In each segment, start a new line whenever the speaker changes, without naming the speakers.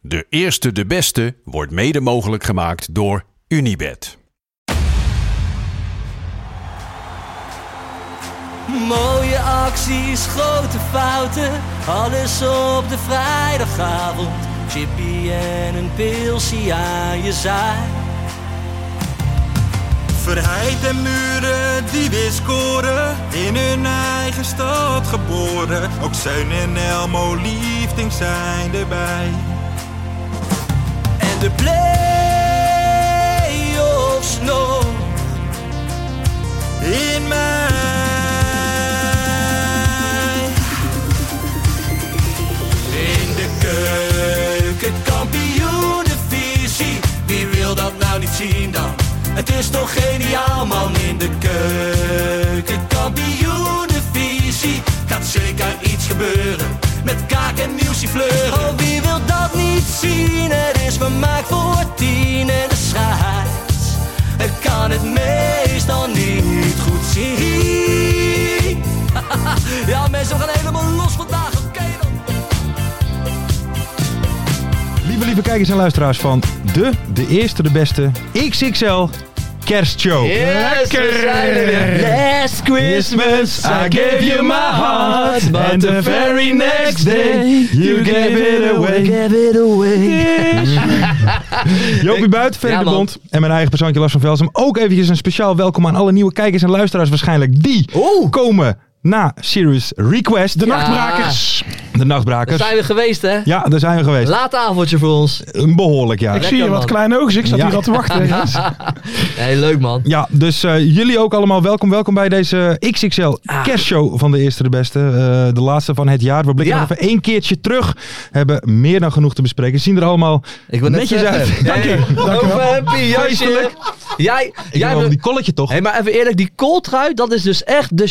De eerste, de beste wordt mede mogelijk gemaakt door Unibed.
Mooie acties, grote fouten, alles op de vrijdagavond. Chippy en een pilsie aan je zaai.
Verheid en muren die weer scoren, in hun eigen stad geboren. Ook Zijn en Elmo liefding zijn erbij.
En de play-offs nog.
In mij.
In de keuken, kampioenenvisie. Wie wil dat nou niet zien dan? Het is toch geniaal man in de keuken, kampioenenvisie. Gaat zeker iets gebeuren met kaak en nieuwsie fleuren. Oh, wie wil dat niet zien? Het is vermaakt voor tien en de scheids. Ik kan het meestal niet goed zien. ja mensen, we gaan helemaal los vandaag, oké dan.
Lieve, lieve kijkers en luisteraars van de, de eerste, de beste XXL kerstshow.
Lekker! Last Christmas I gave you my heart, but the very next day you gave it away.
Gave it away. Jopie Buit, Ferry
Ja,
de
man.
Bond en mijn eigen persoontje Lars van Velsum. Ook eventjes een speciaal welkom aan alle nieuwe kijkers en luisteraars waarschijnlijk. Die komen na Serious Request. De
Nachtbrakers.
De
Daar
Nachtbrakers.
zijn we geweest hè?
Ja, daar zijn we geweest.
Laat avondje voor ons.
Een behoorlijk jaar.
Ik zie je Lekker, wat man.
kleine oogjes. Ik zat hier al te wachten.
Nee, leuk man.
Ja, dus eh, jullie ook allemaal welkom. Welkom bij deze XXL
Ah.
kerstshow van de Eerste de Beste. eh, de laatste van het jaar. We blikken
Ja.
nog even één keertje terug. Hebben meer dan genoeg te bespreken. Zien er allemaal
Ik wil net
netjes
zeggen.
uit.
Ja, ja. Over happy jasje.
Feestelijk.
Jij,
Ik
jij
wil
wil-
die kolletje toch?
Hé, hey, maar even eerlijk, die kooltrui, dat is dus echt de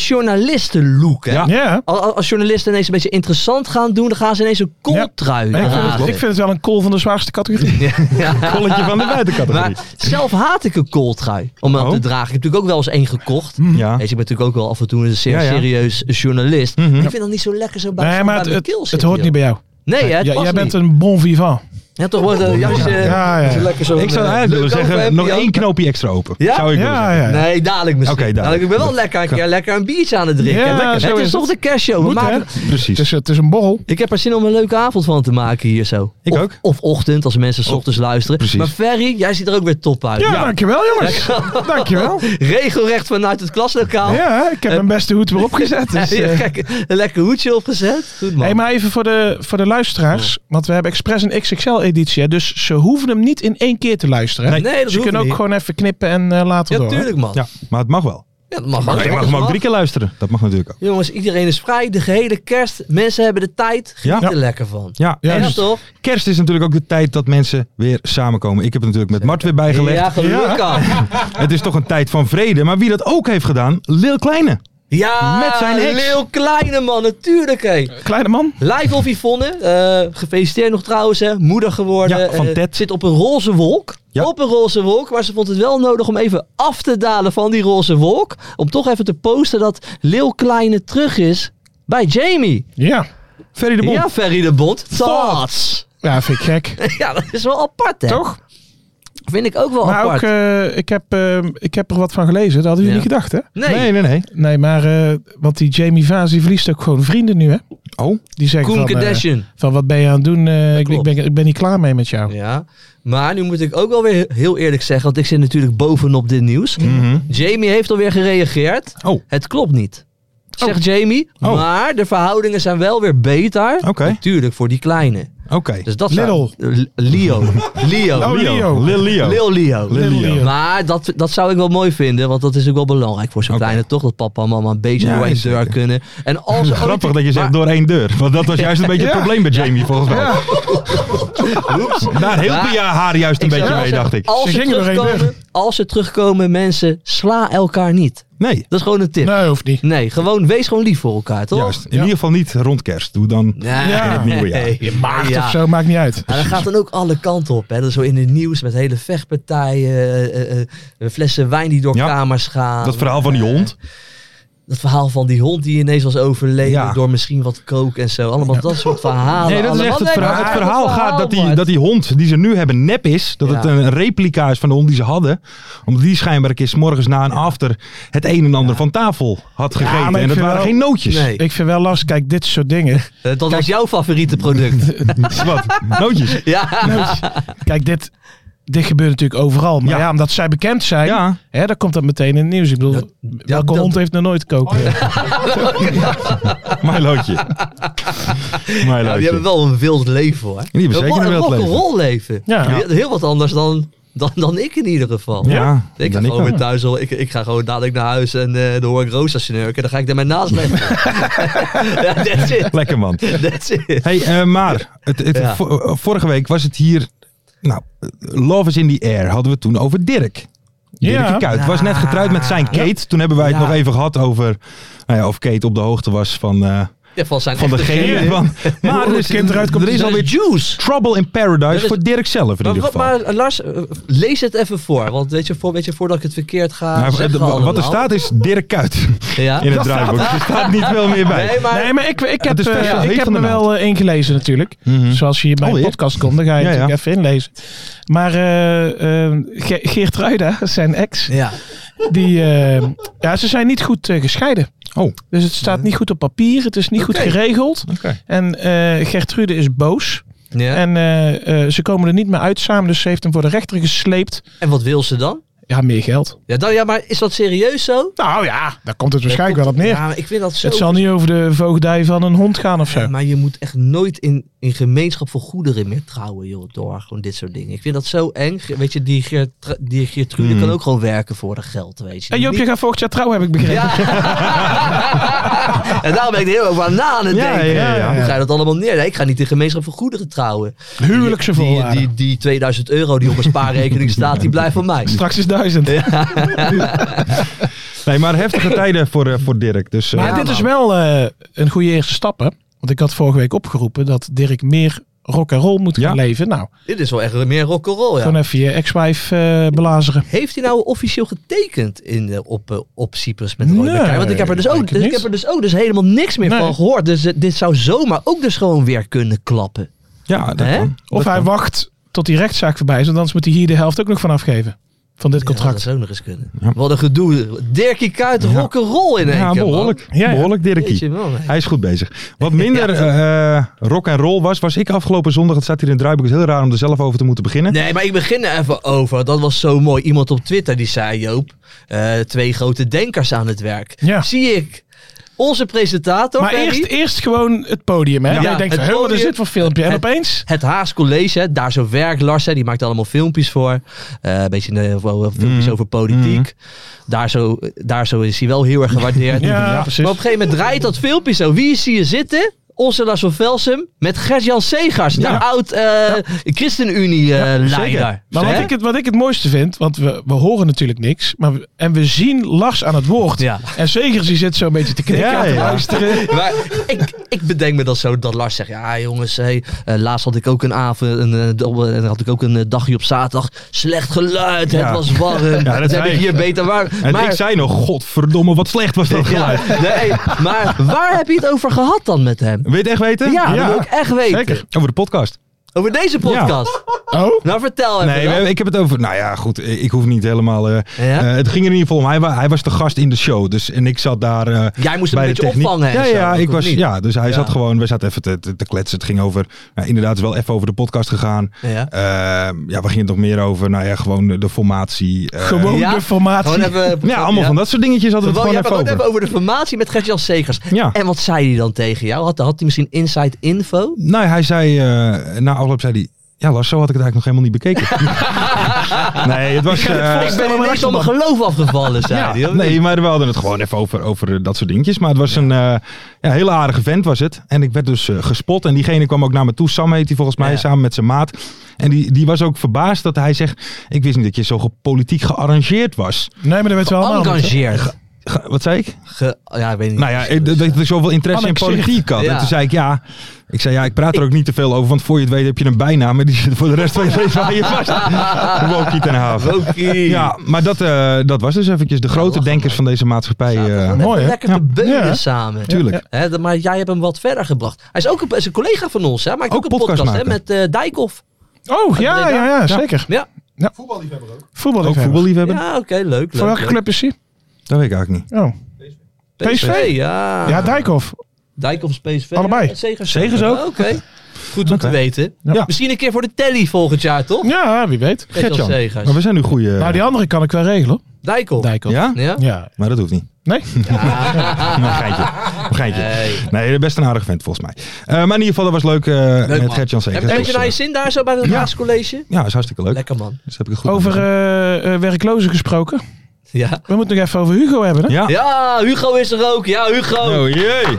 journalistenlook, hè?
Ja.
Ja.
Al- al- Als journalisten ineens een beetje interessant gaan doen, dan gaan ze ineens een kooltrui
Ik, vind
dragen.
het, ik vind het wel een kool van de zwaarste categorie.
Ja.
Kolletje van de buitencategorie.
Maar zelf haat ik een kooltrui om hem
Oh. Mhm.
te dragen. Ik heb natuurlijk ook wel eens één gekocht.
Ja.
Weet je, ik ben natuurlijk ook wel af en toe een zeer
Ja, ja.
serieus journalist.
Mhm.
Ik vind dat niet zo lekker zo bij,
Nee,
zo bij
maar het,
mijn
het,
keel
het
zitten,
hoort niet
joh.
bij jou.
Nee, hè, het
Ja,
past
jij bent
niet.
een bon vivant.
Ja, toch wordt een jasje...
Ja, ja.
zo lekker zo
Ik zou
eh,
eigenlijk willen
leuk
zeggen,
overhemdje
nog
aan.
één knoopje extra open.
Ja?
Zou ik willen
Ja,
zeggen.
ja.
Nee, dadelijk misschien.
Oké, dadelijk.
Ik ben wel lekker, een keer lekker een biertje aan het drinken.
Ja,
Lekker.
zo
het is,
is
toch
het.
de kerstshow. We
Moet,
maken-
hè? Het
Precies.
is, het is een borrel.
Ik heb er zin om een leuke avond van te maken hier zo.
Ik
of,
ook.
Of ochtend, als mensen 's ochtends luisteren.
precies.
Maar Ferry, jij ziet er ook weer top uit.
Ja, dankjewel jongens. Dankjewel.
Regelrecht vanuit het klaslokaal.
Ja, ik heb mijn beste hoed weer opgezet. Dus,
Ja,
eh.
kijk, een lekker hoedje opgezet. Goed man.
Hey, maar even voor de, voor de luisteraars. Want we hebben expres een XXL-editie. hè, Dus ze hoeven hem niet in één keer te luisteren. hè.
Nee, dat
Dus je
hoeft
kunt ook
niet.
gewoon even knippen en eh, later
ja,
door. hè.
tuurlijk man. Ja.
Ja, maar het mag wel.
dat mag ook.
Ik mag
Dat
hem ook
mag.
drie keer luisteren. Dat mag natuurlijk ook.
Jongens, iedereen is vrij. De gehele kerst. Mensen hebben de tijd. Geniet
Ja.
er lekker van.
Ja,
Ja,
juist.
toch?
Kerst is natuurlijk ook de tijd dat mensen weer samenkomen. Ik heb het natuurlijk met Mart weer bijgelegd.
Ja, gelukkig. Ja,
Het is toch een tijd van vrede. Maar wie dat ook heeft gedaan, Lil Kleine. Met zijn ex.
heel kleine man, natuurlijk hé.
Kleine man.
Live of Yvonne, eh, gefeliciteerd nog trouwens, hè. moeder geworden.
Ja, van
Eh,
Ted.
Zit op een roze wolk.
Ja.
Op een roze wolk, maar ze vond het wel nodig om even af te dalen van die roze wolk. Om toch even te posten dat Leeuw Kleine terug is bij Jamie.
Ja.
Ferry de Bond.
Ja, Ferry de Bond. Thoughts.
Ja, vind ik gek.
Ja, dat is wel apart hè.
Toch?
Vind ik ook wel
Maar
apart.
ook, eh, ik, heb, eh, ik heb er wat van gelezen. Dat hadden jullie
Ja.
niet gedacht, hè?
nee,
Nee, nee, nee.
Nee, maar eh, want die Jamie Vaas die verliest ook gewoon vrienden nu, hè?
Oh,
Die zeggen
Koen
van, eh,
Kardashian.
van wat ben je aan het doen? Eh, ik, ik
klopt.
ben, ik ben niet klaar mee met jou.
Ja, maar nu moet ik ook wel weer heel eerlijk zeggen, want ik zit natuurlijk bovenop dit nieuws.
Hmm.
Jamie heeft alweer gereageerd.
Mhm. Oh.
Het klopt niet. Zegt Jamie,
Oh.
maar de verhoudingen zijn wel weer beter.
Oké.
Natuurlijk voor die kleine.
oké.
Dus dat
Little.
Zou, L- Leo. Leo.
Oh, Leo.
Lil Leo.
Lil Leo.
Lil
Lil Leo.
Maar dat, dat zou ik wel mooi vinden, want dat is ook wel belangrijk voor zo'n
Oké.
kleine toch, dat papa en mama een beetje
Ja,
door een
zeker.
deur kunnen. En als ze ooit-
Grappig dat je zegt
maar-
door één deur. Want dat was juist een beetje het
Ja.
probleem bij Jamie volgens mij.
Oeps.
Daar hielp
Maar-
je haar juist een
Ik zou
beetje
wel
mee, dacht
zeggen,
ik.
Ze
Als ze,
gingen doorheen
terugkomen, als ze terugkomen, mensen, sla elkaar niet.
Nee,
Dat is gewoon een tip.
Nee, hoeft niet.
Nee, gewoon, wees gewoon lief voor elkaar, toch?
juist. In
Ja.
ieder geval niet rond kerst. Doe dan...
Nee.
Ja.
het nieuwe jaar.
Nee.
Je maakt
Ja.
of zo, maakt niet uit.
Maar dat gaat dan ook alle kanten op. Hè. Dat is zo in het nieuws met hele vechtpartijen, eh, eh, eh, flessen wijn die door
Ja.
kamers gaan.
Dat verhaal van die hond.
Dat verhaal van die hond die ineens was overleden
Ja.
door misschien wat kook en zo. Allemaal dat soort verhalen.
Nee, dat is
Allemaal-
echt het
Nee,
verhaal.
maar
Het verhaal gaat dat die,
Bart.
dat die hond die ze nu hebben nep is. Dat
Ja.
het een replica is van de hond die ze hadden. Omdat die schijnbaar een keer 's morgens na een after het een en ander van tafel had gegeten.
maar ik
en dat
vind
waren
wel-
geen nootjes.
Nee.
Ik vind wel lastig, kijk, dit soort dingen.
Eh, Dat was jouw favoriete product.
Wat? Nootjes?
ja.
Kijk, dit, dit gebeurt natuurlijk overal. Maar
Ja.
ja, omdat zij bekend zijn,
Ja.
hè, dan komt dat meteen in het nieuws. Ik bedoel, welke
dat-
hond heeft nog nooit
Oh,
koken?
Mijlootje.
Ja, die hebben
Mijlootje.
wel een wild leven hoor.
hebben zeker een wild
rock'n'roll leven.
Ja.
Heel- Heel wat anders dan, dan, dan ik in ieder geval.
Ja,
Ik ga
dan ik
gewoon
ook.
weer thuis al. Ik, ik ga gewoon dadelijk naar huis en eh dan hoor ik Rosa snurken. Dan ga ik daar mijn naast leggen. ja, that's it.
Lekker man.
That's it.
Hey, eh, maar het, het,
Ja.
vo- eh, vorige week was het hier. Nou, eh, Love is in the Air hadden we het toen over Dirk. Dirk
Ja.
de Kuyt
Ja.
was net getrouwd met zijn Kate. Toen hebben wij het
Ja.
nog even gehad over nou ja, of Kate op de hoogte was van, eh,
Ja, van zijn
van de
echte
genen.
genen.
Van, maar er is,
kind eruit komt,
er is
Dat
alweer
juice.
trouble in
Dat
paradise
is-
voor Dirk zelf in
Maar,
ieder
wat-
geval.
maar eh, Lars, eh, lees het even voor. Want weet je, voor, weet je voordat ik het verkeerd ga
Nou,
zeggen
eh, wa- wat er
allemaal.
staat is Dirk Kuyt
Ja?
in het draaiboek. Er staat niet veel meer bij.
Nee, maar...
Nee, maar ik, ik heb,
Het is best
eh,
wel
ik
heet
heb
van de
me wel eh, ingelezen natuurlijk.
Mhm.
Zoals je hier bij de
Alweer?
podcast komt, dan ga je
Ja, ja.
natuurlijk even inlezen. Maar eh eh, Ge- Geert Ruida, zijn ex,
Ja.
die, eh, ja, ze zijn niet goed eh, gescheiden.
Oh,
Dus het staat niet goed op papier, het is niet
Oké.
goed geregeld.
Oké.
En eh Gertrude is boos.
Ja. En,
En eh, eh, ze komen er niet meer uit samen, dus ze heeft hem voor de rechter gesleept.
wat wil ze dan?
Ja, meer geld.
Ja, dan, ja, maar is dat serieus zo?
Nou ja, daar komt het
Daar komt- Ja, maar ik vind dat zo...
Het zal niet over de voogdij van een hond gaan of zo.
Maar je moet echt nooit in, in gemeenschap voor goederen meer trouwen, joh. Door gewoon dit soort dingen. Ik vind dat zo eng. Ge- Weet je, die, Geert, die Geertrude
Hmm.
kan ook gewoon werken voor de geld, weet je.
En Joop, je gaat volgend jaar trouwen, heb ik begrepen.
Ja. en daarom ben ik er heel over aan na aan het
Ja,
denken.
ja, ja.
Hoe ga je dat allemaal neer? Nee, ik ga niet in gemeenschap voor goederen trouwen.
Huwelijkse
Die- die,
voorwaarden.
die, die 2000 euro die op mijn spaarrekening staat, die blijft van mij.
Straks is duizend.
nee, maar heftige tijden voor, eh, voor Dirk. Dus, eh,
Maar
Ja,
dit is
man.
wel eh, een goede eerste stap, hè? Want ik had vorige week opgeroepen dat Dirk meer rock and roll moet gaan
Ja.
leven. Nou,
Dit is wel echt meer rock'n'roll, ja.
gewoon even je ex-wife eh, belazeren.
Heeft hij nou officieel getekend in, eh, op, eh, op Cyprus met Roy
Nee,
Bekair? Want ik heb er dus
ik
ook,
denk het
dus, ik
niet.
heb er dus ook dus helemaal niks meer
Nee.
van gehoord. Dus eh, dit zou zomaar ook dus gewoon weer kunnen klappen.
ja, dat
Hè?
kan.
Of hij wacht tot die rechtszaak voorbij is, want anders moet hij hier de helft ook nog van afgeven. Van dit
Ja, dat
contract.
zou ook nog eens kunnen. Wat een gedoe. Dirkie Kuyt, rock'n'roll in één
Ja,
keer. man.
behoorlijk.
Ja, ja.
Behoorlijk Dirkie.
Jeetje, man, hè.
Hij is goed bezig. Wat minder eh, eh, rock en roll was, was ik afgelopen zondag. Het staat hier in het draaiboek. Het is heel raar om er zelf over te moeten beginnen.
Nee, maar ik begin er even over. Dat was zo mooi. Iemand op Twitter die zei, Joop, eh, twee grote denkers aan het werk.
Ja.
Zie ik onze presentator,
Maar
Ferry,
eerst, eerst gewoon het podium, hè?
Ja,
Jij denkt,
het
"Huh, wat is
podium.
dit voor filmpje? En
Het-
opeens...
Het Haas College, hè, daar zo werkt Lars, hè, die maakt allemaal filmpjes voor. Eh, een beetje eh, wel- wel filmpjes
Mm.
over politiek. Daar, zo, daar zo is hij wel heel erg gewaardeerd.
Ja, precies.
Maar op een gegeven moment draait dat filmpje zo. Wie zie je zitten? Onze Lars van Velsum met Gert-Jan Segers, de oud eh, ChristenUnie-leider.
Maar wat ik, het, wat ik het mooiste vind, want we, we horen natuurlijk niks. Maar we- en we zien Lars aan het woord.
Ja.
En Zegers die zit zo een beetje te knikken
Ja,
en te
ja.
luisteren.
Maar ik, ik bedenk me dat zo dat Lars zegt: Ja, jongens, hey, eh, laatst had ik ook een avond. Een, eh, dobbel- en had ik ook een eh, dagje op zaterdag. Slecht geluid,
Ja.
het was warm.
dat
dat heb
zei
ik
ik.
hier beter waar.
En ik zei nog, godverdomme, wat slecht was dat
ja,
geluid.
nee, maar waar heb je het over gehad dan met hem?
Wil je het echt weten?
Ja, dat wil ik echt weten.
Zeker. Over de podcast.
Over deze podcast.
Oh?
Nou, vertel even.
Nee,
dan.
we- ik heb het over... Nou ja, goed, eh, ik hoef niet helemaal... eh, eh, het ging er in ieder geval om. Hij, wa- hij was de gast in de show. Dus, en ik zat daar... eh,
Jij moest hem
bij
een beetje
de techniek.
opvangen. en
Ja,
zo,
ja,
dat
ik
hoeft
was,
niet.
ja, dus hij
Ja.
zat gewoon, we zaten even te, te, te kletsen. Het ging over, nou, inderdaad, is wel even over de podcast gegaan.
Ja.
Eh, ja, we gingen het nog meer over, nou ja, gewoon de, de formatie. eh,
Gewoon
Ja.
de formatie.
Gewoon even.
Ja, allemaal van dat soort dingetjes hadden we
Gewoon,
het
je
gewoon
hebt het
even
ook
over.
even over de formatie met Gert-Jan Segers.
Ja.
En wat zei hij dan tegen jou? Had, had hij misschien inside info?
Eh, Nou, hij zei, eh, na afloop zei hij, ja Lars, zo had ik het eigenlijk nog helemaal niet bekeken. Nee, het was... eh,
ik ben ineens van mijn geloof afgevallen, zei hij.
ja,
hoor.
nee, maar we hadden het gewoon even over, over dat soort dingetjes. Maar het was een eh, ja, hele aardige vent was het. En ik werd dus eh, gespot. En diegene kwam ook naar me toe. Sam heet hij volgens mij,
Ja.
samen met zijn maat. En die, die was ook verbaasd dat hij zegt... Ik wist niet dat je zo politiek gearrangeerd was.
Nee, maar dat weten we allemaal. niet, hè?
Engageer.
Ge- wat zei ik?
Ge- ja, ik weet niet.
Nou ja, eh, dat dat ik zoveel interesse in
Annexeert.
politiek had. En
Ja.
toen zei ik ja. Ik zei ja, ik praat er ook niet te veel over. Want voor je het weet heb je een bijnaam. Maar die zit voor de rest van je leven aan je vast. Wokie ten haven.
Wokie.
Ja, maar dat, eh, dat was dus eventjes de grote
lachen,
denkers van deze maatschappij. eh,
Even
mooi, hè?
Lekker te beunen
Ja.
samen.
Tuurlijk.
Hè, dat- maar jij hebt hem wat verder gebracht. Hij is ook een, is een collega van ons. Hè? Hij maakt ook,
Ook
een podcast hè,
podcastmaker.
met eh Dijkhoff.
Oh, ja, ja, ja, zeker.
Ja, Oh,
Voetbal
Ook voetballiefhebber?
ja oké, leuk.
Voor
leuk,
welke
leuk.
club is hij?
Dat weet ik eigenlijk niet.
Oh, PSV?
ja.
ja, Dijkhoff.
Dijkhoff, PSV.
Allebei.
Ja, Segers,
Segers ook.
Oké. Goed om
Oké.
te weten.
Ja.
Misschien een keer voor de telly volgend jaar, toch?
Ja, wie weet.
Met Jan
Gertjan.
Segers.
Maar we zijn nu goede.
Nou, die andere kan ik wel regelen.
Dijkhoff.
Dijkhoff.
Ja?
Ja?
Ja.
Maar dat hoeft niet.
Nee?
Maar een geintje. Een geintje.
Nee.
Nee, best een aardige vent volgens mij. Eh, maar in ieder geval, dat was leuk eh, met
man.
Gert-Jan
Heb je
Segers.
een
Dus,
beetje naar je
eh,
zin daar zo bij het
Ja.
Raadscollege?
Ja, is hartstikke leuk.
Lekker man.
Dus heb ik het goed
Over
gedaan.
eh, eh, werklozen gesproken.
Ja.
We moeten nog even over Hugo hebben, hè?
Ja.
ja, Hugo is er ook. Ja, Hugo.
Oh jee.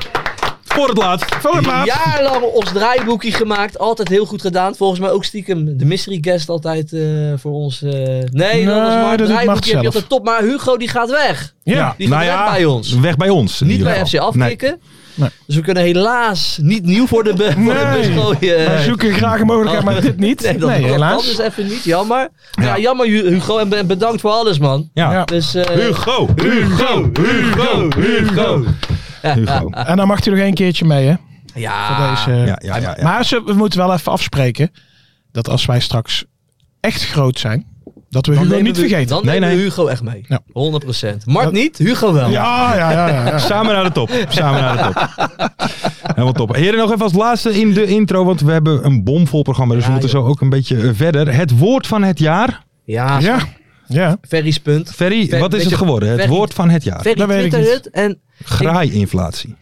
Voor het laatst. Voor het laatst.
Jaarlang ons draaiboekje gemaakt. Altijd heel goed gedaan. Volgens mij ook stiekem de mystery guest altijd eh, voor ons. eh, Nee, dat was
dat
maar het
doet Mart
draaiboekje heb
zelf.
je op de top. Maar Hugo die gaat weg.
Ja.
Die gaat weg bij ons.
Nou Weg bij ons. in
Niet
ieder
bij FC
geval.
afkicken.
Nee.
Dus we kunnen helaas niet nieuw voor de, be- voor de
Nee.
bus gooien.
Wij zoeken graag een mogelijkheid, maar dit niet.
Eh, Nee,
Nee,
dat, dat
helaas.
kan dus even niet. Jammer. Ja, jammer Hu- Hugo. En be- bedankt voor alles, man.
Nee. Ja.
Ja.
Dus, eh,
Hugo, Hugo, Hugo, Hugo. Hugo.
En dan mag hij nog één keertje mee, hè?
Ja.
Deze,
Ja, ja, ja. ja.
Maar ze- we moeten wel even afspreken dat als wij straks echt groot zijn, dat we Hugo
nemen
niet
we-
vergeten.
Dan
Nee,
nemen we
nee.
Hugo echt mee.
Ja.
100%. Mark niet, Hugo wel.
Ja, ja, ja. ja, ja.
Samen naar de top. Samen naar de top. Helemaal top. Heren, nog even als laatste in de intro, want we hebben een bomvol programma. Dus we moeten zo ook een beetje eh, verder. Het woord van het jaar.
Ja,
ja. ja.
Ferry's punt.
Ferry,
Ver-
wat is
weet
het
je,
geworden? Het
Ferry-
woord van het jaar.
Ferry
Dat weet ik
twittert het en...
Graai-inflatie.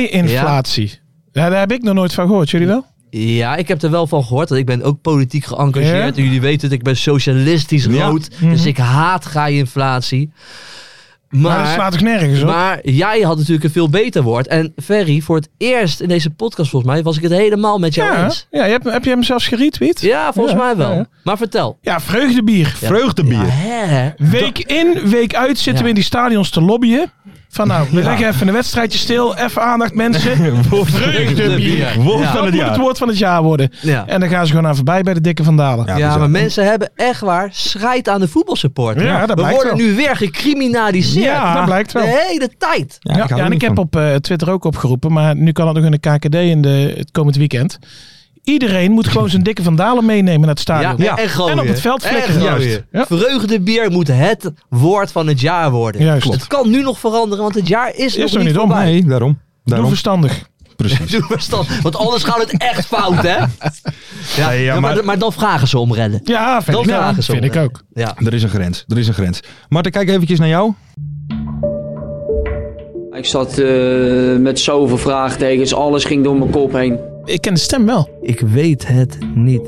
Graai-inflatie. Ja, daar heb ik nog nooit van gehoord. Jullie wel?
Ja, ik heb er wel van gehoord. Want ik ben ook politiek geëngageerd.
Ja? Mhm.
Jullie weten het, ik ben socialistisch
Ja.
rood. Dus ik haat gaai inflatie.
Maar Nou, dat
Maar,
slaat toch nergens op?
maar jij had natuurlijk een veel beter woord. En Ferry, voor het eerst in deze podcast volgens mij, was ik het helemaal met jou
ja,
eens.
ja je hebt, heb je hem zelfs geretweet?
Ja, volgens
Ja,
mij wel.
ja, ja.
Maar vertel.
Ja, vreugdebier.
Vreugdebier.
Ja, hè?
Week in, week uit zitten
Ja.
we in die stadions te lobbyen. Van nou, we leggen even een wedstrijdje stil. Even aandacht mensen. Vreugdebier.
Vreugdebier.
Woord
Ja.
van
Dat
het
moet het
jaar.
woord van het jaar worden.
Ja.
En dan gaan ze gewoon aan voorbij bij de dikke vandalen.
Ja.
Ja,
bizar.
maar mensen hebben echt waar scheid aan de voetbalsupport.
Ja, dat
We
blijkt
worden
wel.
nu weer gecriminaliseerd.
Ja, dat blijkt wel.
De hele tijd.
Ja,
hou
ja,
er
en
niet
ik heb
van.
op eh, Twitter ook opgeroepen, maar nu kan het nog in de KKD in de, het komend weekend. Iedereen moet gewoon zijn dikke vandalen meenemen naar het
Ja,
stadion.
En, gooien.
En op het veld flikkeren,
En
juist.
gooien.
Ja.
Vreugdebier moet het woord van het jaar worden.
Juist. Klopt.
Het kan nu nog veranderen, want het jaar is, nog
nog
niet
niet om,
voorbij.
Nee, daarom.
Doe
Daarom.
verstandig.
Precies.
Doe verstand, want anders gaat het echt fout, hè? Ja,
Nee, ja,
ja, maar,
maar-
maar dan vragen ze om redden.
Ja, vind,
Dat
ik, ja,
vragen ze
vind
om,
ik
hè.
ook.
Ja.
Er is een grens. Er is een grens. Marten, kijk eventjes naar jou.
Ik zat eh, met zoveel vraagtekens, alles ging door mijn kop heen.
Ik ken de stem wel.
Ik weet het niet.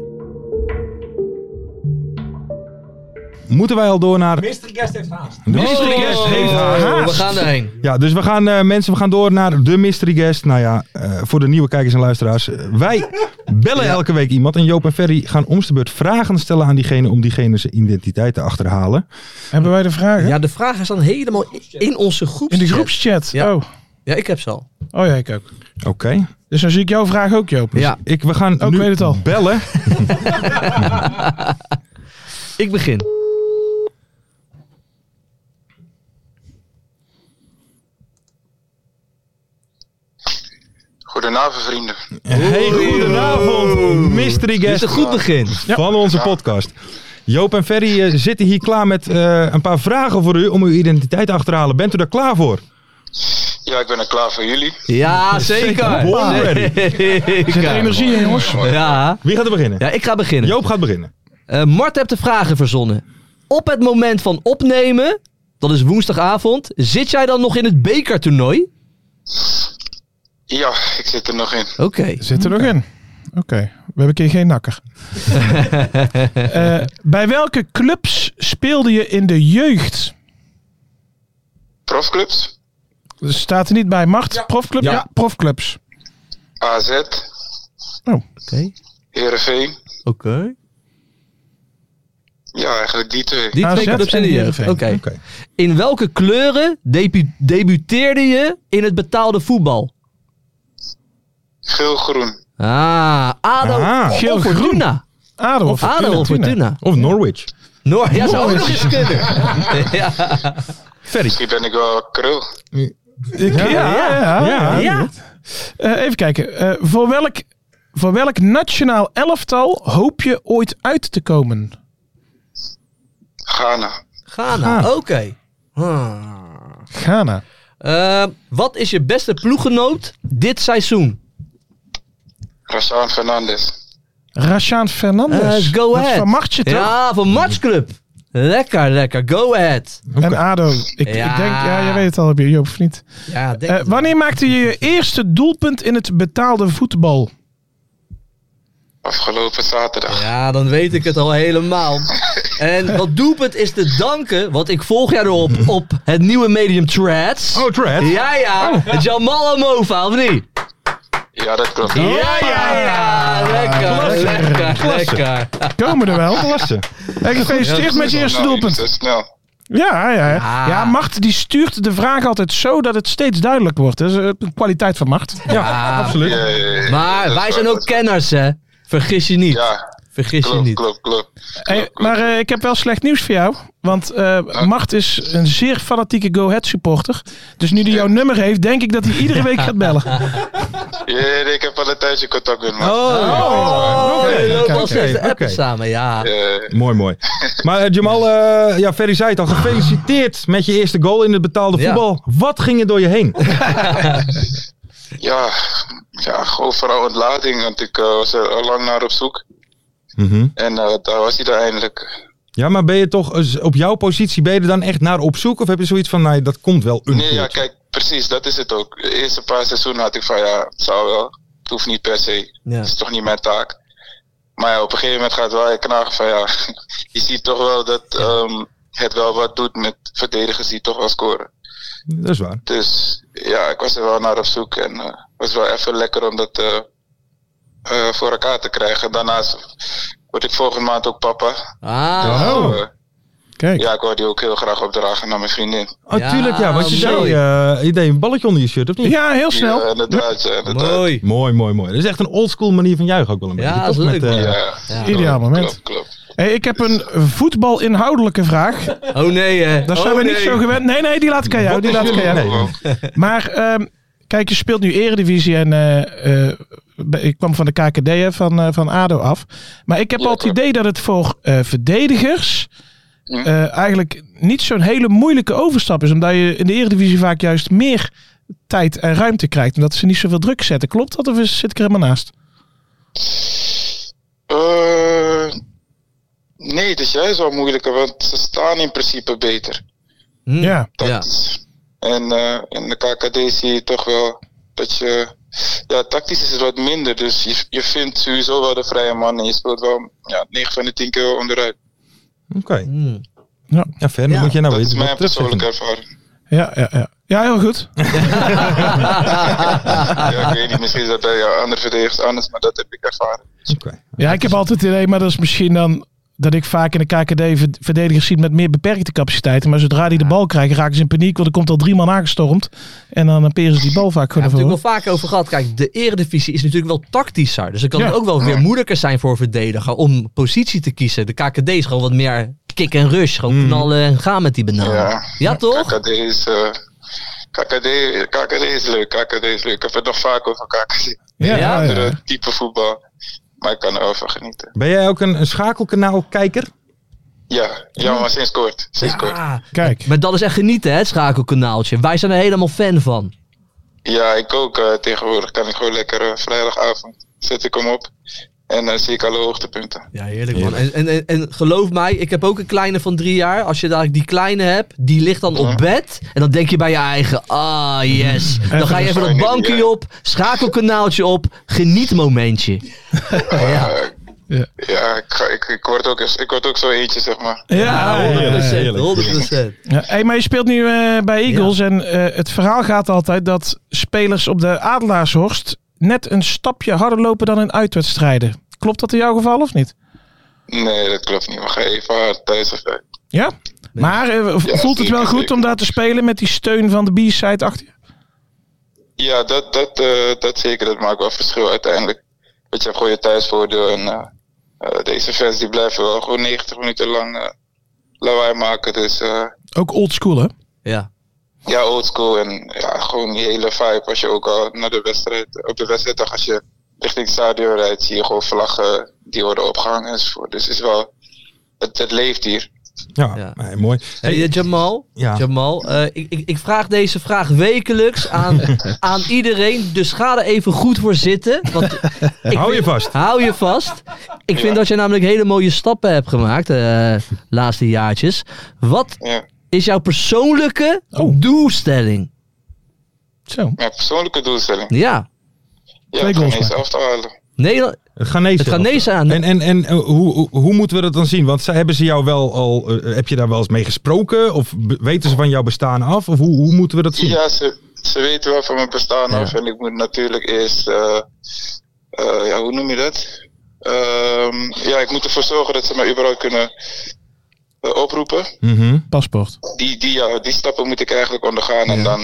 Moeten wij al door naar... Mr. Guest heeft
Oh.
haast. Mr. Guest heeft haast.
we gaan erheen.
Ja, dus we gaan, eh, mensen, we gaan door naar de mystery guest. Nou ja, eh, voor de nieuwe kijkers en luisteraars. eh, wij bellen elke week iemand. En Joop en Ferry gaan om de beurt vragen stellen aan diegene. om diegene zijn identiteit te achterhalen.
Hebben wij de vragen?
Ja, de vraag is dan helemaal in onze groep.
In de groepschat.
Ja.
Oh.
Ja, ik heb ze al.
oh ja, ik ook.
Oké.
Dus dan zie ik jouw vraag ook, Joop. Oh,
Ja,
Ik, we gaan
ik
nu
weet het al.
bellen.
ik begin.
Goedenavond vrienden.
Hey, goedenavond, mystery
Dit is
guest
een goed begin.
van onze podcast. Joop en Ferry eh, zitten hier klaar met eh, een paar vragen voor u om uw identiteit te achterhalen. Bent u daar klaar voor?
Ja, ik ben er klaar voor jullie.
Ja, zeker.
Born ready.
Er zit
Zeker.
energie in, jongens.
Ja.
Wie gaat er beginnen?
ja, ik ga beginnen.
Joop gaat beginnen.
Eh, Mart hebt de vragen verzonnen. Op het moment van opnemen, dat is woensdagavond, zit jij dan nog in het bekertoernooi?
Ja, ik zit er nog in.
Oké.
Zit er nog in. Oké. hebben een keer geen nakker. Eh, bij welke clubs speelde je in de jeugd?
Profclubs,
Er staat er niet bij. Macht, profclub? Ja,
Ja.
profclubs.
AZ,
Oké.
Heerenveen.
Oké.
Ja, eigenlijk die twee.
Die
AZ
twee clubs in de
en
jeugd.
Heerenveen.
Oké.
Oké.
In welke kleuren debu- debuteerde je in het betaalde voetbal?
Geel-groen.
Ah, ADO
Ah,
of
geel-groen.
Fortuna.
ADO of
ADO of Fortuna.
Of Norwich.
Noor, ja, zou ook nog eens kunnen. ja.
Misschien ben ik wel krul.
Ik- ja, ja, ja.
Ja,
Ja.
Eh, even kijken. Eh, voor, welk, voor welk nationaal elftal hoop je ooit uit te komen?
Ghana.
Ghana, nou. oké. Ah.
Ghana.
Eh, wat is je beste ploeggenoot dit seizoen?
Rashaan Fernandez.
Rashaan Fernandes.
Eh, go
Dat is
ahead.
van Martje toch?
Ja, van Matchclub. Lekker, lekker. Go ahead.
En ADO. Ik,
Ja.
ik denk, ja, jij weet het al, heb je Joop of niet?
Ja, denk
Eh,
het wel.
wanneer maakte je je eerste doelpunt in het betaalde voetbal?
Afgelopen zaterdag.
Ja, dan weet ik het al helemaal. En wat doelpunt is te danken, want ik volg jou erop op het nieuwe medium Threads.
Oh, Trad.
Ja, ja. Jamal Amova, of niet?
Ja, dat klopt.
Ja, Oh, ja, ja. Lekker,
Klasse.
lekker,
Klasse.
lekker.
Komen er wel.
Klasse.
En gefeliciteerd met je eerste
Nou,
doelpunt.
Zo snel.
Ja, ja, ja.
Ja.
ja, Macht die stuurt de vraag altijd zo dat het steeds duidelijk wordt. Dat is eh, een kwaliteit van Macht.
Ah,
Absoluut.
Ja, ja, ja, ja. Dat
Maar
is
wij
waar,
zijn
dat
ook
is waar.
kenners, hè. Vergis je niet.
Ja,
Vergis je
klopt,
niet.
klopt, klopt.
Hey, maar eh, ik heb wel slecht nieuws voor jou. Want eh, Macht is een zeer fanatieke Go Ahead supporter. Dus nu hij jouw nummer heeft, denk ik dat hij iedere week gaat bellen.
Ja, ja, ik heb al een tijdje contact met hem.
Oh,
oké,
we lopen al
oké,
steeds de
oké.
appen samen, ja.
Eh,
Mooi, mooi. Maar eh, Jamal, eh, ja, Ferry zei het al. Gefeliciteerd met je eerste goal in het betaalde
Ja.
voetbal. Wat ging er door je heen?
ja, ja, gewoon vooral ontlading, want ik eh, was er al lang naar op zoek.
Mhm.
En eh, daar was hij dan eindelijk.
Ja, maar ben je toch eens op jouw positie, ben je er dan echt naar op zoek? Of heb je zoiets van, nee, dat komt wel een
Nee, ja,
keertje?
kijk, precies, dat is het ook. De eerste paar seizoenen had ik van ja, het zou wel. Het hoeft niet per se.
Ja.
Het is toch niet mijn taak. Maar ja, op een gegeven moment gaat het wel je knagen van ja. Je ziet toch wel dat ehm, het wel wat doet met verdedigers die toch wel scoren.
Dat is waar.
Dus ja, ik was er wel naar op zoek en eh, het was wel even lekker om dat eh, eh, voor elkaar te krijgen. Daarnaast word ik volgende maand ook papa.
Ah,
Dus,
Oh.
eh,
Kijk.
ja, ik wou die ook heel graag opdragen naar mijn vriendin.
Oh,
Ja,
tuurlijk, ja. Want je, zei,
mooi.
eh, je deed een balletje onder je shirt, of niet?
Ja, heel
Ja,
snel.
eh, inderdaad, ja, inderdaad.
mooi.
Mooi, mooi, mooi. Dat is echt een oldschool manier van juichen ook wel een
Ja,
beetje.
dat
toch?
is leuk,
Met, eh,
Ja,
Ideaal moment.
klopt, klopt.
Hey, ik heb een voetbalinhoudelijke vraag.
Oh nee, hè.
Daar zijn
Oh,
we niet
nee.
zo gewend. Nee, nee, die laat ik aan jou. Die laat ik aan jou.
Nee.
Gewoon.
Maar ehm, kijk, je speelt nu Eredivisie en eh, eh, bij- ik kwam van de KKD hè, van, eh, van ADO af. Maar ik heb
Ja,
al het
klopt.
idee dat het voor eh, verdedigers
Ja.
eh, eigenlijk niet zo'n hele moeilijke overstap is. Omdat je in de Eredivisie vaak juist meer tijd en ruimte krijgt. Omdat ze niet zoveel druk zetten. Klopt dat of is- zit ik er helemaal naast?
Eh, nee, het is juist wel moeilijker, want ze staan in principe beter.
Hm.
Ja.
Ja.
Tactisch. En eh, in de KKD zie je toch wel dat je. Ja, tactisch is het wat minder, dus je, je vindt sowieso wel de vrije man en je speelt wel ja, 9 van de 10 keer wel onderuit.
Oké.
Hm.
Ja, verder
Ja,
moet je nou
dat
weer
is mijn
wat terugzetten.
persoonlijke ervaring.
Ja, ja, ja. ja heel goed.
Ja, ik weet niet, misschien is dat bij jou andere verdedigers anders, maar dat heb ik ervaren.
Oké.
Ja, ik heb altijd het idee, maar dat is misschien dan dat ik vaak in de KKD verd- verdedigers zie met meer beperkte capaciteiten. Maar zodra die de bal krijgen, raken ze in paniek, want er komt al drie man aangestormd. En dan eh, peren ze die bal vaak
We
gewoon
hebben
ervoor.
het natuurlijk wel vaak over gehad. Kijk, de eredivisie is natuurlijk wel tactischer. Dus dan kan
Ja.
het ook wel weer moeilijker zijn voor verdediger om positie te kiezen. De KKD is gewoon wat meer kick en rush. Gewoon knallen en gaan met die benadering. Hmm. Ja,
Ja.
toch?
KKD is. eh, KKD, KKD is leuk, KKD is leuk. Ik heb het nog vaak over KKD.
Ja,
Ja.
ja, ja.
andere type Eh, voetbal. Maar ik kan er wel van genieten.
Ben jij ook een, een schakelkanaalkijker?
Ja, ja maar sinds kort. Sinds kort.
Ja.
Kijk.
Maar dat is echt genieten, hè, het schakelkanaaltje. Wij zijn er helemaal fan van.
Ja, ik ook. eh, tegenwoordig kan ik gewoon lekker eh, vrijdagavond. Zet ik hem op. En eh, zie ik alle hoogtepunten.
Ja, heerlijk man. En, en, en, en geloof mij, ik heb ook een kleine van drie jaar. Als je dadelijk die kleine hebt, die ligt dan op bed. En dan denk je bij je eigen, ah yes. Dan ga je even dat bankje op, schakelkanaaltje op, genietmomentje.
Ja.
Ja.
ja, ik, ga, ik, ik, word ook, eens- ik word ook zo eentje, zeg maar.
Ja,
ja, ja.
100%.
heerlijk.
100%.
Ja, hey, maar je speelt nu eh, bij Eagles en eh, het verhaal gaat altijd dat spelers op de Adelaarshorst net een stapje harder lopen dan in uitwedstrijden. Klopt dat in jouw geval of niet?
Nee, dat klopt niet. We gaan even hard thuis. of zo.
Ja? Maar eh, v-
Ja,
voelt het wel
zeker,
goed
zeker.
om daar te spelen met die steun van de B-side achter je?
Ja, dat, dat, eh, dat zeker. Dat maakt wel verschil uiteindelijk. Want je hebt gewoon je thuisvoordeel. En eh, eh, deze fans die blijven wel gewoon 90 minuten lang eh, lawaai maken. Dus eh,
Ook oldschool hè?
Ja.
ja, oldschool. En ja, gewoon die hele vibe. Als je ook al naar de wedstrijd, op de wedstrijddag, als je richting het stadion rijdt, zie je gewoon vlaggen die worden opgehangen enzovoort. Dus het is wel, het, het leeft hier.
Ja,
Ja.
nee, mooi.
Hey, eh, Jamal,
Ja.
Jamal eh, ik, ik, ik vraag deze vraag wekelijks aan, aan iedereen. Dus ga er even goed voor zitten. Want ik
Hou je
vind-
vast.
Hou je vast. Ik vind dat je namelijk hele mooie stappen hebt gemaakt de laatste jaartjes. Wat
Ja.
is jouw persoonlijke doelstelling?
Zo.
Mijn persoonlijke doelstelling.
Ja,
Ja,
Twee
ik ga
goals
eens
maken.
af te halen.
Nederland,
Het Ghanese.
het Ghanese aan.
En, en, en eh, hoe, hoe, hoe moeten we dat dan zien? Want zij, hebben ze jou wel al, eh, heb je daar wel eens mee gesproken? Of be- weten ze van jouw bestaan af? Of hoe, hoe moeten we dat zien?
Ja, ze, ze weten wel van mijn bestaan af. En ik moet natuurlijk eerst. eh, eh, ja, hoe noem je dat? Ehm, ja, ik moet ervoor zorgen dat ze mij überhaupt kunnen eh, oproepen.
Mhm.
Paspoort.
Die, die, ja, die stappen moet ik eigenlijk ondergaan. En dan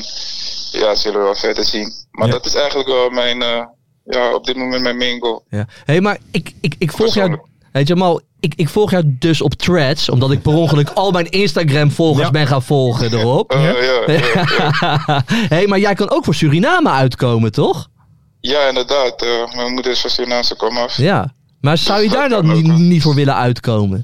ja, zullen we wel verder zien. Maar
Ja.
dat is eigenlijk wel mijn. eh, ja, op dit moment mijn main goal.
Ja. hey, maar ik, ik, ik volg jou.
Persoonlijk.
Hey Jamal, ik, ik volg jou dus op threads, omdat ik per ongeluk al mijn Instagram-volgers
Ja.
ben gaan volgen erop.
Eh, ja. Ja,
hey, maar jij kan ook voor Suriname uitkomen, toch?
Ja, inderdaad. eh, mijn moeder is van Surinaamse komaf. Ja.
Ja. Maar zou je daar dan
Dat kan
ni-
ook, hè?
niet voor willen uitkomen?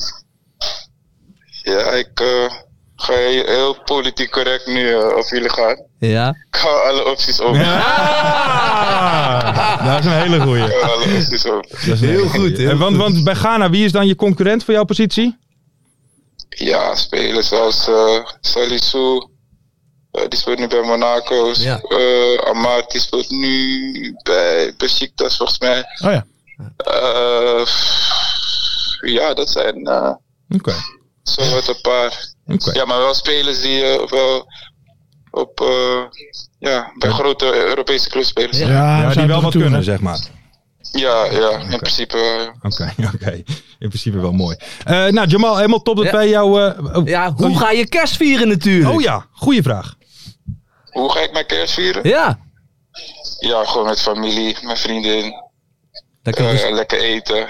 ik eh, ga heel- heel politiek correct nu eh, op jullie gaan.
Ja.
Ik hou alle opties open.
Ah, dat is een hele goeie.
Ja, alle opties open.
Dat is een hele goeie.
goed, heel
En want, want bij Ghana, wie is dan je concurrent voor jouw positie?
Ja, spelers zoals eh Salisu, eh, die speelt nu bij Monaco.
Ja.
Eh, Amar, die speelt nu bij Besiktas, volgens mij.
Oh ja.
Eh, ja, dat zijn eh
Oké.
zo wat een paar.
Oké.
Ja, maar wel spelers die eh, wel op, eh, ja, bij grote Europese clubs spelen. Ja,
Ja,
Ja,
we
die
zijn
wel
er
wat
toe,
kunnen,
hè?
zeg maar.
ja, in principe eh. wel, ja.
Oké, oké. In principe wel mooi. Eh, nou, Jamal, helemaal top dat
Ja.
wij jou... eh, oh,
Ja,
oh,
hoe ga je kerst vieren natuurlijk?
Oh ja, goede vraag.
Ah,
Hoe ga ik mijn kerst vieren?
Ja.
Ja, gewoon met familie, mijn vriendin.
Lekker
Eh,
rust-
lekker eten.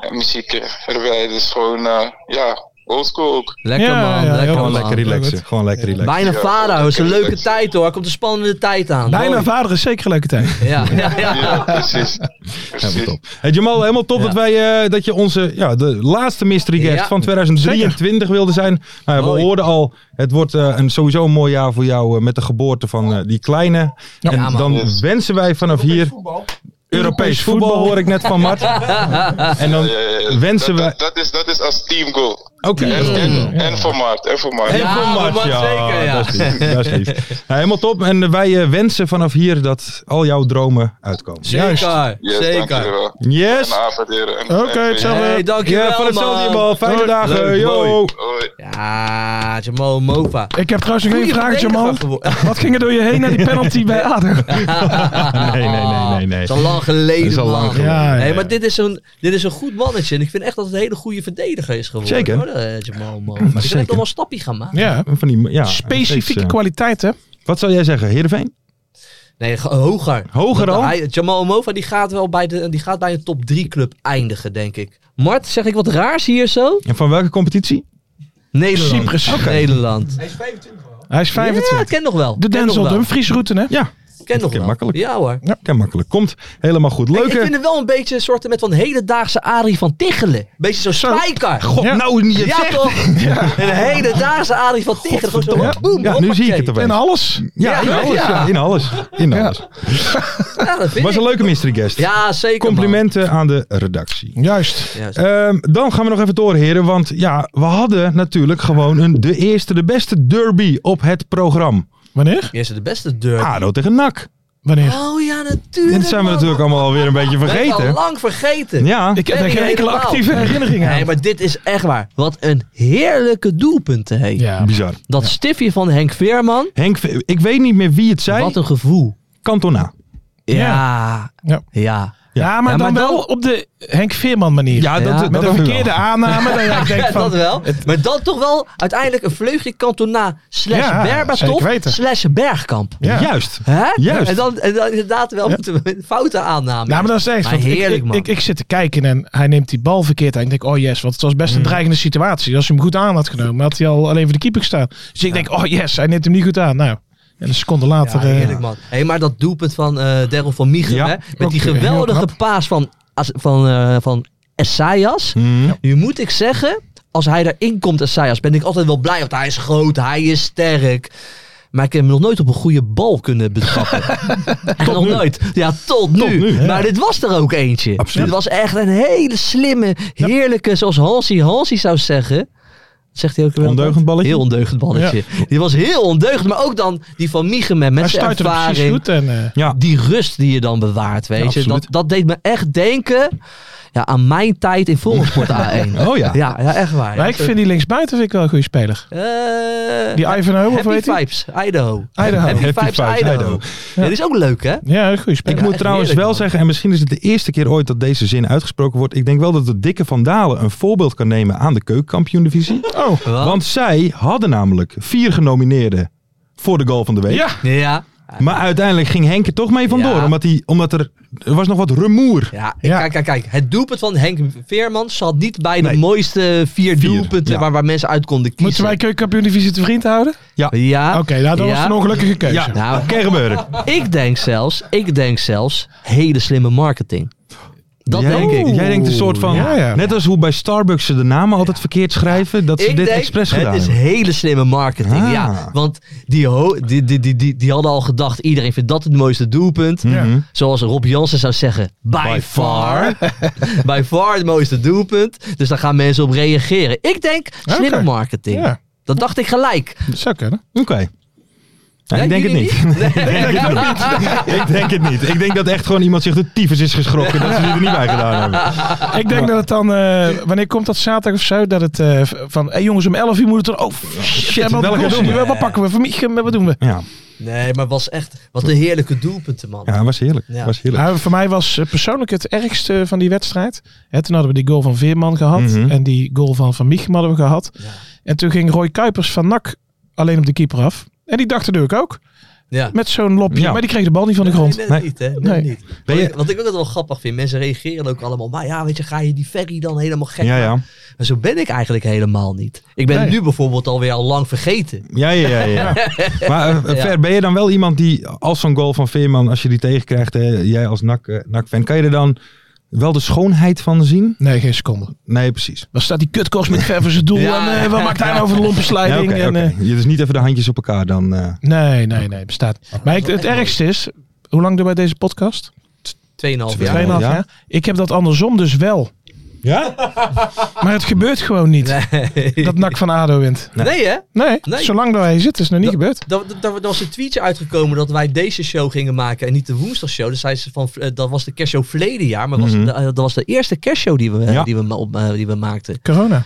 En muziek erbij. Dus gewoon, eh ja, oldschool ook.
Lekker
Ja,
man,
ja,
lekker
heel
Gewoon
man.
lekker relaxen. Gewoon lekker relaxen.
Bijna
Ja,
vader, dat is een
lekker
leuke
relaxen.
tijd hoor. Komt een spannende tijd aan.
Bijna
Mooi.
vader is zeker een leuke tijd.
Ja, ja, ja.
Ja, precies.
Helemaal
precies.
top. Hey Jamal, helemaal top
Ja.
dat, wij, eh, dat je onze ja, de laatste mystery guest
Ja,
van 2023 wilde zijn. Nou, ja, we
Mooi.
hoorden al, het wordt eh, een, sowieso een mooi jaar voor jou eh, met de geboorte van eh, die kleine. en
Ja, man.
dan
Yes.
wensen wij vanaf hier Europees
Europees
voetbal,
voetbal.
hoor ik net van Mart. en dan
Ja, ja, ja.
wensen
dat,
wij...
dat, dat is, dat is als team goal.
Oké.
En, en,
Ja.
en voor Maart. En voor Maart.
En
Ja,
voor Mart,
Mart,
ja.
zeker, ja.
Dat is lief, dat is lief. Nou, helemaal top. En eh, wij eh, wensen vanaf hier dat al jouw dromen uitkomen.
Zeker,
Yes,
zeker.
dankjewel.
Yes!
Een avond, heren. En-
Oké,
en-
hetzelfde.
Hey, dankjewel
ja, van hetzelfde
man.
Jamal. Fijne
Hoi.
dagen.
Leuk,
yo.
mooi.
Hoi.
Ja, Jamal Mova.
Ik heb trouwens nog één
Goeie
vraag,
verdediger
Jamal.
geworden.
Wat ging er door je heen naar die penalty bij ADO?
nee, nee, nee, nee, nee.
Dat is al lang geleden,
Dat is al
man.
lang geleden.
Ja, ja,
Nee,
ja.
maar dit is, een, dit is een goed mannetje. En ik vind echt dat het een hele goede verdediger is geworden.
Zeker.
Hoor, eh, Jamal Mova. Ik
zeker.
heb toch wel een stapje gaan maken.
Ja.
Van die, ja, steeds,
Specifieke
eh,
kwaliteit, hè?
Wat zou jij zeggen, Heerenveen?
Nee, ge- hoger.
Hoger
Want
al?
hij- Jamal Mova die gaat wel bij, de, die gaat bij een top 3 club eindigen, denk ik. Mart, zeg ik wat raars hier zo?
En van welke competitie?
Nederland.
Cyprus.
Nederland.
Hij is
Ja,
25.
ik ken nog wel.
De
Ken nog
Denzel
wel.
Dumfries route, hè?
Ja.
Ken nog
ken
wel.
makkelijk.
Ja hoor.
Ja, ken makkelijk. Komt helemaal goed.
Ik- Ik
Leuke.
vind het wel een beetje een soort met van hedendaagse Arie van Tichelen. Beetje zo'n spijker.
God,
Ja.
nou niet.
ja toch? Een hedendaagse Arie van Tichelen. Gewoon zo,
Ja,
boem,
ja, nu zie ik
hoppakee.
het erbij.
En alles.
Ja, in
Ja,
alles.
ja.
ja, In alles. In
Ja.
alles.
Ja, dat vind
Was een
ik.
leuke mystery guest.
Ja, zeker man.
Complimenten aan de redactie.
Juist.
Juist.
Ehm, dan gaan we nog even door, heren. Want ja, we hadden natuurlijk gewoon een de eerste, de beste derby op het programma.
Wanneer?
Eerste de beste deur.
ADO tegen NAC.
Wanneer?
Oh ja, natuurlijk.
Ah. Dit zijn we
man.
natuurlijk allemaal alweer een beetje
Dat heb ik al
vergeten.
lang vergeten.
Ja,
Ik heb
Ben
daar
je
geen enkele
helemaal?
actieve herinnering aan.
Nee, maar dit is echt waar. Wat een heerlijke doelpunten hé.
Ja.
bizar.
Dat stiftje van Henk Veerman.
Henk, ik weet niet meer wie het zei.
Wat een gevoel.
Cantona.
Ja.
Ja.
Ja.
Ja, maar
Ja,
dan
maar
wel
dan-
op de Henk Veerman manier.
Ja, dat,
Ja,
dat,
Met
dat
een
wel.
verkeerde aanname. dat ik denk
Ja,
van,
dat wel. Maar dan toch wel uiteindelijk een vleugje Cantona slash
Ja, zeker
Berbatov
weten.
slash Bergkamp.
Ja.
Juist.
Hè?
Juist.
En dan, en dan inderdaad wel moeten we foute aanname.
Ja, Nou, maar dat is echt.
Maar
want ik-
heerlijk,
ik,
man.
Ik, ik zit te kijken en hij neemt die bal verkeerd aan. Ik denk, oh yes, want het was best een
Mm.
dreigende situatie. Als hij hem goed aan had genomen, had hij al alleen voor de keeper gestaan. Dus ik denk, oh yes, hij neemt hem niet goed aan. Nou, en een seconde
Ja,
later. eh,
heerlijk man. Hey, maar dat doelpunt van eh Daryl van Miegen,
Ja,
hè?
ook
met die
heel
geweldige
knap.
paas van, As- van, eh van Essayas.
Hmm.
Nu moet ik zeggen, als hij daarin komt, Essayas, ben ik altijd wel blij. Want hij is groot, hij is sterk. Maar ik heb hem nog nooit op een goede bal kunnen betrappen. Echt nog nooit. Ja, tot nu.
nu, ja.
Maar dit was er ook eentje.
Absoluut.
Dit was echt een hele slimme, heerlijke, zoals Halsey Halsey zou zeggen. Zegt hij ook weer?
Ondeugend balletje?
Heel ondeugend balletje. Die was heel ondeugend. Maar ook dan die van Miegemen
hij
met zijn
stuit hem precies
ervaring.
goed. En, eh,
Ja,
Die rust die je dan bewaart,
Ja,
weet je.
absoluut.
Dat, dat deed me echt denken ja, aan mijn tijd in Volgensport A1.
Oh ja.
Ja, ja echt waar. Eh,
maar ik vind die linksbuiten vind ik wel een goede speler. Die Ivanhoe, of
Happy
hoe heet die?
Vibes, Idaho.
Idaho.
Happy,
Happy
Vibes,
Vibes,
Idaho.
Idaho.
Ja, die is ook leuk, hè?
Ja, een goede
Ik
speler.
moet
echt
trouwens
heerlijk,
wel
man.
zeggen, en misschien is het de eerste keer ooit dat deze zin uitgesproken wordt. Ik denk wel dat de dikke Van Dalen een voorbeeld kan nemen aan de keukenkampioen-divisie.
Oh,
Wat?
Want zij hadden namelijk vier genomineerden voor de goal van de week.
ja.
Ja.
Maar uiteindelijk ging Henk er toch mee vandoor.
Ja.
Omdat, hij, omdat er, er was nog wat rumoer.
Ja,
Ja.
Kijk, kijk, kijk. Het doelpunt van Henk Veerman zat niet bij de
Nee.
mooiste vier,
Vier,
doelpunten
ja.
waar, waar mensen uit konden
Moeten
kiezen.
wij keukenkampioen divisie te vriend houden?
Ja.
Oké, nou, dat was
Ja.
een ongelukkige keuze.
Ja,
Nou.
kan gebeuren.
Ik denk zelfs, ik denk zelfs, hele slimme marketing. Dat
jij,
denk ik.
Jij denkt een soort van,
Ja, ja.
net als hoe bij Starbucks ze de namen altijd verkeerd schrijven. Dat ze
Ik
dit
denk,
expres
het
gedaan
is
hebben.
hele slimme marketing,
Ah.
ja. Want die, ho- die, die, die, die, die hadden al gedacht, iedereen vindt dat het mooiste doelpunt.
Mhm.
Zoals Rob Jansen zou zeggen, by,
By
far. by far het mooiste doelpunt. Dus daar gaan mensen op reageren. Ik denk, slimme
Oké.
marketing.
Ja,
Dat dacht ik gelijk.
dat zou kunnen.
Oké. Nou,
Ja,
ik denk het
jullie
niet. ik denk het niet. Ik denk dat echt gewoon iemand zich de tyfus is geschrokken. Dat ze die er niet bij gedaan hebben.
Ik denk dat het dan, eh, wanneer komt dat zaterdag of zo, dat het eh, van, hé jongens, om 11 uur moet het er, oh shit, wat,
welke doen we?
wat pakken we? Van Miechem, wat doen we?
Ja,
Nee, maar was echt, wat een heerlijke doelpunten, man.
ja was heerlijk.
Ja.
Was heerlijk.
Nou, voor mij was eh, persoonlijk het ergste van die wedstrijd. Hè, toen hadden we die goal van Veerman gehad.
Mhm.
En die goal van Van Miechem hadden we gehad. En toen ging Roy Kuipers van NAC alleen op de keeper af. En die dacht natuurlijk ook.
Ja.
Met zo'n lopje.
Ja.
Maar die kreeg de bal niet van de grond.
Nee, net
Nee.
niet, hè? Net
Nee.
niet.
Ben je-
Wat ik- Wat ik ook altijd wel grappig vind, mensen reageren ook allemaal. Maar ja, weet je, ga je die ferry dan helemaal gek
Ja, ja.
maken? Maar zo ben ik eigenlijk helemaal niet. Ik ben
Nee.
nu bijvoorbeeld alweer al lang vergeten.
Ja, ja, ja. ja. maar eh,
Ja.
Fer, ben je dan wel iemand die als zo'n goal van Veerman, als je die tegenkrijgt, hè, jij als NAC-fan, kan je er dan wel de schoonheid van zien?
Nee, geen seconde.
Nee, precies.
Dan staat die kutkost met ver voor zijn doel.
Ja.
En eh, wat maakt hij nou voor de
Ja,
lompensliding?
oké,
en,
oké.
eh,
Je Dus niet even de handjes op elkaar dan. eh.
nee, nee, nee. Bestaat niet. Maar ik- het ergste is... Hoe lang doen wij deze podcast?
2,5
Ja,
jaar.
Tweeënhalf.
2,5
ja.
jaar. Ik heb dat andersom dus wel.
Ja?
Maar het gebeurt gewoon niet.
Nee.
Dat NAC van ADO wint.
nee, hè?
Nee,
Nee.
zolang daar hij zit is het nog niet
Dat-
gebeurd.
Daar daar- daar was een tweetje uitgekomen dat wij deze show gingen maken en niet de woensdagshow. Dus zei ze van, eh, dat was de kerstshow verleden jaar, maar was,
Mhm.
eh, dat was de eerste kerstshow die we, eh,
Ja.
die, we ma- op, eh, die we maakten.
Corona.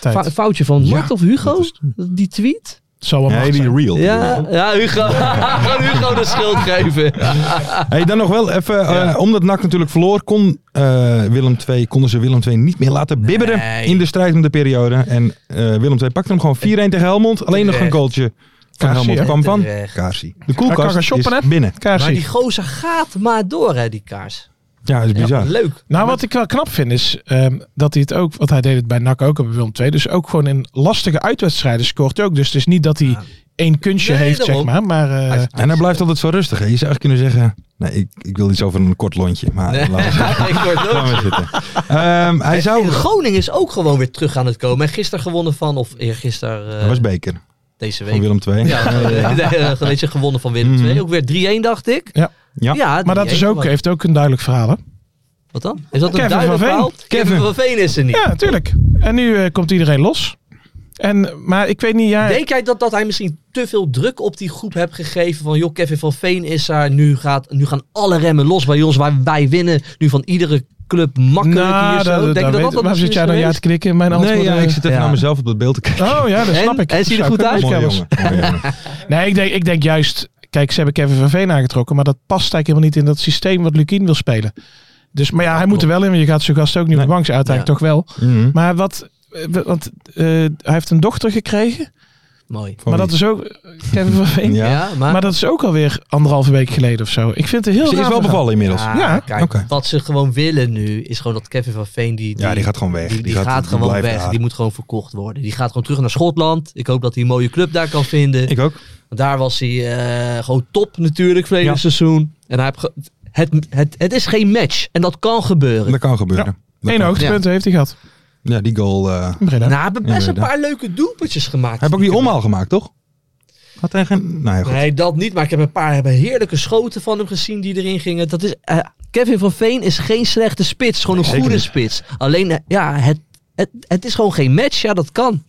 Tijd.
Fou- foutje van
Ja,
Mart of Hugo, die tweet?
Zal wel
Nee,
macht
die
zijn.
real.
Ja, ja Hugo. Gewoon Hugo de schuld geven.
Hey, dan nog wel even, eh, omdat NAC natuurlijk verloor, kon, eh, Willem II, konden ze Willem II niet meer laten bibberen
Nee.
in de strijd om de periode. En eh, Willem II pakte hem gewoon 4-1 tegen Helmond. Alleen nog een
Terecht.
goaltje van
Kaarsie,
Helmond
hè?
kwam van
Terecht.
Kaarsie. De
Daar kan
koelkast
gaan shoppen,
is
hè?
binnen.
Kaarsie.
Maar die gozer gaat maar door, hè, die kaars.
Ja, dat is bizar.
Leuk.
Nou, wat ik wel knap vind is ehm, dat hij het ook, want hij deed het bij NAC ook en bij Willem II, dus ook gewoon in lastige uitwedstrijden scoort hij ook. Dus het is niet dat hij één kunstje
Nee,
heeft, zeg
daarom.
maar. maar eh,
Hij is-
En hij blijft altijd zo rustig. Hè? Je zou echt kunnen zeggen, nee, ik, ik wil iets over een kort lontje. Maar
Nee.
laten we zitten.
Ik word dood.
Laten we zitten. Ehm, hij zou...
En Groningen is ook gewoon weer terug aan het komen. En gisteren gewonnen van, of eergisteren eh,
Dat was Beker
deze
van
week.
Willem II.
Ja, nee, eh, weet je, gewonnen van Willem
Mhm.
II. Ook weer 3-1, dacht ik.
Ja.
Ja.
maar dat
3-1
is ook,
gewoon.
heeft ook een duidelijk verhaal. Hè?
Wat dan? Is dat
Kevin
een
van
duidelijk
Veen.
verhaal?
Kevin.
Kevin van Veen is er niet.
Ja, natuurlijk. En nu eh, komt iedereen los. En, maar ik weet niet, ja,
Denk jij dat, dat hij misschien te veel druk op die groep heeft gegeven van joh, Kevin van Veen is daar, nu, gaat, nu gaan alle remmen los bij ons, waar wij winnen nu van iedere club makkelijk hier zo. Denk je dat
Nou,
dat dat
weet- waarom zit
misschien
jij
is
nou ja
geweest?
te knikken? Mijn antwoord
Nee, ja,
eh,
ik zit even
Ja. Oh,
naar mezelf op dat beeld te kijken.
Oh ja, dat
En?
snap ik.
En ziet er
Zou
goed
kunnen,
uit?
dus,
Mooi,
Kebbels.
jongen. Mooi, jongen.
Nee, ik denk, ik denk juist... Kijk, ze hebben Kevin van Veen aangetrokken. Maar dat past eigenlijk helemaal niet in dat systeem wat Lukien wil spelen. Dus, maar ja, hij moet er wel in. Want je gaat zijn gast ook niet op de bank zetten,
Ja.
Uiteindelijk toch wel.
Mhm.
Maar wat... eh, Want eh, hij heeft een dochter gekregen.
Mooi.
Van wie?
maar dat is ook... eh, Kevin van Veen.
Ja.
Oh, Ja, maar,
Maar dat is ook alweer anderhalve week geleden of zo. Ik vind het een heel
Ze is
raar
wel
verhaal.
bevallen inmiddels.
Ah,
Ja,
kijk,
oké.
wat ze gewoon willen nu is gewoon dat Kevin van Veen die,
Ja, die gaat gewoon weg.
die, die gaat, gewoon weg.
blijft daar.
Die moet gewoon verkocht worden. Die gaat gewoon terug naar Schotland. Ik hoop dat hij een mooie club daar kan vinden.
Ik ook.
Want daar was hij eh, gewoon top natuurlijk verleden
Ja.
seizoen. En hij heeft ge- het, het, het is geen match. En dat kan gebeuren.
Dat kan gebeuren. Dat
Eén
kan.
hoogtepunt heeft hij gehad.
Ja, die goal. eh,
in Breda.
Nou, hij heeft best een
Inderdaad.
paar leuke doelpuntjes gemaakt.
Hij heeft ook die omhaal gemaakt, toch? Had hij geen... Nou ja, goed.
Nee, dat niet. Maar ik heb een paar hebben heerlijke schoten van hem gezien die erin gingen. Dat is, eh, Kevin van Veen is geen slechte spits. Gewoon een
zeker
goede
niet.
spits. Alleen, eh, ja, het, het, het is gewoon geen match. Ja, dat kan.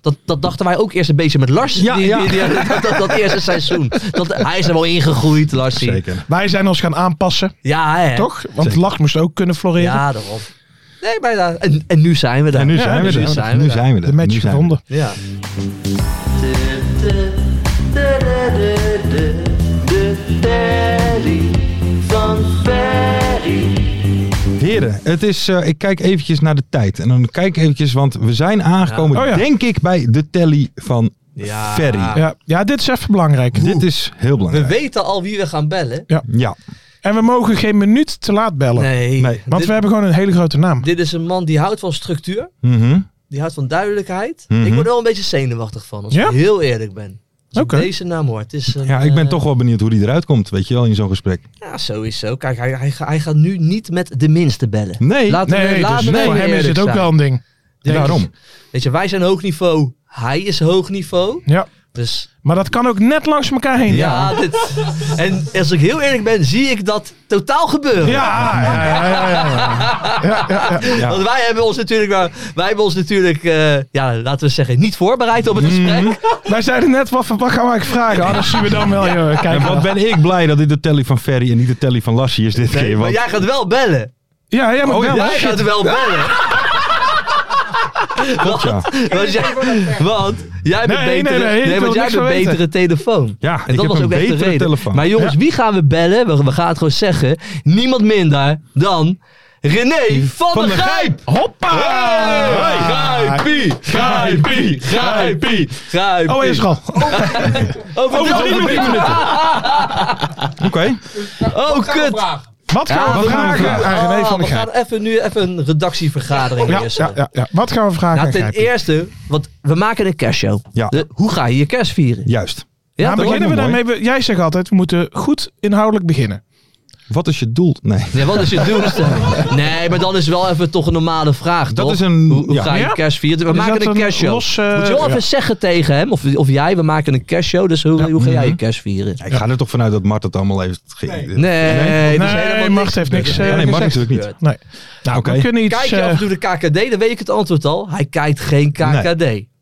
Dat, dat dachten wij ook eerst een beetje met Lars.
Ja,
die,
ja.
die- die- dat, dat, dat eerste seizoen. Dat, hij is er wel ingegroeid, Lars.
Zeker.
Wij zijn ons gaan aanpassen,
Ja, hè.
toch? Want
Zeker.
Lach moest ook kunnen floreren.
Ja, daarom. Nee, maar ja, en, en nu zijn we daar.
En nu
Ja,
zijn
nu
we er.
zijn we
nu
daar.
zijn we er.
de
Nu
match
zijn
gevonden.
we
Ja.
er. Heren, het is, eh, ik kijk eventjes naar de tijd. En dan kijk ik eventjes, want we zijn aangekomen,
Ja. Oh ja.
denk ik, bij de telly van
Ja.
Ferry.
Ja, ja, dit is even belangrijk.
Dit is heel
We
belangrijk.
weten al wie we gaan bellen.
Ja,
En we mogen geen minuut te laat bellen.
Nee.
Nee,
Want
dit,
we hebben gewoon een hele grote naam.
dit is een man die houdt van structuur.
Mhm.
Die houdt van duidelijkheid.
Mhm.
Ik word er wel een beetje zenuwachtig van, als
Ja?
ik heel eerlijk ben. Als
Oké.
ik deze naam hoor. Het is een,
ja ik ben
eh,
toch wel benieuwd hoe die eruit komt, weet je wel, in zo'n gesprek.
Ja, sowieso. Kijk, hij, hij, ga- hij gaat nu niet met de minste bellen.
Nee,
Laat-
nee,
we- laten
dus
we
voor hem is
eerlijk
dit ook
zijn.
wel een ding.
daarom.
Weet je, wij zijn hoog niveau. Hij is hoog niveau.
Ja.
Dus
Maar dat kan ook net langs elkaar heen.
Ja, dit. En als ik heel eerlijk ben, zie ik dat totaal gebeuren.
Ja, ja, ja, ja, ja, ja. Ja, ja, ja.
Ja.
Want wij hebben ons natuurlijk, wel- wij hebben ons natuurlijk eh, ja, laten we zeggen, niet voorbereid op het gesprek.
Wij zeiden net, wat, wat gaan we eigenlijk vragen? Ah, dat zien we dan wel. Joh. Kijk, eh.
En wat ben ik blij dat dit de telly van Ferry en niet de telly van Lassie is dit
Nee,
keer.
maar
Want
jij gaat wel bellen.
Ja, ja,
Oh,
maar wel.
jij gaat wel bellen.
klopt, ja.
Want jij, want jij bent
Nee, nee,
betere,
nee, ik wil
want jij
niks
bent
van
betere telefoon.
Ja,
en
ik
dat
heb
was
een
ook echt de
betere
reden.
telefoon.
Maar jongens, wie gaan we bellen? We, we gaan het gewoon zeggen. Niemand minder dan René van,
Van
der
der
Gijp.
Hoppa!
Gijpie, Gijpie, Gijpie, Gijpie.
Oh, hij is er al.
Over,
Over drie minuten.
Oké,
Oh, kut.
Wat gaan
Ja,
we
wat gaan we
vragen
vragen?
aan René
Oh,
van
we
der Gijp?
gaan even nu even een redactievergadering
Ja,
eerst. eh,
ja, ja, ja. Wat gaan we vragen
Nou,
aan
ten
Gijpie?
eerste, want we maken een kerstshow.
Ja.
De- hoe ga je je kerst vieren?
juist.
Ja,
Ja,
toch?
beginnen we
lijkt me
daarmee? We- Jij zegt altijd, we moeten goed inhoudelijk beginnen.
Wat is je doel? Nee.
Nee, wat is je doelstelling? Nee, maar dan is wel even toch een normale vraag,
Dat
toch?
is een-
Hoe, hoe
ja.
ga je
Ja?
kerst vieren? We
Is dat
maken een
een
kerstshow.
los, eh,
Moet je wel even
ja.
zeggen tegen hem, of, of jij, we maken een kerstshow. Dus hoe, hoe ga jij
Mhm.
je kerst vieren?
Ik ga er toch vanuit dat Mart het allemaal heeft ge-
Nee, nee, dat is helemaal
Nee,
niks
Mart heeft niks
gebeurd.
Ja,
eh,
nee, Mart
gezegd.
natuurlijk niet.
Nee. Nou,
Oké.
we kunnen iets...
Kijk je af
eh,
en toe de KKD, dan weet ik het antwoord al. Hij kijkt geen KKD.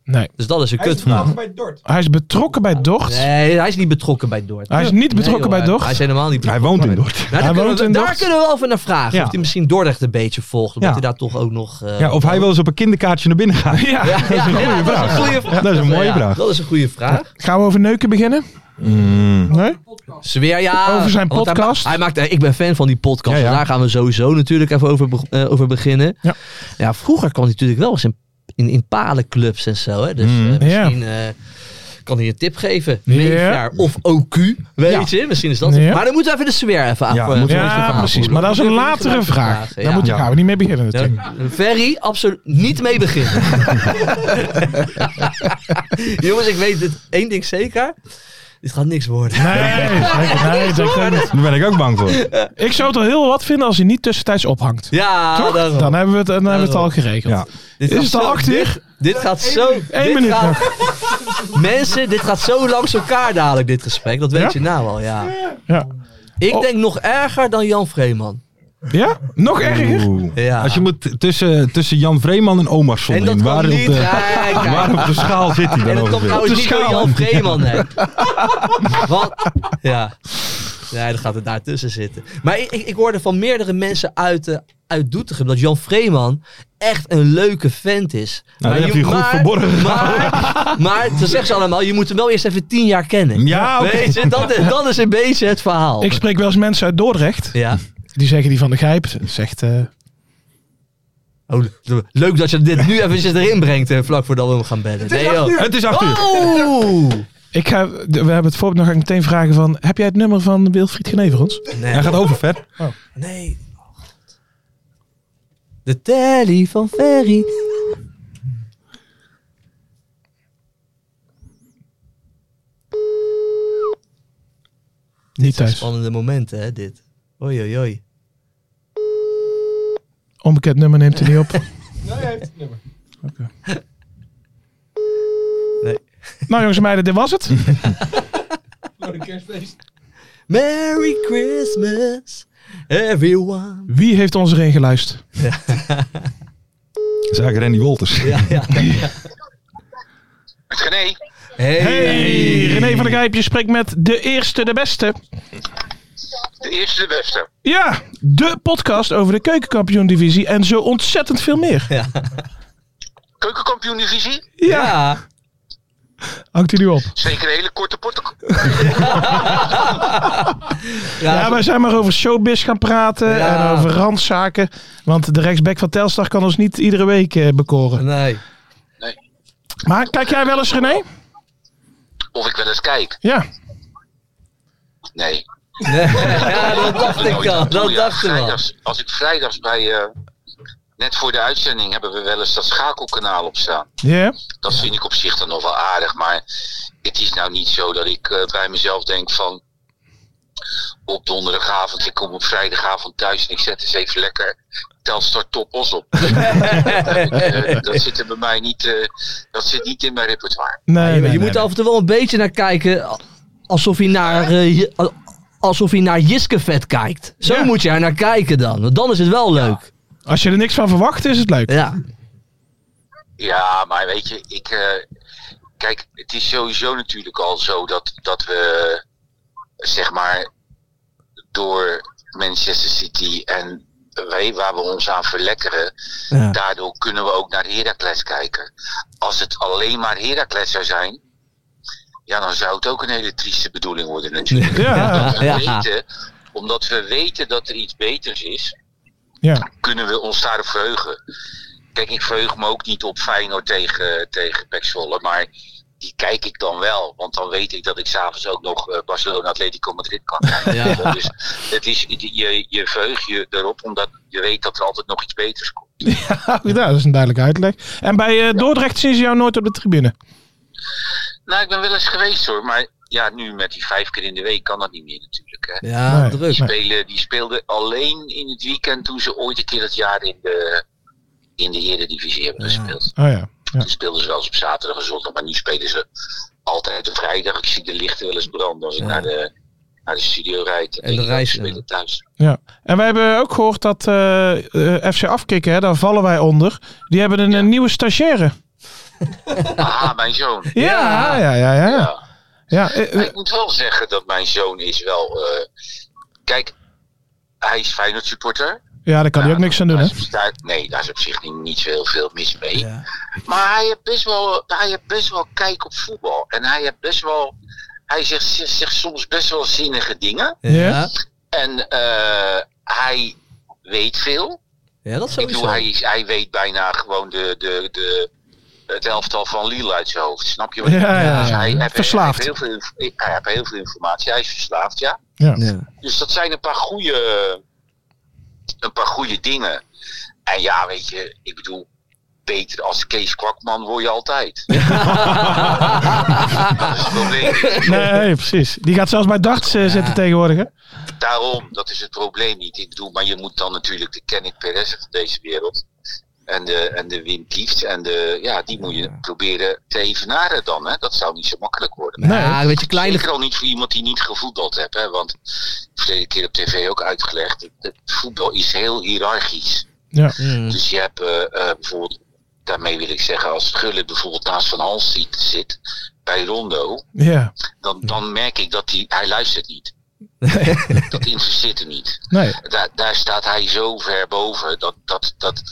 nee.
Dus dat is een kutvraag.
Nou,
Hij is betrokken bij Dordt.
Nee, hij is niet betrokken bij Dordt.
Hij is niet betrokken
Nee, joh,
bij Dordt.
Hij is helemaal niet
Hij
betrokken.
woont in Dordt.
Nou,
Hij
daar kunnen
woont
we,
in
daar
Dordt.
kunnen we wel even naar vragen.
Ja.
Of hij misschien Dordrecht een beetje volgt. Omdat
Ja.
hij daar toch ook nog... eh,
Ja, of hij wel eens op een kinderkaartje naar binnen gaat.
Ja.
Ja, ja, ja, dat is een goede vraag.
Dat is een mooie
Ja,
vraag.
Dat is een goede vraag.
Gaan we over neuken beginnen?
Mm.
Nee?
Zweer, ja.
Over zijn
want hij
podcast.
ma- Hij maakt, ik ben fan van die podcast.
Ja, ja.
dus daar gaan we sowieso natuurlijk even over, be- eh, over beginnen.
Ja.
Ja, vroeger kwam hij natuurlijk wel eens in, in, in palenclubs en zo. Hè. Dus eh,
Mm.
misschien eh, kan hier een tip geven.
Ja.
Leefjaar of OQ, weet je. Misschien is dat het.
Ja.
Maar dan moeten we even de sfeer even af. eh,
Ja, moeten we even
Ja, precies. Maar dat is een latere vraag. Daar moet je,
Ja.
gaan we niet mee beginnen natuurlijk.
Ferry, absoluut niet mee beginnen. Jongens, ik weet het. één ding zeker. Dit gaat niks worden.
Nee, zeker- nee, zeker niet.
Daar ben ik ook bang voor.
Ik zou het al heel wat vinden als hij niet tussentijds ophangt.
Ja, daarom.
Dan hebben we het, dan hebben we het
Daarom.
al geregeld.
Ja.
Dit
Is
gaat
het al
zo-
acht
Dit,
uur?
dit gaat zo...
Eén
dit
minuut
gaat-
nog.
Mensen, dit gaat zo langs elkaar dadelijk, dit gesprek. Dat weet
Ja?
je nou al, ja.
Ja.
Ik
Oh.
denk nog erger dan Jan Vreeman.
ja? Nog erger?
Oeh.
Ja.
Als je moet tussen, tussen Jan Vreeman en Omar
En
Son
dat
in,
kan
waar op,
niet.
de,
eh,
Ja, kijk.
waar op de schaal zit hij
En
dan
dat komt
ongeveer?
trouwens niet door
schaal.
Jan Vreeman, hè. Wat? Ja. Nee, dan gaat het daartussen zitten. Maar ik, ik, ik hoorde van meerdere mensen uit, eh, uit Doetinchem dat Jan Vreeman echt een leuke vent is.
Nou, dat
je-
heeft hij goed verborgen
Maar, maar dan zeggen ze allemaal, je moet hem wel eerst even tien jaar kennen.
Ja, oké.
Weet je, dat, is- dat is een beetje het verhaal.
Ik spreek wel eens mensen uit Dordrecht.
ja.
Die zeggen die van de Gijp. Zegt, eh,
Oh, le- leuk dat je dit nu eventjes erin brengt, eh, vlak voordat we hem gaan bellen. Nee, joh.
Het is
Oh.
acht uur.
Oeh!
ik ga, we hebben het voorbeeld nog ga ik meteen vragen van... Heb jij het nummer van Wilfried Geneverons?
Hij gaat over ver.
Nee. Oh, God. De telly van Ferry.
Niet thuis.
Spannende momenten, hè, dit. Oei, oei, oei.
Onbekend nummer neemt hij niet op.
Nee.
Nou jongens en meiden, dit was het.
Merry Christmas, everyone.
Wie heeft ons erin geluisterd?
Dat is eigenlijk Randy Wolters.
Ja, ja.
Met Gené.
Hey.
Hey, René van de Gijp, je spreekt met de eerste, de beste.
De eerste de beste.
Ja, de podcast over de keukenkampioen-divisie en zo ontzettend veel meer.
Ja.
Keukenkampioen divisie.
Ja,
Ja.
hangt hij nu op.
Zeker een hele korte podcast.
Ja, wij zijn maar over showbiz gaan praten
Ja.
en over randzaken. Want de rechtsback van Telstar kan ons niet iedere week eh, bekoren.
Nee.
Maar kijk jij wel eens, René?
Of ik wel eens kijk.
Ja.
Nee.
nee. Ja, dat dacht ik al.
Doe
Dat
je.
dacht ik al.
Vrijdags- Als ik vrijdags bij... eh, net voor de uitzending hebben we wel eens dat schakelkanaal op staan.
Ja.
Dat vind ik op zich dan nog wel aardig. Maar het is nou niet zo dat ik eh, bij mezelf denk van... Op donderdagavond, ik kom op vrijdagavond thuis en ik zet eens even lekker Telstar Top Os op. Eh, dat zit er bij mij niet, eh, dat zit niet in mijn repertoire.
Nee,
je
nee,
moet af en toe wel een beetje naar kijken. a- Alsof je naar, eh, je- a- alsof je naar Jiskevet kijkt. Zo
Ja.
moet je er naar kijken dan. Want dan is het wel leuk.
Als je er niks van verwacht, is het leuk.
Ja.
Ja, maar weet je, ik. eh, kijk, het is sowieso natuurlijk al zo dat, dat we. zeg maar. door Manchester City en. wij, waar we ons aan verlekkeren. daardoor kunnen we ook naar Heracles kijken. Als het alleen maar Heracles zou zijn. ja, dan zou het ook een hele trieste bedoeling worden, natuurlijk.
Ja,
Omdat we
Ja.
weten, omdat we weten dat er iets beters is
ja.
kunnen we ons daarop verheugen. Kijk, ik verheug me ook niet op Feyenoord tegen, tegen Pek Zwolle, maar die kijk ik dan wel. Want dan weet ik dat ik s'avonds ook nog eh, Barcelona Atletico Madrid kan kijken. Dus het is, je, je verheugt je erop, omdat je weet dat er altijd nog iets beters komt.
Ja, dat is een duidelijke uitleg. En bij eh, Dordrecht zien ze jou nooit op de tribune.
Nou, ik ben wel eens geweest hoor, maar ja, nu met die vijf keer in de week kan dat niet meer natuurlijk. Hè.
Ja,
Nee.
druk.
Nee.
spelen, die speelden alleen in het weekend toen ze ooit een keer dat jaar in de, in de Eredivisie hebben gespeeld.
Oh ja. ja.
Toen speelden ze wel eens op zaterdag en zondag, maar nu spelen ze altijd op vrijdag. Ik zie de lichten wel eens branden als ik
Ja.
naar, de, naar de studio rijd. Dan
En de
denk ik, oh,
reis,
ze spelen thuis.
Ja, en wij hebben ook gehoord dat eh, eh, FC Afkikken, hè, daar vallen wij onder, die hebben een, eh, nieuwe stagiaire.
Ah, mijn zoon.
Ja, ja, ja, ja. ja.
Ja.
ja. eh,
Maar
eh,
Ik moet wel zeggen dat mijn zoon is wel... eh, kijk, hij is Feyenoord supporter.
ja, daar kan hij ook niks aan doen,
Daar
hè?
is op zich- nee, daar is op zich niet, niet zo heel veel mis mee.
Ja.
Maar hij heeft, best wel, hij heeft best wel kijk op voetbal. En hij heeft best wel... Hij zegt, zegt zegt soms best wel zinnige dingen.
Ja.
Ja.
En eh, hij weet veel.
ja, dat
Ik bedoel,
sowieso.
hij, hij weet bijna gewoon de, de, de, het elftal van Lille uit zijn hoofd. Snap je wat
Ja,
ik bedoel?
ja,
Dus
ja.
hij, heeft-
Verslaafd.
Hij heeft, heel veel, inf- hij heeft heel veel informatie. Hij is verslaafd, ja.
Ja.
Dus dat zijn een paar goede, een paar goede dingen. En ja, weet je, ik bedoel, beter als Kees Kwakman word je altijd. dat is het probleem.
Nee, precies. Die gaat zelfs bij darts eh, zitten tegenwoordig. Hè?
Daarom, dat is het probleem niet. Ik bedoel, maar je moet dan natuurlijk de Kenneth Perez van deze wereld. En de, en de Wim Kieft. En de, ja, die moet je proberen te evenaren dan. Hè? Dat zou niet zo makkelijk worden.
Nee.
Ja, weet je, kleine...
Zeker al niet voor iemand die niet gevoetbald heeft. Hè? Want verleden keer op tv ook uitgelegd. Het voetbal is heel hiërarchisch.
Ja.
Dus je hebt eh, eh, bijvoorbeeld, daarmee wil ik zeggen, als Gullit bijvoorbeeld naast Van Hals ziet, zit bij Rondo,
Ja.
dan, dan merk ik dat hij, hij luistert niet. dat interesseert hem niet.
Nee.
Daar, daar staat hij zo ver boven dat, dat, dat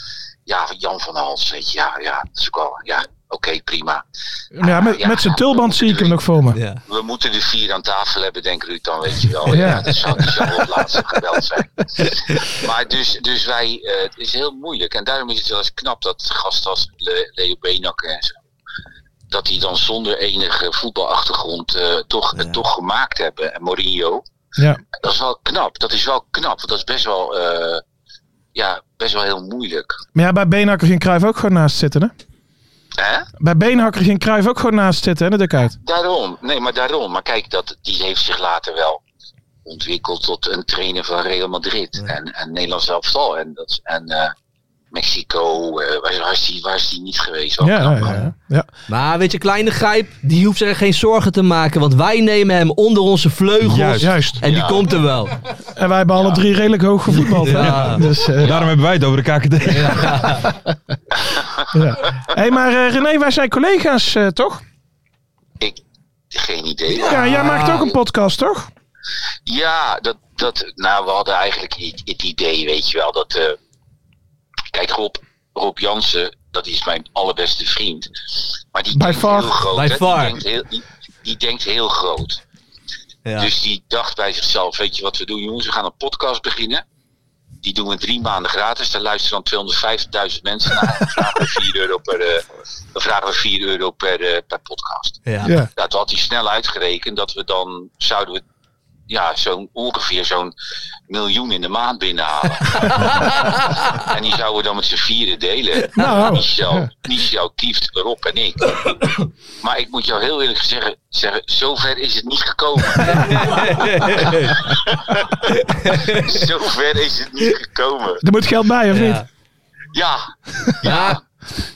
ja, Jan van Hals, weet je, ja, ja, dat is ook wel, ja, oké, prima.
Ja, met, met zijn tulband zie ik hem nog voor me.
Ja.
We moeten de vier aan tafel hebben, denk Ruud dan, weet je wel.
Ja.
Ja, dat zou niet zo het laatste geweld zijn. Maar dus, dus wij, eh, het is heel moeilijk. En daarom is het wel eens knap dat gasten als Le- Leo Benak en zo, dat die dan zonder enige voetbalachtergrond eh, toch, het toch gemaakt hebben. En Mourinho,
Ja.
dat is wel knap. Dat is wel knap, want dat is best wel, eh, ja, best wel heel moeilijk.
Maar ja, bij Beenhakker ging Cruijff ook gewoon naast zitten. Hè?
Hè?
Bij Beenhakker ging Cruijff ook gewoon naast zitten, hè, de dek uit.
Daarom, nee, maar daarom. Maar kijk, dat, die heeft zich later wel ontwikkeld tot een trainer van Real Madrid en, en Nederlands elftal. En, dat, en eh, Mexico, eh, waar, waar is die, waar is die niet geweest?
Ja,
Wat
ja,
knap,
ja,
man.
ja. ja.
Maar weet je, kleine grijp, die hoeft zich geen zorgen te maken. Want wij nemen hem onder onze vleugels.
Juist.
Juist.
En die
Ja.
komt er wel.
En wij hebben alle drie redelijk hoog gevoetbald. hè?
Ja.
Dus, eh,
Daarom hebben wij het over de KKD.
ja. hey, maar eh, René, wij zijn collega's, eh, toch?
Ik, geen idee.
Ja, jij maakt ook een podcast, toch?
Ja, dat, dat, nou, we hadden eigenlijk i- het idee, weet je wel, dat. eh, kijk, Rob, Rob Jansen, dat is mijn allerbeste vriend. Maar die
By
denkt
far,
heel groot.
by
hè. Die
far.
denkt heel- die- die denkt heel groot.
Ja.
Dus die dacht bij zichzelf, weet je wat we doen jongens, we gaan een podcast beginnen. Die doen we drie maanden gratis. Daar luisteren dan 250.000 mensen naar. Dan vragen we 4 euro per, eh, dan vragen we 4 euro per, eh, per podcast.
Ja.
Ja.
Nou, toen had hij snel uitgerekend dat we dan zouden we ja, zo'n ongeveer zo'n miljoen in de maand binnenhalen. en die zouden we dan met z'n vieren delen.
Nou.
Michel, Michel, Kieft, Rob en ik. maar ik moet jou heel eerlijk zeggen, zeggen zover is het niet gekomen. Zover is het niet gekomen.
Er moet geld bij, of
Ja.
niet?
Ja,
Ja.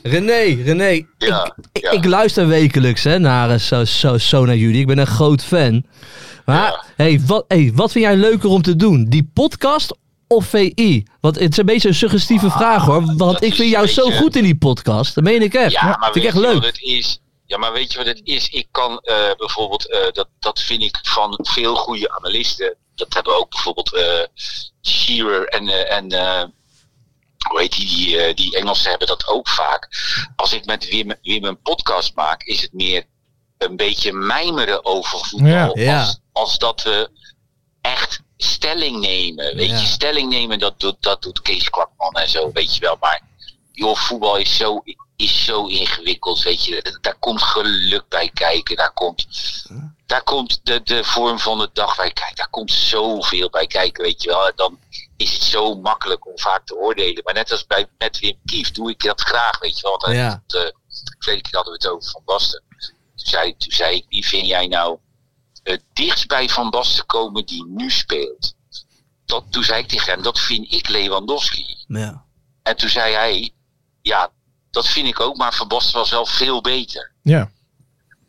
René, René.
ja,
Ik,
ja.
ik luister wekelijks hè, naar eh, zo, zo, zo naar jullie. Ik ben een groot fan. Maar
Ja.
hey, wat, hey, wat vind jij leuker om te doen? Die podcast of VI? Want het is een beetje een suggestieve vraag hoor. Want
Ah, dat
ik
is
vind
een
jou zo
beetje-
goed in die podcast. Dat meen ik echt.
Ja, maar
vind ik
weet
echt
je
leuk.
wat het is? Ja, maar weet je wat het is? Ik kan eh, bijvoorbeeld, eh, dat, dat vind ik van veel goede analisten. Dat hebben ook bijvoorbeeld eh Shearer en, eh, en eh, hoe heet die, die, eh, die Engelsen hebben dat ook vaak. Als ik met Wim, Wim een podcast maak, is het meer een beetje mijmeren over voetbal.
Ja, ja.
Als, als dat we echt stelling nemen. Weet
Ja.
je, stelling nemen, dat doet, dat doet Kees Kwakman en zo, weet je wel. Maar joh, voetbal is zo, is zo ingewikkeld, weet je. Daar komt geluk bij kijken, daar komt, daar komt de, de vorm van de dag bij kijken. Daar komt zoveel bij kijken, weet je wel. En dan is het zo makkelijk om vaak te oordelen. Maar net als bij, met Wim Kief doe ik dat graag, weet je wel. Want hij
Ja.
had, eh, verleden keer hadden we het over Van Basten. Toen zei, toen zei ik, wie vind jij nou het dichtst bij Van Basten komen die nu speelt? Dat, toen zei ik tegen hem, dat vind ik Lewandowski.
Ja.
En toen zei hij, ja, dat vind ik ook, maar Van Basten was wel veel beter.
Ja.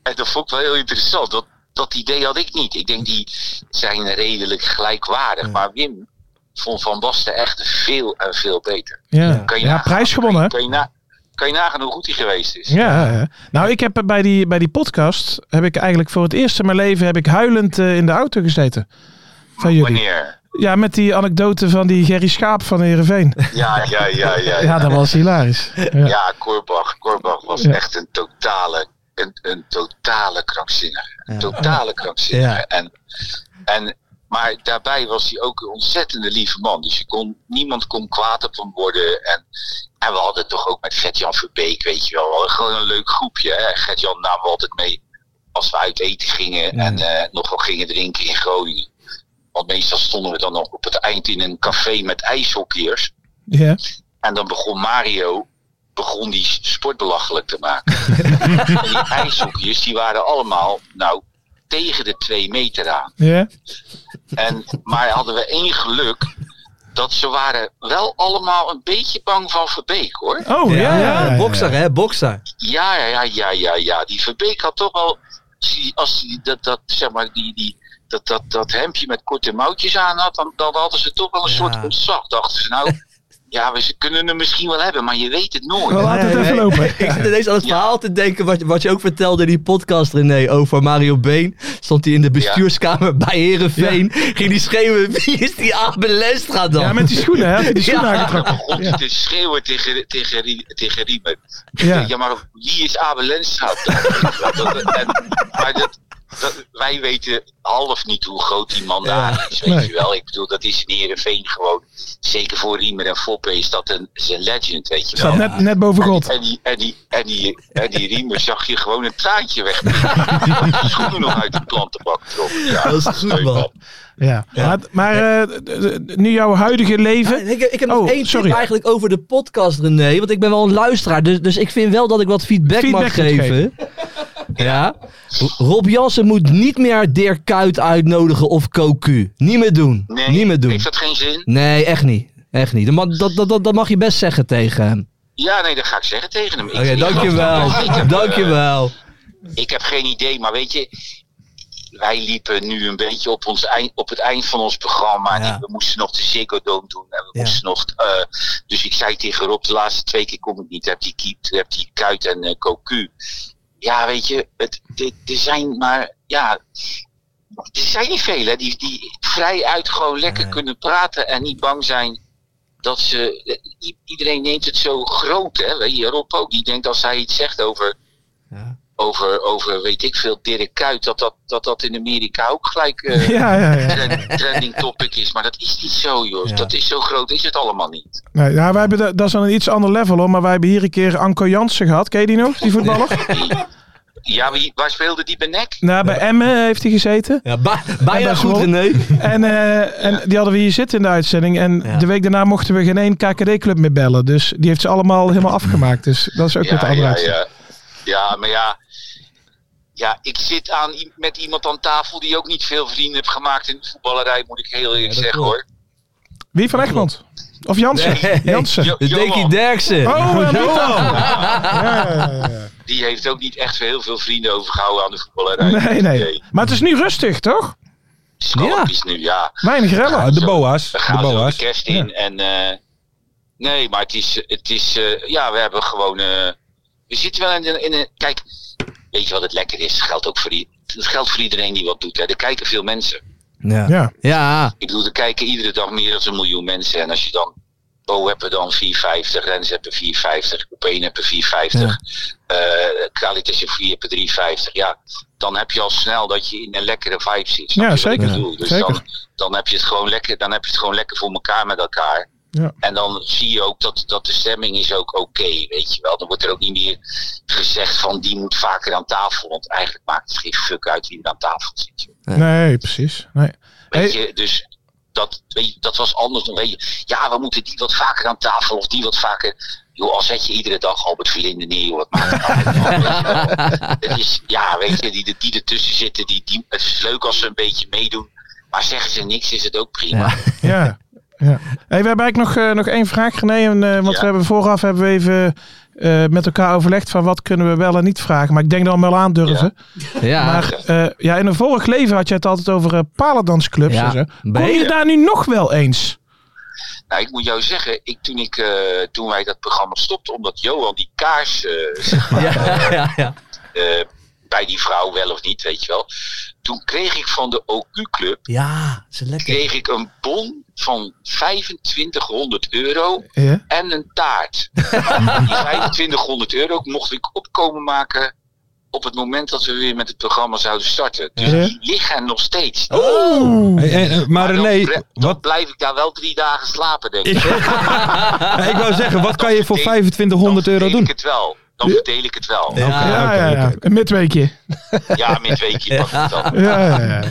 En dat vond ik wel heel interessant. Dat, dat idee had ik niet. Ik denk, die zijn redelijk gelijkwaardig. Maar Wim vond Van Basten echt veel en veel beter.
Ja,
Kan je
ja
nagaan.
prijs gewonnen, hè?
Kan je, na, kan je nagaan hoe goed hij geweest is?
Ja, ja. nou ik heb bij die, bij die podcast, heb ik eigenlijk voor het eerst in mijn leven, heb ik huilend eh, in de auto gezeten. Van jullie.
Wanneer?
Ja, met die anekdote van die Gerry Schaap van Heerenveen.
Ja, ja, ja, ja.
Ja, dat was hilarisch. Ja.
Ja, Korbach, Korbach was
Ja.
echt een totale, een, een totale krankzinnige. Een totale krankzinnige. En, en Maar daarbij was hij ook een ontzettende lieve man. Dus je kon, niemand kon kwaad op hem worden. En, en we hadden toch ook met Gert-Jan Verbeek, weet je wel, we hadden gewoon een leuk groepje. hè. Gert-Jan namen we altijd mee als we uit eten gingen en eh, nog wel gingen drinken in Groningen. Want meestal stonden we dan nog op het eind in een café met ijshockeyers.
Ja.
En dan begon Mario begon die sport belachelijk te maken. en die ijshockeyers die waren allemaal nou, tegen de twee meter aan.
Ja.
En, maar hadden we één geluk. Dat ze waren wel allemaal een beetje bang van Verbeek hoor.
Oh, ja. ja,
Bokser, hè? Bokser.
Ja, ja, ja, ja, ja, ja. Die Verbeek had toch wel. Als die, dat, dat, zeg maar, die, die, dat, dat, dat hemdje met korte mouwtjes aan had, dan, dan hadden ze toch wel een
Ja.
soort ontzag. Dachten ze, nou, ja, we ze kunnen hem misschien wel hebben, maar je weet het nooit.
We laten het
Nee,
even
nee.
lopen.
Ik zit ineens aan het verhaal te denken wat, wat je ook vertelde in die podcast, René, over Mario Been. Stond hij in de bestuurskamer bij Herenveen. Ging die schreeuwen, wie is die Abel Lestra dan?
Ja, met die schoenen, hè? Had hij die schoenen
Ja.
aangetrokken.
Om te schreeuwen tegen, tegen, Rie- tegen Riemen.
Ja.
Ja. maar wie is Abel Lenstra? Dat- en- maar dat, dat- wij weten half niet hoe groot die man daar is, weet
nee.
je wel. Ik bedoel, dat is in Heerenveen gewoon. Zeker voor Riemen en Foppe is dat een, is een legend, weet je wel.
Staat net, net boven God.
En die, en, die, en, die, en die riemen zag je gewoon een traantje weg. Die schoenen nog uit de plantenbak trok. Ja,
Dat is goed,
leuk,
man.
Ja. Maar, maar eh, d- d- d- nu jouw huidige leven.
Ik heb, ik heb
Oh,
nog één
sorry.
tip eigenlijk over de podcast, René. Want ik ben wel een luisteraar, dus, dus ik vind wel dat ik wat feedback,
Feedback
mag
moet
geven. Ja. Rob Jansen moet niet meer Dirk Kuyt uitnodigen of Koku. Niet meer doen.
Nee,
niet meer doen.
Heeft dat geen zin?
Nee, echt niet. Echt niet. Dat ma- Dat, dat, dat, dat mag je best zeggen tegen hem.
Ja, nee, dat ga ik zeggen tegen hem. Ik-
Oké,
ik-
dankjewel.
Ik heb, eh,
dankjewel.
Ik heb geen idee, maar weet je, wij liepen nu een beetje op, ons eind, op het eind van ons programma.
Ja.
En we moesten nog de Ziggo Dome doen. En we
Ja.
moesten nog, eh, dus ik zei tegen Rob, de laatste twee keer kom ik niet. Heb die, Kiep, heb die Kuit en eh Cocu. Ja, weet je, het, de- er zijn maar, ja, er zijn niet veel hè, die, die vrijuit gewoon lekker
Nee.
kunnen praten en niet bang zijn dat ze. i- Iedereen neemt het zo groot, hè? Weet je, Rob ook. Die denkt als hij iets zegt over.
Ja.
Over, over, weet ik veel, Dirk Kuyt, dat dat, dat dat in Amerika ook gelijk eh,
Ja, ja, ja.
trend- trending topic is. Maar dat is niet zo, joh.
Ja.
Dat is zo groot, is het allemaal niet.
Nee, ja, wij hebben, da- dat is dan een iets ander level hoor. Maar wij hebben hier een keer Anko Jansen gehad. Ken je die nog, die voetballer?
Ja, wie, waar speelde die bij nek?
Nou, bij Emmen heeft hij gezeten.
Ja, ba-
Ja,
bijna
dat is
goed,
wel-
René.
En, eh, en die hadden we hier zitten in de uitzending. En
Ja.
de week daarna mochten we geen één KKD-club meer bellen. Dus die heeft ze allemaal helemaal afgemaakt. Dus dat is ook weer de andere
ja,
uitzending.
ja. ja, maar ja. Ja, ik zit aan, i- met iemand aan tafel die ook niet veel vrienden heeft gemaakt in de voetballerij, moet ik heel eerlijk
dat
zeggen
klopt.
hoor.
Wie van Egmond? Of Jansen?
Nee.
Jansen.
Jo-
De
Johan,
Dickie Derksen.
Oh, eh, Milan.
die heeft ook niet echt heel veel vrienden overgehouden aan de voetballerij.
Nee, nee. Maar het is nu rustig, toch?
Schalk
Ja.
is nu, ja.
Weinig
Ja,
rellen.
de boa's.
We
De
gaan zo de
boa's.
kerst in en... eh, nee, maar het is... Het is eh, ja, we hebben gewoon... eh, we zitten wel in een, in een... Kijk, weet je wat het lekker is? Het geldt ook voor, i- het geldt voor iedereen die wat doet. Hè. Er kijken veel mensen.
Ja.
Ja.
Ja.
Ik bedoel, er kijken iedere dag meer dan een miljoen mensen. En als je dan. Bo hebben dan 450, Rens hebben 450, Coupé hebben 450, eh Kwalitas en 4 hebben 350. Ja, dan heb je al snel dat je in een lekkere vibe zit. snap
Ja,
je wat ik
zeker.
bedoel? Dus
Zeker.
Dan, dan, heb je het gewoon lekker, dan heb je het gewoon lekker voor elkaar met elkaar.
Ja.
En dan zie je ook dat, dat de stemming is ook oké, weet je wel. Dan wordt er ook niet meer gezegd van die moet vaker aan tafel. Want eigenlijk maakt het geen fuck uit wie er aan tafel zit. joh.
Nee, precies. Nee.
Weet
Hey.
je, dus dat, weet je, dat was anders dan, weet je, ja, we moeten die wat vaker aan tafel of die wat vaker. Joh, al zet je iedere dag Albert Verlinde neer, joh, wat maakt het nou uit, joh. Het is, ja, weet je, die, die ertussen zitten, die, die, het is leuk als ze een beetje meedoen. Maar zeggen ze niks, is het ook prima.
Ja. ja. Hey, we hebben eigenlijk nog, eh, nog één vraag, René. En, eh, want
Ja.
we hebben vooraf hebben we even eh, met elkaar overlegd van wat kunnen we wel en niet vragen. Maar ik denk dan wel aandurven.
Ja.
Maar eh, ja, in een vorig leven had je het altijd over eh, palendansclubs
Ja.
en zo. Kom
Bij-
je daar nu nog wel eens?
Nou, ik moet jou zeggen, ik, toen, ik, eh, toen wij dat programma stopten, omdat Johan die kaars eh,
ja, ja, ja.
eh, bij die vrouw wel of niet, weet je wel. Toen kreeg ik van de OQ-club
Ja, ze lekker.
kreeg ik een bon van 2500 euro
Ja.
en een taart. Die 2500 euro mocht ik opkomen maken op het moment dat we weer met het programma zouden starten. Dus
Ja.
die liggen nog steeds.
Hey, en, eh, maar
dan
René,
bre- dan,
wat,
blijf ik daar wel drie dagen slapen, denk ik.
eh, ik wou zeggen, wat kan je voor
Dan
2500 euro
Dan verdeel
doen?
ik het wel. Dan verdeel ik het wel. Ja,
Ja,
Ah, oké,
ja, ja.
oké,
Een midweekje.
met weekje pak ik dan.
Ja, ja, ja.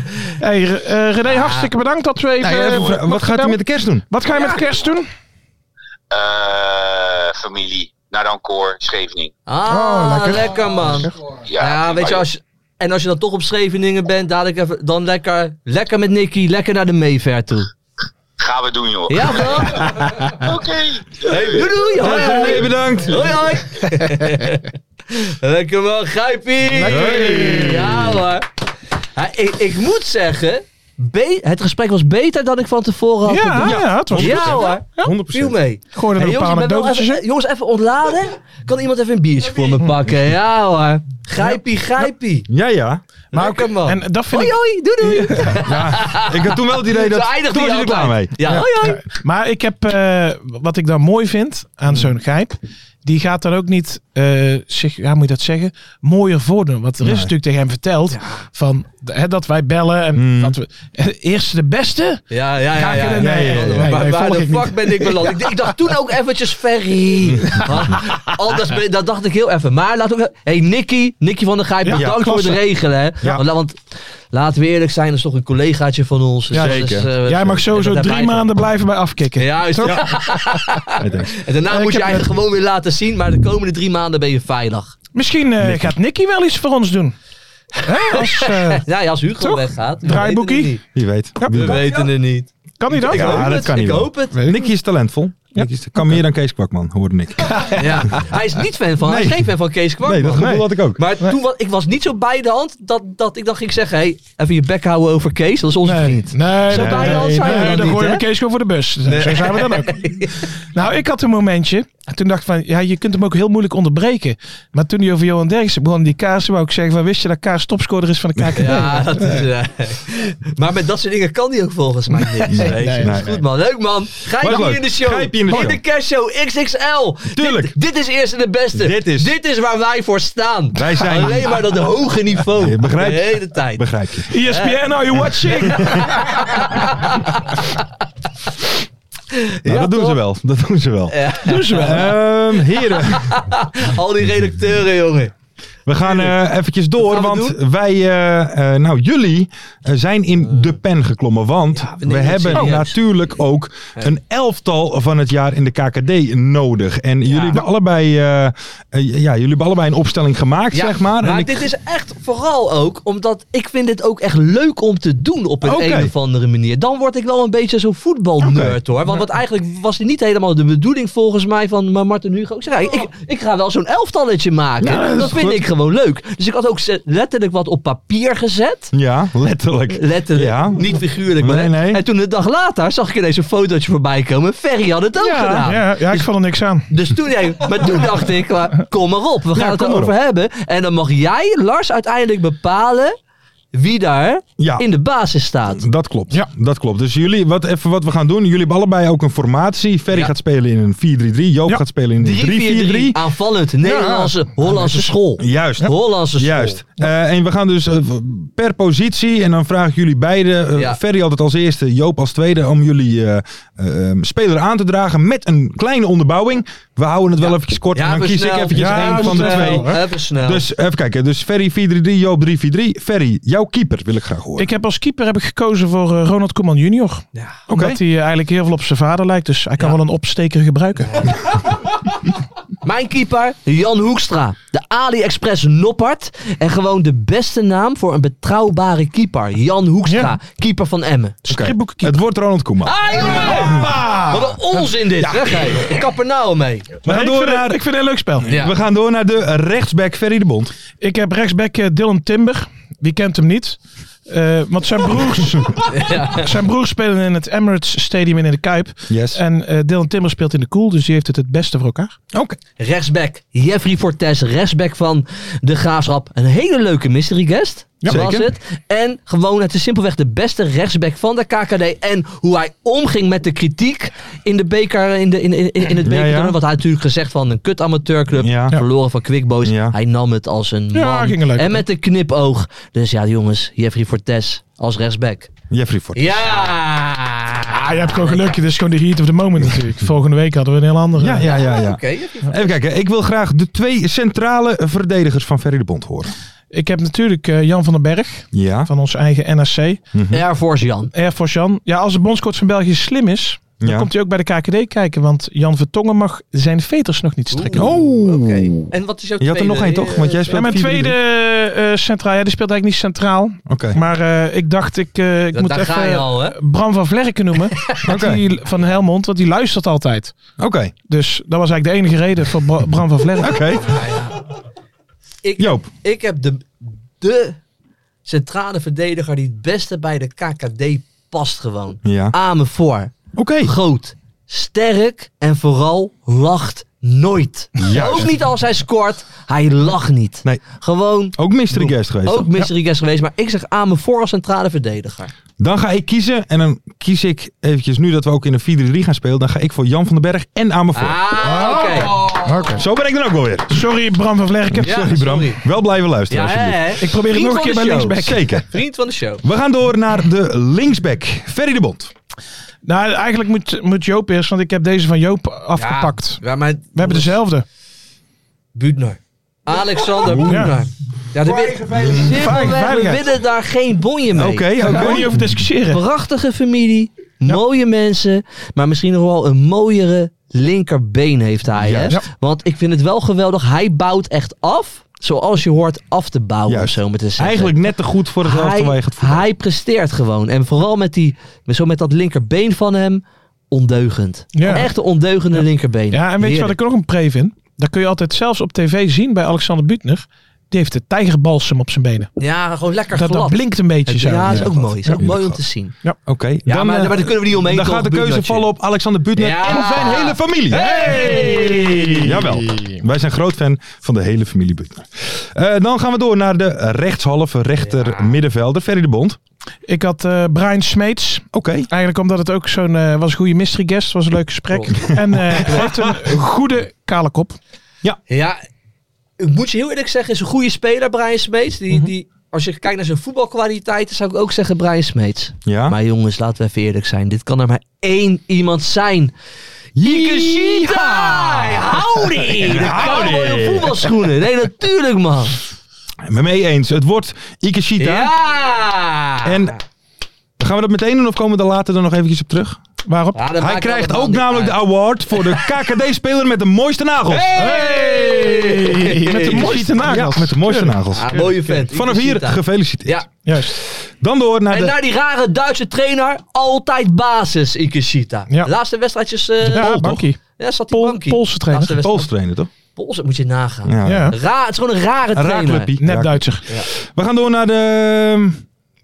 Hey, eh, René, hartstikke bedankt dat we even...
Nou, even vra-
eh,
wat gaat u
gedaan-
met de kerst doen?
Wat ga je met kerst doen?
Eh, familie, naar Ancor, Scheveningen.
Ah,
Oh, lekker.
lekker. man.
Ja,
Ja, weet je,
maar-
als je- en als je dan toch op Scheveningen bent, dadelijk even, dan lekker, lekker met Nicky, lekker naar de Mayfair toe.
Gaan we doen, joh.
Ja, bro.
Oké.
Doei, doei. Hoi,
Dag, René,
hoi.
bedankt.
Hoi, hoi. lekker man, Grijpie.
Lekker.
Ja, hoor. Ja, ik, ik moet zeggen, be- het gesprek was beter dan ik van tevoren had
Ja,
gedacht.
ja, het was
Ja, hoor.
100%.
Viel mee.
Gooi er
Hey,
een paar
jongens, ik ben wel
anekdotetjes in.
even, jongens, even ontladen. Kan iemand even een biertje voor me pakken? Ja hoor. Grijpie, grijpie.
Ja, ja.
Maar
Lekker,
ook-
Oh.
man.
En dat vind
Hoi,
ik...
hoi. Doei, doei.
Ik had toen wel het idee dat...
Zo eindigt
toen
hij
was je er klaar mee.
altijd. Ja, hoi, hoi.
Ja, maar ik heb, eh, wat ik dan mooi vind aan zo'n grijp, die gaat dan ook niet, eh, zich, ja, moet je dat zeggen, mooier voordoen. Want er is natuurlijk tegen hem verteld van, hè, dat wij bellen en dat we, eerst de beste.
Ja, ja,
Ga
ja.
ik
ja,
er-
ja.
nee, nee, nee,
Waar-
nee,
Waar
volg
de
ik niet.
fuck ben ik beland? Ik, ik dacht toen ook eventjes Ferry. Anders ben, dat dacht ik heel even. Maar laat ook... hey, Nicky, Nicky van der Gijp,
Ja,
bedankt voor
klasse.
het regelen. Hè?
Ja.
Want, la- want laten we eerlijk zijn, dat is toch een collegaatje van ons. Dus
Ja,
dat is,
zeker.
eh,
Jij mag
en
sowieso
dat
drie
hebben wij
maanden blijven bij afkicken.
gewoon. Juist.
Toch?
Nee, thanks.
En daarna
Ik
moet je
heb
eigenlijk gewoon weer laten zien. Maar de komende drie maanden ben je veilig.
Misschien eh, gaat Nicky wel iets voor ons doen. Hè? Als, eh,
Ja, ja, als Hugo
Toch?
weggaat. we
Draaiboekie?
weten het niet.
Wie weet.
Ja.
Wie
We
weet.
weten het niet.
kan hij dat?
Ik hoop
dat
het,
kan
ik
hij wel.
hoop het.
Nicky is talentvol. Nicky is, kan meer dan Kees Kwakman, hoorde ik.
Ja. Hij is niet fan van, hij is
Nee.
geen fan van Kees Kwakman.
Nee, dat gevoel had ik ook.
Maar toen was, ik was niet zo bij de hand dat, dat ik dan ging zeggen: hey, even je bek houden over Kees, dat is onze
Nee, nee,
vriend.
nee,
Zo
nee,
bij de hand zijn we dan
dan
niet,
gooien
hè?
we Kees gewoon voor de bus. Zo zijn we dan ook. Nou, ik had een momentje. En toen dacht ik van, ja, je kunt hem ook heel moeilijk onderbreken. Maar toen hij over Johan Derksen begon, die kaarsen, wou ik zeggen van, wist je dat Kaars topscorer is van de KKD?
Ja, dat is, eh, maar met dat soort dingen kan hij ook volgens mij niks.
Nee,
weet je.
nee,
Dat is
nee.
Goed man, leuk man. Grijp
Was
je
leuk.
in de show.
Grijp je in de show.
Cash Show XXL.
Tuurlijk.
Dit, dit is eerst en de beste.
Dit is-
dit is waar wij voor staan.
Wij zijn-
Alleen maar dat hoge niveau.
Je begrijpt-
De hele tijd.
Begrijp je.
ESPN, are you watching?
Nou,
Ja,
dat doen
toch?
ze wel. Dat doen ze wel.
Doen ze Dus wel.
Ehm, heren,
Al die redacteuren, jongen.
we gaan eh, eventjes door,
Wat gaan we
want wij, eh, eh, nou jullie, eh, zijn in de pen geklommen. Want we,
we nemen het
hebben
serieus.
natuurlijk ook een elftal van het jaar in de KKD nodig. En jullie, hebben allebei, eh, eh, ja, jullie hebben allebei een opstelling gemaakt, zeg maar. En ik-
dit is echt vooral ook omdat ik vind dit ook echt leuk om te doen op een,
Oké.
een of andere manier. Dan word ik wel een beetje zo'n voetbalnerd hoor. Want, want eigenlijk was het niet helemaal de bedoeling volgens mij van Ma- Martin Hugo. Ik zeg, ja, ik, ik ga wel zo'n elftalletje maken.
Ja, dat is
dat vind
goed.
ik gewoon leuk. Dus ik had ook ze- letterlijk wat op papier gezet.
Ja, letterlijk.
Letterlijk.
Ja.
Niet figuurlijk. Maar
Nee, nee.
En toen een dag later zag ik ineens een fotootje voorbij komen. Ferry had het ook gedaan.
Ja, ja, ik val er niks aan.
Dus toen, nee, maar toen dacht ik, maar kom maar op, we gaan het
kom maar
erover hebben. En dan mag jij, Lars, uiteindelijk bepalen wie daar
Ja.
in de basis staat.
Dat klopt.
Ja.
Dat klopt. Dus jullie, wat, even wat we gaan doen. Jullie hebben allebei ook een formatie. Ferry
Ja.
gaat spelen in een 4-3-3. Joop
Ja.
gaat spelen in
3-4-3.
een 3-4-3.
Aanvallend, Nederlandse, Hollandse school.
Juist.
Ah,
Hollandse school.
Juist. Eh, en we gaan dus eh, per positie. En dan vraag ik jullie beiden. eh,
Ja.
Ferry altijd als eerste, Joop als tweede. Om jullie eh, eh, ehm, speler aan te dragen. Met een kleine onderbouwing. We houden het wel eventjes kort. en dan
even
kies
snel.
ik eventjes
Ja,
één
we
een van de
moeten
twee.
wel. twee.
Even snel.
Dus even kijken. Dus Ferry 4-3-3, Joop 3-4-3. Ferry, jouw keeper wil ik graag horen.
Ik heb als keeper heb ik gekozen voor eh, Ronald Koeman junior.
ja.
Omdat hij eh, eigenlijk heel veel op zijn vader lijkt, dus hij kan wel een opsteker gebruiken.
Mijn keeper, Jan Hoekstra. De AliExpress Noppert. En gewoon de beste naam voor een betrouwbare keeper. Jan Hoekstra,
Ja.
keeper van Emmen.
Oké.
Stripboekenkeeper.
Het wordt Ronald Koeman.
Ah, jongen! Wat een onzin dit. Weg, hè. Ik kap er nou mee.
We
Maar
gaan
ik,
door
vind het-
naar...
ik vind het een leuk spel.
Ja.
We gaan door naar de rechtsback Ferry de Bond.
Ik heb rechtsback eh, Dylan Timber. Wie kent hem niet? Eh, want zijn broers, zijn broers spelen in het Emirates Stadium in de Kuip.
Yes.
En eh, Dylan Timber speelt in de Cool, dus die heeft het het beste voor elkaar. Ah,
Oké.
Rechtsback, Jeffrey Fortes, rechtsback van de Graafschap. Een hele leuke mystery guest. Dat was
Zeker.
het. En gewoon, het is simpelweg de beste rechtsback van de KKD. En hoe hij omging met de kritiek in, de beker, in, de, in, in, in het
Ja, ja.
beker. Wat hij natuurlijk gezegd van een kut amateurclub.
Ja.
Verloren van Quick Boys.
Ja.
Hij nam het als een man.
Ja, ging er leuk
en
op.
met een knipoog. Dus ja, jongens, Jeffrey Fortes als rechtsback.
Jeffrey Fort.
Ja!
Ah, je hebt gewoon geluk. Dit is gewoon de heat of the moment natuurlijk. Volgende week hadden we een heel andere.
Ja, ja, ja, ja.
Oké, Jeffrey
Even kijken, ik wil graag de twee centrale verdedigers van Ferry de Bond horen.
Ik heb natuurlijk eh, Jan van den Berg
Ja.
van ons eigen NAC.
Fortes. Air Force Jan.
Air Force Jan. Ja, als de bondscoach van België slim is, dan
Ja.
komt hij ook bij de KKD kijken. Want Jan Vertongen mag zijn veters nog niet strikken.
Oh.
En wat is jouw
Je had er nog één toch? Want jij
Ja,
speelt
mijn
4-3-3.
tweede eh, centraal. Ja, die speelt eigenlijk niet centraal.
Oké.
Maar eh, ik dacht, ik, eh, ik moet
daar
even
ga je al, hè?
Bram van Vlerken noemen. Want
Oké.
die, van Helmond, want die luistert altijd.
Oké.
Dus dat was eigenlijk de enige reden voor Bra- Bram van Vlerken.
Oké.
Ik-
Joop.
Ik heb de, de centrale verdediger die het beste bij de KKD past gewoon.
Ja.
Amen voor.
Oké.
Groot. Sterk. En vooral lacht nooit.
Juist.
Ook niet als hij scoort. Hij lacht niet.
Nee.
Gewoon
Ook mystery guest geweest.
ook
Oh.
toch?
mystery guest geweest. Maar ik zeg Amen voor als centrale verdediger.
Dan ga ik kiezen. En dan kies ik eventjes, nu dat we ook in de 4-3 gaan spelen, dan ga ik voor Jan van den Berg en Amervoort.
Ah, oké.
Zo ben ik dan ook wel weer.
Sorry, Bram van Vlerken.
Ja,
Sorry Bram.
sorry.
Wel blijven luisteren
Ja,
alsjeblieft.
hè?
Ik probeer het
Vriend
nog
van
een keer bij
de show.
linksback.
Zeker.
Vriend van de show.
We gaan door naar de linksback. Ferry de Bond.
Nou, eigenlijk moet, moet Joop eerst, want ik heb deze van Joop afgepakt.
Ja, maar
We hebben dezelfde.
Buutner. Alexander Buutner. Ja, de we
veiligheid.
winnen daar geen bonje mee.
Oké, oké.
Daar gaan we niet over discussiëren.
Prachtige familie, mooie mensen, maar misschien nog wel een mooiere linkerbeen heeft hij. Hè?
Juist.
Want ik vind het wel geweldig. Hij bouwt echt af, zoals je hoort af te bouwen, om
Juist.
zo maar te zeggen.
Eigenlijk net te goed voor het helft waar je gaat voetballen.
hij presteert gewoon. En vooral met, die, met, zo met dat linkerbeen van hem, ondeugend.
Ja.
Echt een ondeugende linkerbeen.
Ja, en weet je wat
Heerlijk.
ik er nog een pre vind? Dat kun je altijd zelfs op tv zien bij Alexander Butner. Die heeft de tijgerbalsem op zijn benen.
Ja, gewoon lekker
Dat, dat
glad.
blinkt een beetje zo.
ja, is ook mooi. Is ook
Ja.
mooi om te zien.
Oké.
Ja,
dan,
maar,
eh,
maar daar kunnen we niet omheen.
dan
toch,
gaat de keuze
Buutnertje?
vallen op Alexander Butner
Ja.
en zijn hele familie. Jawel. Wij zijn groot fan van de hele familie Butner. Eh, dan gaan we door naar de rechtshalve rechter middenvelder. Ferry de Bond.
Ik had eh, Brian Smeets.
Oké.
Eigenlijk omdat het ook zo'n... eh, was een goede mystery guest. Was een leuk gesprek. En eh, hij heeft een goede kale kop.
Ja, ik moet je heel eerlijk zeggen, is een goede speler, Brian Smeets. Die, die, als je kijkt naar zijn voetbalkwaliteiten, zou ik ook zeggen Brian Smeets.
Ja.
Maar jongens, laten we even eerlijk zijn. Dit kan er maar één iemand zijn. Ikeshita! Howdy! De cowboy op voetbalschoenen. Nee, natuurlijk man.
Me mee eens. Het wordt Ikeshita.
Ja!
En gaan we dat meteen doen of komen we daar later dan nog eventjes op terug?
Waarop?
Ja, dat
Hij
maakt
krijgt
allemaal
ook
niet
namelijk
uit.
de award voor de KKD-speler met de mooiste nagels. Hey!
Met de mooiste nagels.
Ja, met de mooiste nagels.
Ah, mooie vent.
Vanaf hier
Ikeshita.
gefeliciteerd.
Ja.
Juist.
Dan door naar
En
de...
naar die rare Duitse trainer, altijd basis Ikeshita.
Ja.
Laatste wedstrijdjes... eh
Ja,
Pol,
bankie.
toch? Ja, zat die
Pol-
bankie.
Poolse trainer.
Laatste wedstrijd-
Pools trainen, toch?
Pols, dat moet je nagaan.
Ja.
Ja.
Ra- het is gewoon een rare
Een
trainer.
raaklippie.
Net
Ja.
Duitser.
We gaan door naar de ehm,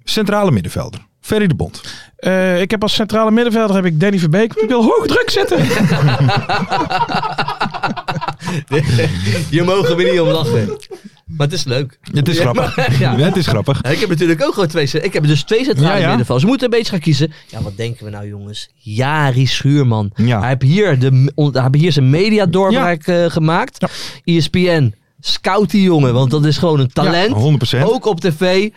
centrale middenvelder. Ferry de Bond.
Eh, ik heb als centrale middenvelder heb ik Danny Verbeek. Die wil hoog druk zetten.
Je mogen we niet om lachen. Maar het is leuk.
Het is grappig.
Ja.
Het is grappig.
Ik heb natuurlijk ook gewoon twee. cent- Ik heb dus twee centrale
Ja, ja.
middenvelders. Ze moeten een beetje gaan kiezen. Ja, wat denken we nou, jongens? Jari Schuurman.
Ja.
Hij heeft hier, de, on- hij heeft hier zijn mediadoorbraak eh, gemaakt. ESPN. Scout die jongen, want dat is gewoon een talent.
100%.
ook op tv.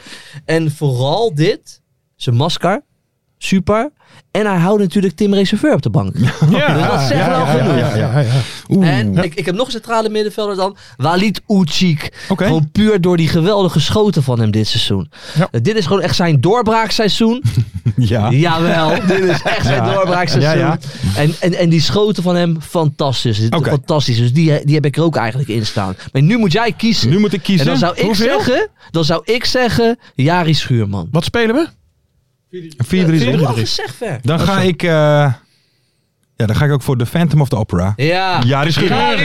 En vooral dit. Zijn masker. Super. En hij houdt natuurlijk Tim Reserveur op de bank.
Ja,
Dus dat zegt
ja,
wel
ja,
genoeg.
ja, ja, ja.
En ik, ik heb nog een centrale middenvelder dan. Walid Uchik.
Oké.
Gewoon puur door die geweldige schoten van hem dit seizoen.
Ja.
Eh, Dit is gewoon echt zijn doorbraakseizoen.
Ja.
Jawel, dit is echt zijn doorbraakseizoen.
Ja, ja.
En, en, en die schoten van hem, fantastisch. Dit-
Oké.
Fantastisch. Dus die, die heb ik er ook eigenlijk in staan. Maar nu moet jij kiezen.
Nu moet ik
en
kiezen.
dan zou, ik
Hoeveel?
zeggen, dan zou ik zeggen, Jari Schuurman.
Wat spelen we?
4-3-3.
Wel gezegd, ver.
Dan ga ik... eh, ja, dan ga ik ook voor The Phantom of the Opera.
Ja.
Jari Schuurman.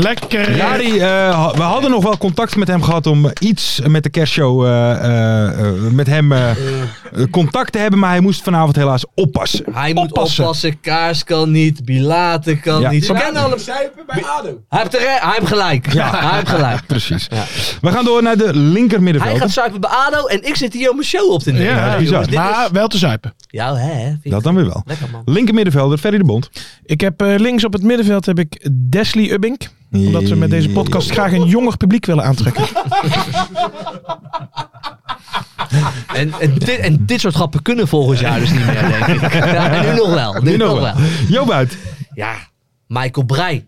Lekker.
Jari, eh, ha- we hadden nog wel contact met hem gehad om iets met de kerstshow eh, eh, eh, met hem eh, eh, contact te hebben, maar hij moest vanavond helaas oppassen.
Hij moet oppassen. Kaars kan niet. Bilaten kan
Ja.
niet. Ze
Maar-
kennen allemaal.
Zuipen bij ADO.
Hij heeft, er, hij heeft gelijk. Hij heeft gelijk.
Precies. We gaan door naar de linker
Hij
middenvelder.
gaat zuipen bij ADO en ik zit hier om mijn show op te nemen.
Ja,
Ja,
bizar.
jongens, dit
maar
is-
wel te zuipen.
Ja, hè, hè. Vind ik
Dat dan weer wel.
Lekker man.
Linker middenvelder, Ferry de Bond.
Ik heb eh, links op het middenveld heb ik Desli Ubbink. Omdat we met deze podcast graag een jonger publiek willen aantrekken.
En, en, dit, en dit soort grappen kunnen volgend jaar dus niet meer, denk ik. Ja, en nu nog wel. Nu, nog wel.
Joop uit.
Ja, Michael Breij.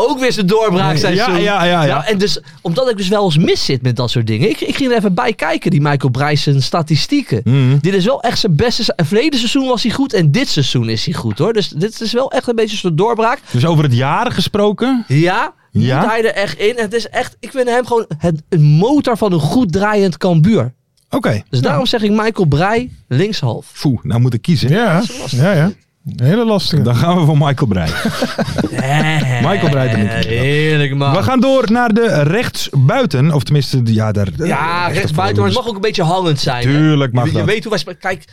Ook weer zijn doorbraak zijn
Ja, ja, ja, ja.
en dus, omdat ik dus wel eens mis zit met dat soort dingen. Ik, ik ging er even bij kijken, die Michael Breij zijn statistieken.
Mhm.
Dit is wel echt zijn beste... se- Verleden seizoen was hij goed en dit seizoen is hij goed, hoor. Dus dit is wel echt een beetje zijn doorbraak.
Dus over het jaar gesproken.
Ja,
Ja?
moet hij er echt in. Het is echt, ik vind hem gewoon het, een motor van een goed draaiend Cambuur.
Oké.
Dus daarom zeg ik Michael Breij linkshalf.
Foe, nou moet ik kiezen.
Ja, ja, ja. Een hele lastige.
Dan gaan we voor Michael Breij. Michael Breij de linker.
Heerlijk man.
We gaan door naar de rechtsbuiten. Of tenminste, ja, daar.
ja,
eh,
rechtsbuiten, maar het mag ook een beetje hangend zijn. hè.
Tuurlijk mag
je, je
dat.
weet hoe wij... spe- Kijk,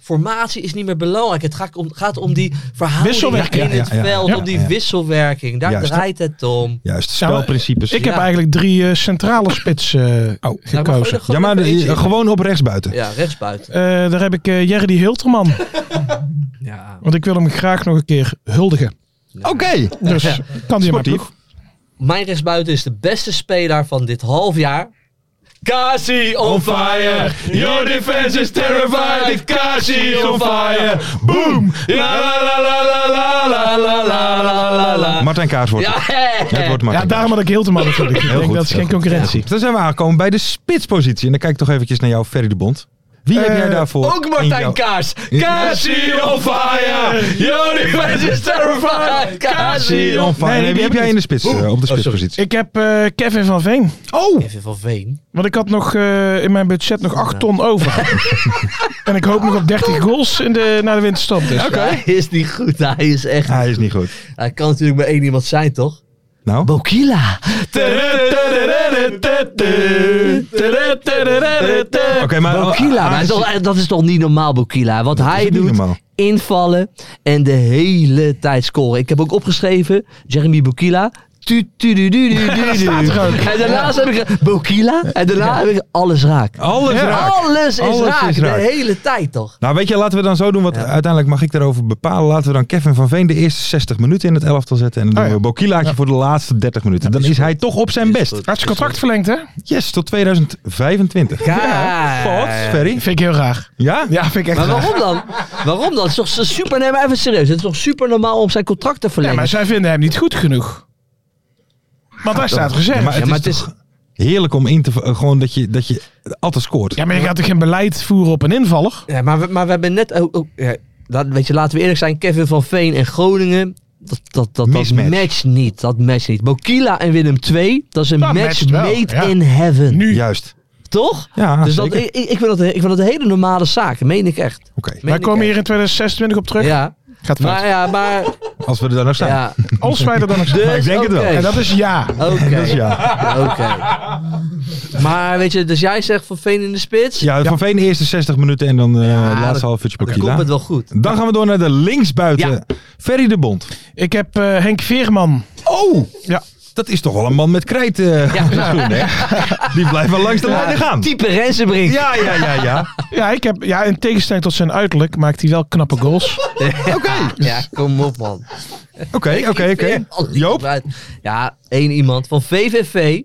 formatie is niet meer belangrijk. Het gaat om, gaat om die verhouding
Wisselwerking,
in
ja,
het
ja, ja,
veld,
ja,
om die
ja.
wisselwerking. Daar
Juist.
draait het om.
Juist,
Nou,
spelprincipes.
Ik heb
Ja.
eigenlijk drie eh, centrale spits eh,
Oh.
Nou, maar gooi er
gekozen.
ja,
gewoon
maar
even
eh,
eentje in.
gewoon op rechtsbuiten.
Ja, rechtsbuiten.
Eh, daar heb ik eh Jerry Hilterman.
Ja.
Want ik wil hem graag nog een keer huldigen.
Oké.
Dus
Ja.
kan hij in mijn
Sportief.
ploeg.
Mijn rechtsbuiten is de beste speler van dit half jaar. Kasi on fire. Your defense is terrified. Kasi on fire.
Boom!
La la la la la la la la la la la.
Martijn Kaars wordt.
Ja,
het. Het wordt Martijn
Ja, daarom had ik Hilterman natuurlijk. Ik
Heel
denk
goed,
dat is
heel
geen
goed.
concurrentie.
Dan zijn we aangekomen bij de spitspositie. En dan kijk ik toch eventjes naar jou, Ferry de Bond. Wie heb
Eh,
jij daarvoor?
Ook Martijn
in jouw-
Kaars. Kasi on fire. Your defense is terrified. Kasi on
Dion van-
Nee,
Nee,
die
wie
heb
heb
ik Oh,
jij in de spits, eh, op de spitspositie?
Ik heb eh, Kevin van Veen.
oh!
Even van Veen.
Want ik had nog eh, in mijn budget nog 8 ton over. en ik hoop nog op 30 goals in de, na de winterstop. Dus.
Hij is niet goed. Hij is echt...
Ah, Hij is niet goed.
Hij kan natuurlijk maar één iemand zijn, toch?
Nou?
Bokila. Oké,
Oké, maar- Ah,
Bokila, maar dat, is- dat is toch niet normaal, Bokila? Wat hij
niet
doet,
normaal.
invallen en de hele tijd scoren. Ik heb ook opgeschreven, Jeremy Bokila. Tu, tu, du, du, du, du, du. En daarnaast heb ik Bokila. En daarna heb ik alles raak.
Alles raak.
Alles is
Alles is
raak.
raak.
De hele tijd toch?
Nou, weet je, laten we dan zo doen, want uiteindelijk mag ik daarover bepalen. Laten we dan Kevin van Veen de eerste 60 minuten in het elftal zetten. En dan
Oh,
doen we Bokilaatje voor de laatste 30 minuten. Dan is hij toch op zijn best.
Hij heeft zijn contract verlengd, hè?
Yes, tot 2025.
Kijk. Ah.
Thoughts, Ferry?
Vind ik heel raar.
Ja?
Ja, vind ik echt
Maar
raar.
waarom dan? Waarom dan? Het is toch super, nee, maar even serieus. Het is toch super normaal om zijn contract te
Ja,
verlengen.
maar zij vinden hem niet goed genoeg. Want daar staat gezegd.
maar
Ja,
het
maar
is
het is,
Heerlijk om in te... eh, Gewoon dat je, dat je altijd scoort.
Ja, maar je gaat toch geen beleid voeren op een invaller?
Ja, maar, we, maar we hebben net ook. ook- ja, laat- weet je, laten we eerlijk zijn: Kevin van Veen en Groningen. Dat, dat, dat, dat
Mismatch.
matcht niet. Dat matcht niet. Mokila en Willem II, dat is een
Dat
match
matcht wel,
made
ja.
in heaven.
Nu.
Juist.
Toch?
Ja,
dus dat,
zeker.
ik, ik, ik vind dat, ik vind dat een hele normale zaak. Meen ik echt.
Oké,
Meen
Wij
ik
komen
echt.
hier in 2026 op terug.
Ja,
Gaat fout.
maar ja, maar.
als we er dan nog zijn.
Ja,
Als wij er dan nog zijn.
ik denk het wel.
oké.
En dat is ja.
Oké,
Dus ja.
oké. Maar weet je, dus jij zegt van Veen in de spits.
ja, van Veen de eerste 60 minuten en dan eh
Ja, dat-
laatste half uurtje
dan komt
Bokila.
het wel goed.
Dan gaan we door naar de linksbuiten. Ferry de Bond.
Ik heb eh, Henk Veerman.
Oh!
Ja.
Dat is toch wel een man met krijt eh op zijn schoen, hè? Die blijft wel langs de lijnen gaan.
Type Rensenbrink.
Ja, ja, ja, ja.
Ja, ik heb, ja, in tegenstelling tot zijn uiterlijk maakt hij wel knappe goals.
ja, kom op man.
Oké, oké, oké.
Alle
Joop?
uit. oh, Ja, één iemand van VVV.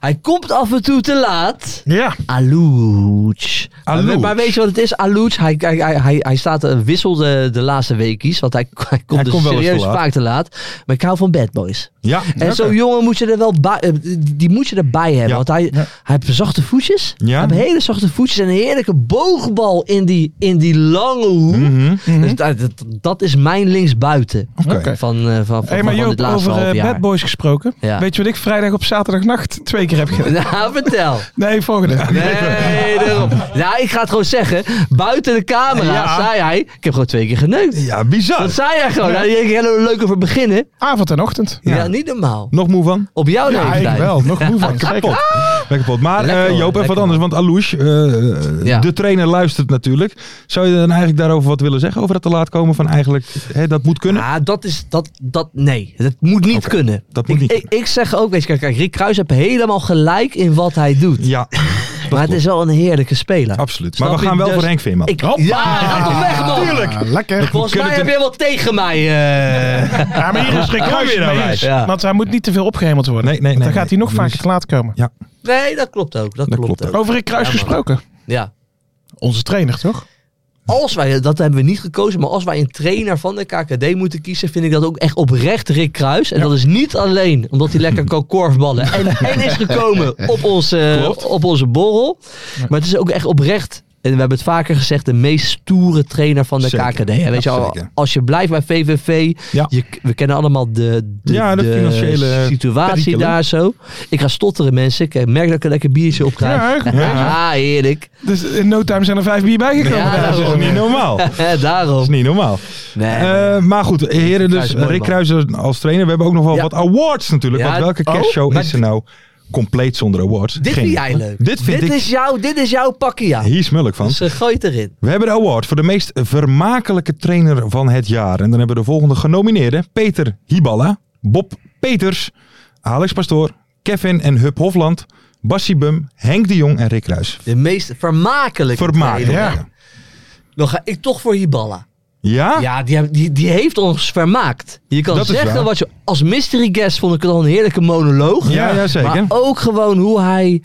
Hij komt af en toe te laat.
Ja.
Alouch.
Alouch.
Maar, maar weet je wat het is? Alouch, hij, hij, hij, hij, hij staat eh, wisselde de laatste weekies. Want hij, hij komt
Hij
dus
komt wel eens te
serieus
laat.
vaak te laat. Maar ik hou van bad boys.
Ja.
En
oké.
zo'n jongen moet je er wel bij, eh, die- die moet je erbij hebben.
Ja.
Want hij,
Ja.
hij heeft zachte voetjes.
Ja.
Hij heeft hele zachte voetjes en een heerlijke boogbal in die, in die lange hoek.
Mhm.
Dus dat, dat, dat is mijn linksbuiten
Oké.
van, eh, van, van, van,
Hey, maar
van
Joop,
dit laatste
over eh,
half jaar.
Bad Boys gesproken.
Ja.
Weet je wat ik vrijdag op zaterdagnacht twee keer heb gedaan?
Nou, vertel.
Nee, volgende.
Nee, daarom. Nou, ik ga het gewoon zeggen. Buiten de camera
Ja.
zei hij... Ik heb gewoon twee keer geneukt.
Ja, bizar.
Dat zei hij gewoon. Nou, die denk ik, helemaal leuk over beginnen.
Avond en ochtend.
Ja. niet normaal.
Nog moe van?
Op jouw
Ja, ik
leeftijd.
wel. Nog moe van. Zeker.
Lekker pot. Maar
Lekker,
eh,
hoor.
Joop, even wat
Lekker,
anders. Want Alouche, eh,
Ja.
de trainer luistert natuurlijk. Zou je dan eigenlijk daarover wat willen zeggen? Over het te laat komen van eigenlijk, hè, dat moet kunnen?
Ah, dat is, dat, dat, nee, dat moet niet
Oké,
kunnen.
dat moet
ik,
niet
ik, ik zeg ook, weet je, kijk, kijk, Rick Kruis heeft helemaal gelijk in wat hij doet.
Ja,
maar het is wel een heerlijke speler.
absoluut. Maar
Snap
we gaan
je?
wel
Dus
voor Henk Veerman.
Ik,
Hoppa.
ja, ga toch weg man.
Ah, lekker.
Volgens
kunnen
mij heb
het-
jij wel tegen mij. eh.
Ja, maar hier is Rick
Kom
Kruijs
weer nou
mee
bij.
eens.
Ja.
Want hij moet niet te veel opgehemeld worden.
Nee, nee,
Want
nee,
dan gaat
nee.
hij nog
Dat
vaker
is-
te laat komen.
nee, dat klopt ook. Dat,
Dat
klopt,
klopt
ook.
Over Rick Kruijs
Ja, man.
gesproken.
Ja.
Onze trainer, toch?
Als wij, dat hebben we niet gekozen, maar als wij een trainer van de KKD moeten kiezen, vind ik dat ook echt oprecht Rick Kruis. En dat is niet alleen omdat hij lekker kan korfballen en, en is gekomen op onze, op onze borrel. Maar het is ook echt oprecht. En we hebben het vaker gezegd, de meest stoere trainer van de
Zeker.
KKD. hè. Weet je,
Ja,
al-
zeker.
als je blijft bij VVV,
Ja.
je, we kennen allemaal de, de,
Ja, de financiële
situatie
perikelen.
daar zo. Ik ga stotteren mensen, ik eh, merk dat ik een lekker biertje op krijg.
Ja,
Ja, heerlijk.
Dus in no time zijn er vijf bier bijgekomen.
Ja,
daar.
dat is
daarom.
niet normaal. Dat
Daarom.
is niet normaal.
Nee.
Eh, maar goed, heren,
Kruijs
dus
is mooi,
Rick
man.
Kruijzer als trainer. We hebben ook nog wel
Ja.
wat awards natuurlijk.
Ja,
want welke
oh,
kerstshow
maar
is er nou compleet zonder awards?
Dit
Geen.
vind jij leuk.
Dit vind ik
Is jouw, dit is jouw pakje, ja.
hier smulk van.
Dus eh, gooi het erin.
We hebben de award voor de meest vermakelijke trainer van het jaar. En dan hebben we de volgende genomineerden. Peter Hiballa, Bob Peters, Alex Pastoor, Kevin en Hup Hofland, Bassie Bum, Henk de Jong en Rick Ruijs.
De meest vermakelijke.
Vermakelijk.
trainer.
Ja.
Dan ga ik toch voor Hiballa.
Ja?
Ja, die, heb- die, die heeft ons vermaakt. Je kan
Dat is waar.
zeggen wat je... Als mystery guest vond ik het al een heerlijke monoloog.
Ja, ja, zeker.
Maar ook gewoon hoe hij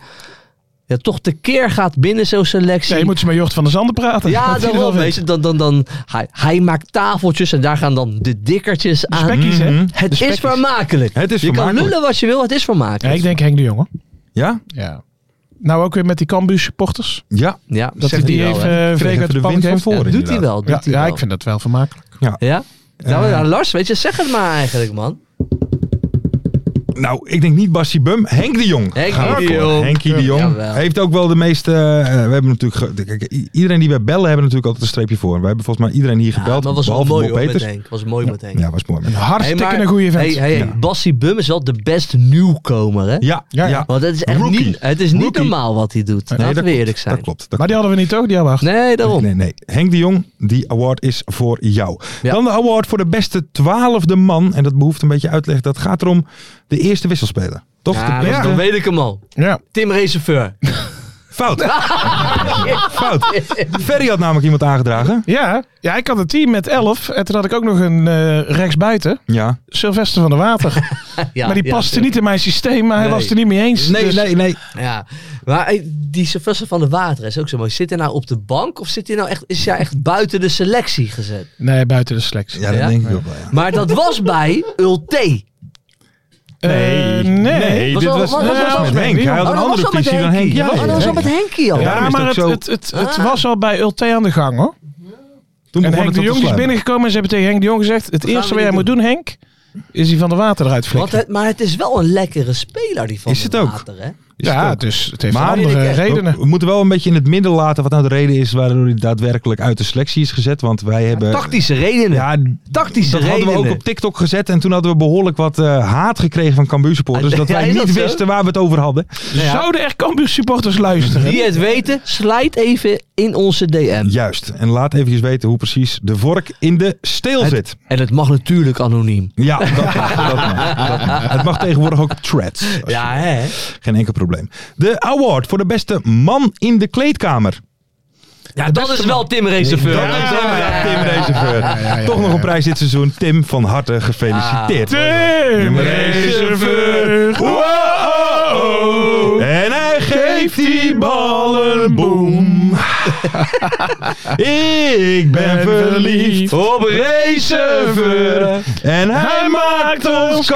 ja, toch tekeer gaat binnen zo'n selectie.
Ja, je moet ze met Jort van der Zanden praten.
Ja,
Dat hij er wel
daarom.
weet.
Weet je, dan, dan, dan, hij, hij maakt tafeltjes en daar gaan dan de dikkertjes aan.
Spekkies, hè?
Mhm.
Het is
spekkies.
vermakelijk.
Het is
je kan
vermakelijk.
lullen wat je wil, het is
Ja,
vermakelijk.
ik denk Henk de Jonge.
Ja?
Ja. Nou, ook weer met die Cambuur supporters.
Ja.
Ja,
Dat hij die
wel,
even
hè.
eh,
Kreeg
veeg
even
uit
de
de pan
wind van
geeft.
voor
Ja, doet hij
inderdaad.
wel. Doet
Ja,
hij
ja,
wel.
ik vind dat wel vermakelijk.
Ja?
Eh,
Nou, ja, Lars, weet je, zeg het maar eigenlijk, man.
Nou, ik denk niet Bassie Bum, Henk de Jong.
Henkie
Gaan we
de
voor.
Jong.
Henkie de
Ja.
Jong.
Jawel.
Hij heeft ook wel de meeste... eh, we hebben natuurlijk... ge- kijk, i- iedereen die wij bellen, hebben natuurlijk altijd een streepje voor. We hebben volgens mij iedereen hier
Ja,
gebeld,
maar was wel
behalve
mooi
Bob
hoor, met
Peters.
Henk. Was mooi met Henk.
Ja, was mooi. man.
Hartstikke een goede vent.
hey, hey, hey, Bassie Bum is wel de best nieuwkomer, hè?
Ja, ja,
Ja, ja.
ja.
Want het is echt
Rookie.
niet, het is niet
Rookie.
normaal wat hij doet.
Nee,
Laten
dat
we
klopt.
eerlijk zijn.
Dat klopt. Dat
Maar die hadden we niet, toch? Die awacht.
Nee, daarom.
Nee, nee. Henk de Jong, die award is voor jou.
Ja.
Dan de award voor de beste twaalfde man. En dat behoeft een beetje uitleg. Dat gaat erom de eerste wisselspeler. Toch?
Ja, dat-
de beste.
Dan weet ik hem al.
Ja.
Tim Reserveur.
Fout. Fout. Ferry had namelijk iemand aangedragen.
Ja, ja, ik had een team met 11 en toen had ik ook nog een eh rechtsbuiten,
Ja.
Sylvester van der Water.
Ja,
maar die
ja,
paste niet in mijn systeem, maar hij
Nee.
was het er niet mee eens. Dus-
nee.
Ja. Maar hey, die Sylvester van de Water is ook zo mooi. Zit hij nou op de bank of zit hij nou echt, is hij echt buiten de selectie gezet?
Nee, buiten de selectie.
Ja, dat
Ja?
denk ik ook wel. Ja.
Maar dat was bij Ulte.
Eh, nee.
Was
dit
wel-
was,
was-
dit
was-
was
was-
met
was-
Henk. Hij had
Oh, dat was
een andere
al met
visie dan Henk.
Henkie. Oh,
Ja,
dat was al met Henkie al.
Ja.
Ja,
daarom is
maar
het
het,
ook
het, het, het
Ah.
was al bij Ulte aan de gang hoor.
Toen
En
begon het
Henk de
tot
Jong is
sluipen.
binnengekomen en ze hebben tegen Henk de Jong gezegd: Het
gaan
eerste
we
wat jij
niet
moet doen, Henk, is die van de water eruit
Want
flikken.
het, maar het is wel een lekkere speler, die van
Is het
de
ook?
Water, hè?
Is het
Ja,
ook.
dus het heeft
Maar-
andere
Ik-
redenen.
We moeten wel een beetje in het midden laten wat nou de reden is waardoor hij daadwerkelijk uit de selectie is gezet. Want wij hebben...
Tactische redenen.
Ja,
Tactische
dat
redenen.
hadden we ook op TikTok gezet. En toen hadden we behoorlijk wat eh, haat gekregen van Cambuur supporters.
Ah,
dat
ja,
wij
is dat
niet
zo?
wisten waar we het over hadden.
ja.
Zouden er Cambuur supporters luisteren?
Die het weten, slijt even in onze DM.
Juist. En laat even weten hoe precies de vork in de steel
Het-
zit.
En het mag natuurlijk anoniem.
Ja, dat, mag, dat, mag, dat mag. Het mag tegenwoordig ook op threads.
Ja, hè?
Geen enkel probleem. De award voor de beste man in de kleedkamer.
Ja, dat is wel Tim Reserveur. eh,
Dat is inderdaad Tim Reserveur. Toch nog een prijs dit seizoen. Tim, van harte
Ah.
gefeliciteerd.
Tim
Reserveur.
Wow.
En hij geeft die ballen boem. Ik ben verliefd.
Op Reserveur.
En hij maakt ons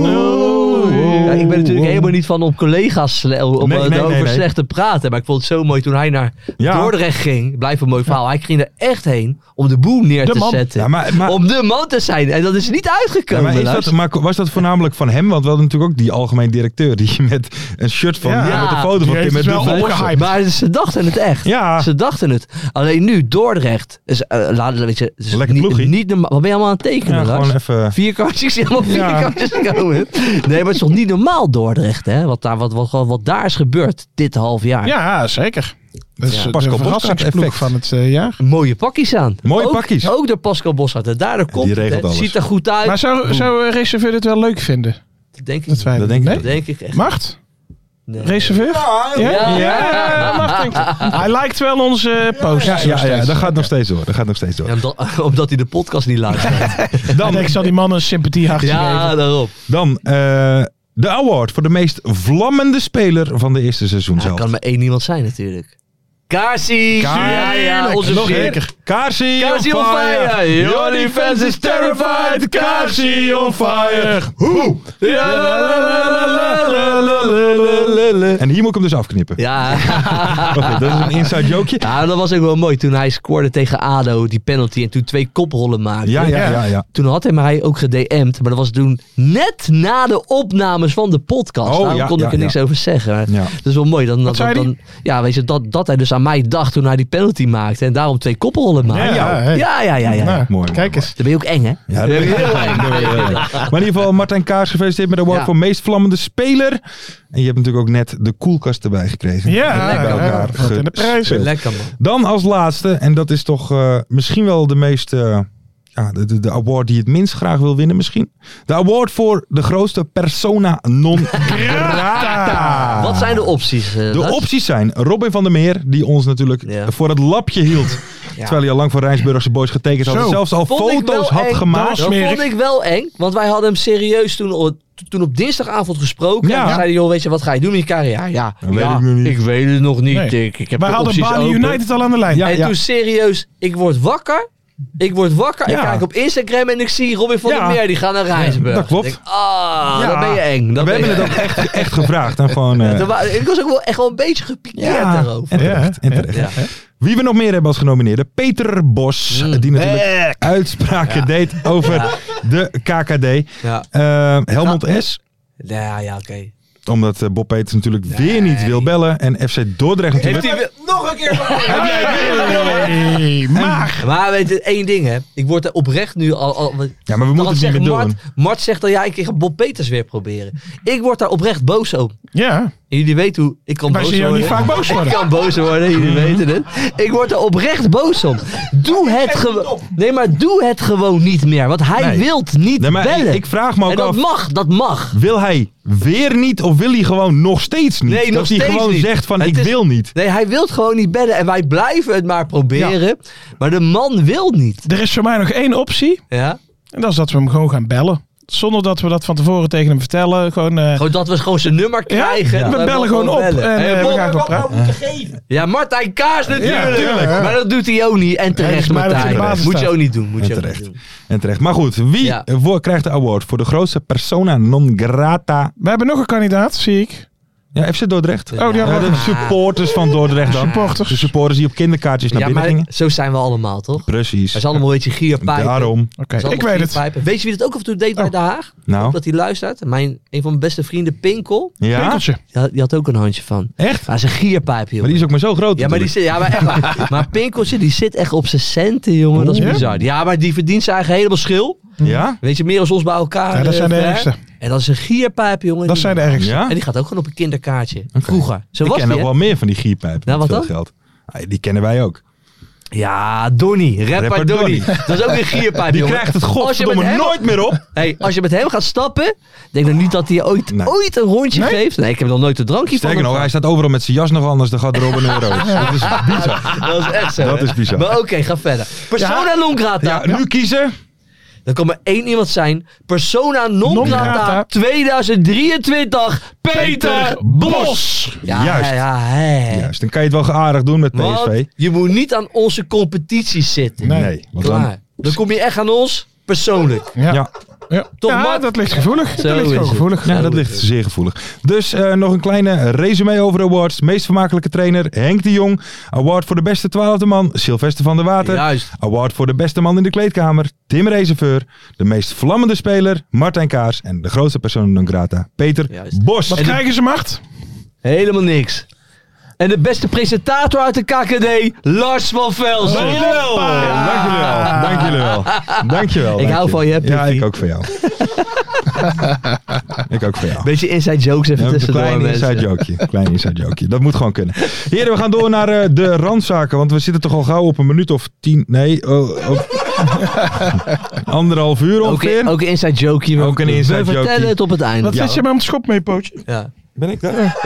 kampioen.
Ja, ik ben natuurlijk helemaal niet van om collega's sle- om
Nee,
eh,
nee,
over
nee, nee.
slecht te praten. Maar ik vond het zo mooi toen hij naar
Ja.
Dordrecht ging. Blijf een mooi verhaal. Hij ging er echt heen om de boem neer
De
te
man.
zetten.
Ja, maar- maar-
om de man te zijn. En dat is niet
Ja,
uitgekomen.
maar, is
Lars.
dat, maar was dat voornamelijk van hem? Want we hadden natuurlijk ook die algemeen directeur die met een shirt van
Ja.
ja, met een foto van
Die
Tim
heeft
met
het
de
wel
Vos.
opgehaald.
Maar ze dachten het echt.
Ja.
Ze dachten het. Alleen nu, Dordrecht. Is, eh, laat, weet je, is
Lekker
niet,
ploegie.
niet norma- Wat ben je allemaal aan het tekenen,
Ja,
Lars?
gewoon even.
Vier kaartjes, ik zie allemaal vier
Ja.
kaartjes komen. Nee, maar het is toch niet normaal helemaal Dordrecht, hè? Wat daar, wat, wat, wat, wat daar is gebeurd dit half jaar.
Ja, zeker. Dat is
Ja.
de
Pascal Boskant
verrassingsploeg
effect.
van het eh, jaar.
Mooie pakjes aan.
Mooie
ook,
pakjes.
Ook door Pascal Bossart. En daardoor komt het,
regelt
hè.
alles.
Ziet er goed uit.
Maar zou, zou eh, Reserveur dit wel leuk vinden?
Dat denk ik
Dat
niet.
wij
Dat denk ik
nee?
Dat denk ik echt.
Macht?
Nee.
Reserveur? Ja,
Ja.
ja. Macht denk ik. Hij lijkt wel onze eh, post.
Ja, ja, ja, dat gaat nog steeds door. Dat gaat nog steeds door.
Ja, omdat, omdat hij de podcast niet luistert.
Dan ik zal die man een sympathie achter
ja, daarop.
Dan eh, de award voor de meest vlammende speler van de eerste seizoen
Ja,
zelf.
kan maar één iemand zijn natuurlijk. Kaarsie! Ja, ja, onze
Nog
vriend.
zeker. Kaarsie,
Kaarsie on fire. Your defense is terrified.
Kaarsie on fire. Hoe?
Ja, la, la, la, la, la, la, la, la, la.
En hier moet ik hem dus afknippen.
Ja,
Oké, dat is een inside jokeje.
nou, dat was ook wel mooi. Toen hij scoorde tegen ADO, die penalty, en toen twee koprollen maakte.
Ja, ja, ja. ja.
Toen had hij mij ook gedM'd, maar dat was toen net na de opnames van de podcast.
Oh,
Daarom
ja,
kon
ja,
ik er niks
ja.
over zeggen.
Ja.
Dat is wel mooi. Dan, dan,
zei
dan-
hij?
ja, weet je, dat, dat hij dus aan mij dacht toen hij die penalty maakte. En daarom twee koprollen maakte.
Ja, hè.
ja, ja, ja. ja.
Nou,
Mooi, mooi,
Kijk eens.
Dan ben je ook eng, hè?
Ja, dat is heel fijn. Maar in ieder geval, Martijn Kaars gefeliciteerd met de award
Ja.
voor meest vlammende speler. En je hebt natuurlijk ook net de koelkast erbij gekregen.
Ja,
Bij elkaar
ja, wat in de prijzen.
gespeeld.
Lekker, man.
Dan als laatste, en dat is toch eh, misschien wel de meest... eh, ja, de, de, de award die het minst graag wil winnen misschien. De award voor de grootste persona non grata.
Wat zijn de opties? eh,
De
Lars?
opties zijn Robin van der Meer, die ons natuurlijk
Ja.
voor het lapje hield. Terwijl hij al lang voor Rijnsburgse Boys getekend had.
Zo.
En zelfs al
Vond ik
foto's
wel
had
eng.
gemaakt.
Dat
smerig.
vond ik wel eng, want wij hadden hem serieus toen, o- toen op dinsdagavond gesproken.
Ja.
En toen zei hij, joh, weet je, wat ga je doen met je carrière? Ja, ja,
weet
ja,
ik nog niet.
ik weet het nog niet.
Nee.
Ik, ik heb
Wij
de
hadden
opties
Bali
open.
United al aan de lijn.
Ja.
en toen serieus, ik word wakker. Ik word wakker, ik
Ja.
kijk op Instagram en ik zie Robin van
Ja.
der Meer, die gaat naar Rijnsburg.
dat klopt.
Ik denk, ah,
Ja.
dan ben je eng. Dan
we
ben je
hebben het
eng.
ook echt, echt gevraagd. En gewoon, eh,
Dan wa- Ik was ook wel echt wel een beetje gepikeerd daarover.
en terecht, en terecht.
Ja.
Wie we nog meer hebben als genomineerde? Peter Bos,
Mm.
eh, die natuurlijk uitspraken deed over de KKD.
Ja,
Eh, Helmond S,
ja, ja oké.
omdat eh, Bob Peters natuurlijk weer niet wil bellen. En FC Dordrecht natuurlijk.
nog een keer
Hey, maar.
Maar weet je, één ding hè. Ik word er oprecht nu al... al
Ja, maar we moeten het
zegt
niet meer
Mart,
doen.
Mart zegt dan, ja, ik ga Bob Peters weer proberen. Ik word daar oprecht boos op.
Ja.
En jullie weten hoe... Ik kan
Wij
boos
zien jou
worden.
niet vaak boos
Ik
worden.
kan boos worden, jullie
Mhm.
weten het. Ik word er oprecht boos om. Doe het gewoon... Nee, maar doe het gewoon niet meer. Want hij
Nee.
wil niet
Nee, maar
bellen.
ik, ik vraag me
en
ook
dat
af.
mag, dat mag.
Wil hij weer niet of wil hij gewoon nog steeds niet?
Nee,
dat
nog
hij
steeds
gewoon
niet.
zegt van
Het
ik
is-
wil niet.
Nee, hij wil gewoon niet bellen. En wij blijven het maar proberen. Maar de man wil niet.
Er is voor mij nog één optie.
Ja?
En dat is dat we hem gewoon gaan bellen. Zonder dat we dat van tevoren tegen hem vertellen. Gewoon, eh,
Gewoon dat we gewoon zijn nummer
ja,
krijgen.
we
Dat
bellen gewoon op.
bellen.
En
Hey,
eh,
Bob,
we gaan gewoon praten.
Ja, Martijn Kaars natuurlijk.
tuurlijk.
Maar dat doet hij ook niet. En
Ja, dat
dus
terecht,
is mij dat
Martijn.
hij de basis
Moet je
staat.
ook niet doen. Moet
En
je ook niet
terecht.
doen.
En terecht. Maar goed, wie
Ja.
voor, krijgt de award voor de grootste persona non grata?
We hebben nog een kandidaat, zie ik.
Ja, FC Dordrecht. Ja,
Oh, die hadden we
de
ook nog.
supporters van Dordrecht dan.
Supporters.
De supporters die op kinderkaartjes naar
Ja,
binnen
maar
gingen.
zo zijn we allemaal, toch?
Precies.
Hij is allemaal een beetje gierpijpen.
Daarom.
Oké,
Hij is allemaal
ik weet het.
gierpijpen. Weet je wie dat ook af en toe deed bij
Oh.
Den Haag?
Nou,
Dat hij luistert. Mijn, een van mijn beste vrienden, Pinkel.
ja?
Pinkeltje.
Die had, die had ook een handje van.
Echt?
Hij is een gierpijp, joh.
Maar die is ook maar zo groot
Ja, maar, die
natuurlijk.
zit, ja, maar, echt, waar. maar Pinkeltje die zit echt op zijn centen, jongen. Dat is
Oeh.
bizar. Ja, maar die verdient zijn eigen helemaal schil.
Ja?
Weet je, meer als ons bij elkaar.
Ja, dat
eh,
zijn de
ver.
ergste.
En dat is een gierpijp, jongen.
Dat
Die-
zijn de ergste.
Ja?
En die gaat ook gewoon op een kinderkaartje. Vroeger. Zo
Ik
was
ken
die,
nog
hè?
wel meer van die gierpijpen.
Nou,
met
wat
veel Geld. Ah, Die kennen wij ook.
Ja, Donnie. Rapper,
Rapper
Donnie.
Donnie.
Dat is ook een gierpijp,
Die
jongen.
krijgt het
Als je met
godverdomme
hem-
nooit meer op.
Hey, als je met hem gaat stappen, denk dan niet dat hij ooit,
Nee.
ooit een rondje
Nee?
geeft. Nee, ik heb nog nooit een drankje
Sterker
van
nog,
hem
hij staat overal met zijn jas nog anders dan gaat Robin en Roos. Dat is bizar.
gehad. Dat is echt zo.
Dat
hè?
is bizar.
Maar oké, ga verder. Persona non grata.
Ja, nu kiezen.
Dan kan maar één iemand zijn. Persona non,
Non
grata,
grata.
2023. Peter Bos. Ja,
Juist.
ja, hè.
Juist, dan kan je het wel geaardig doen met PSV.
Want je moet niet aan onze competities zitten.
Nee,
Nee.
want dan-
Klaar. Dan kom je echt aan ons persoonlijk.
Ja.
Ja.
Ja.
Toch,
Ja,
Mark?
dat ligt gevoelig.
Zo
dat ligt
is
gewoon
het.
gevoelig.
Ja, dat ligt zeer gevoelig. Dus eh, nog een kleine resume over de awards. Meest vermakelijke trainer Henk de Jong. Award voor de beste twaalfde man Sylvester van der Water.
Juist.
Award voor de beste man in de kleedkamer Tim Reserveur. De meest vlammende speler Martijn Kaars. En de grootste persoon non grata Peter
Juist.
Bos.
Wat
En-
krijgen ze macht?
Helemaal niks. En de beste presentator uit de KKD, Lars van Velsen.
Dankjewel. Oh, Dankjewel. Dankjewel. Dankjewel.
Ik hou van je,
Ja,
Pietje.
ik ook van jou. Ik ook voor jou.
Beetje inside jokes even
Ja, een
tussendoor.
klein
mensen.
inside jokeje. Klein inside jokeje. Dat moet gewoon kunnen. Heren, we gaan door naar eh, de randzaken. Want we zitten toch al gauw op een minuut of tien. Nee, oh, op- anderhalf uur
Ook,
ongeveer.
een- ook een inside jokeje. maar
Ook een
we-
inside
We vertellen
jokeje.
het op het einde.
Wat zet je me aan het schop mee, Pootje?
Ja.
Ben ik daar?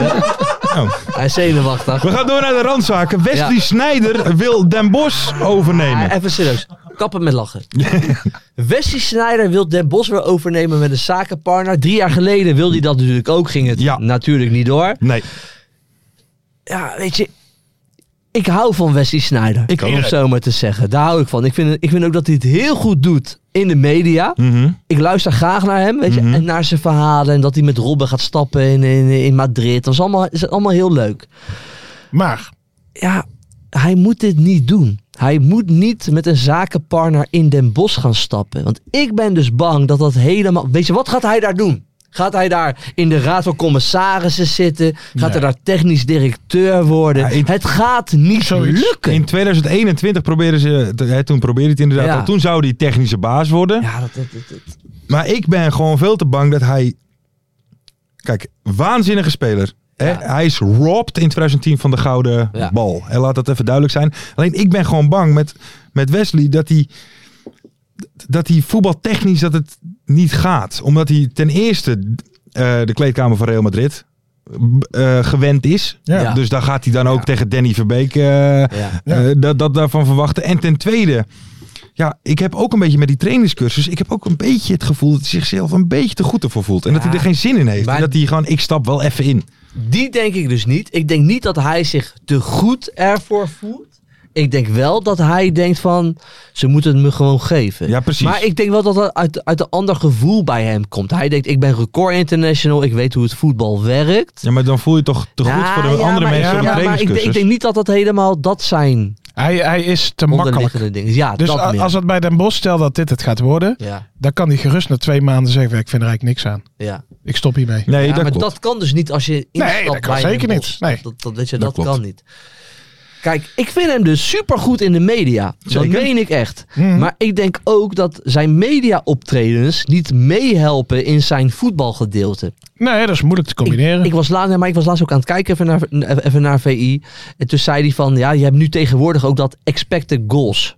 Hij is zenuwachtig.
We gaan door naar de randzaken. Wesley
Ja.
Snijder wil Den Bosch overnemen.
Maar even serieus. Kappen met lachen. Wesley Sneijder wil Den Bos weer overnemen met een zakenpartner. Drie jaar geleden wilde hij dat natuurlijk ook. Ging het
Ja.
natuurlijk niet door.
Nee,
Ja, weet je. Ik hou van Wesley Sneijder. Ik om het zo maar te zeggen. Daar hou ik van. Ik vind, ik vind ook dat hij het heel goed doet in de media.
Mhm.
Ik luister graag naar hem, weet je.
Mhm.
En naar zijn verhalen. En dat hij met Robben gaat stappen in, in, in Madrid. Dat is allemaal, is allemaal heel leuk.
Maar,
ja, hij moet dit niet doen. Hij moet niet met een zakenpartner in Den Bosch gaan stappen. Want ik ben dus bang dat dat helemaal... Weet je, wat gaat hij daar doen? Gaat hij daar in de raad van commissarissen zitten? Gaat hij daar technisch directeur worden?
Ja, in-
Het gaat niet
Zoiets.
lukken.
in 2021 probeerden ze, te- hè, toen probeerde hij het inderdaad
Ja.
al. Toen zou hij technische baas worden.
Ja, dat, dat- dat- dat-
Maar ik ben gewoon veel te bang dat hij. Kijk, waanzinnige speler. Hè?
Ja.
Hij is robbed in 2010 van de gouden
Ja.
bal. En laat dat even duidelijk zijn. Alleen ik ben gewoon bang met, met Wesley dat hij. Dat hij voetbaltechnisch dat het niet gaat. Omdat hij ten eerste eh, de kleedkamer van Real Madrid eh, gewend is.
ja.
Ja.
Dus daar gaat hij dan ook tegen Danny Verbeek eh,
ja.
eh, dat, dat daarvan verwachten. En ten tweede, ja, ik heb ook een beetje met die trainingscursus. Ik heb ook een beetje het gevoel dat hij zichzelf een beetje te goed ervoor voelt. En dat
Ja,
hij er geen zin in heeft.
maar-
En dat hij gewoon, ik stap wel even in.
Die denk ik dus niet. Ik denk niet dat hij zich te goed ervoor voelt. Ik denk wel dat hij denkt van, ze moeten het me gewoon geven.
Ja, precies.
Maar ik denk wel dat dat uit, uit een ander gevoel bij hem komt. Hij denkt, ik ben record international, ik weet hoe het voetbal werkt.
Ja, maar dan voel je toch te goed
Nou,
voor de
ja,
andere
maar-
mensen
ja,
op een
maar ik, denk-
trainingscursus.
ik denk niet dat dat helemaal dat zijn
hij, hij is te makkelijk.
onderliggende dingen. Ja,
Dus
dat
a-
meer.
als het bij Den Bosch stel dat dit het gaat worden,
Ja,
dan kan hij gerust na twee maanden zeggen, ik vind er eigenlijk niks aan.
ja.
Ik stop hiermee.
Nee,
ja
dat
maar
klopt.
dat kan dus niet als je instapt
Nee, dat kan
bij Den
zeker
Bosch.
niet. Nee.
Dat, dat, weet je,
Dat
dat,
klopt.
kan niet. Kijk, ik vind hem dus supergoed in de media.
Zeker.
Dat meen ik echt.
Mhm.
Maar ik denk ook dat zijn media-optredens niet meehelpen in zijn voetbalgedeelte.
Nee, dat is moeilijk te combineren.
Ik was laatst, nee, maar ik was laatst ook aan het kijken even naar, even naar VI. En toen zei hij van, ja, je hebt nu tegenwoordig ook dat expected goals.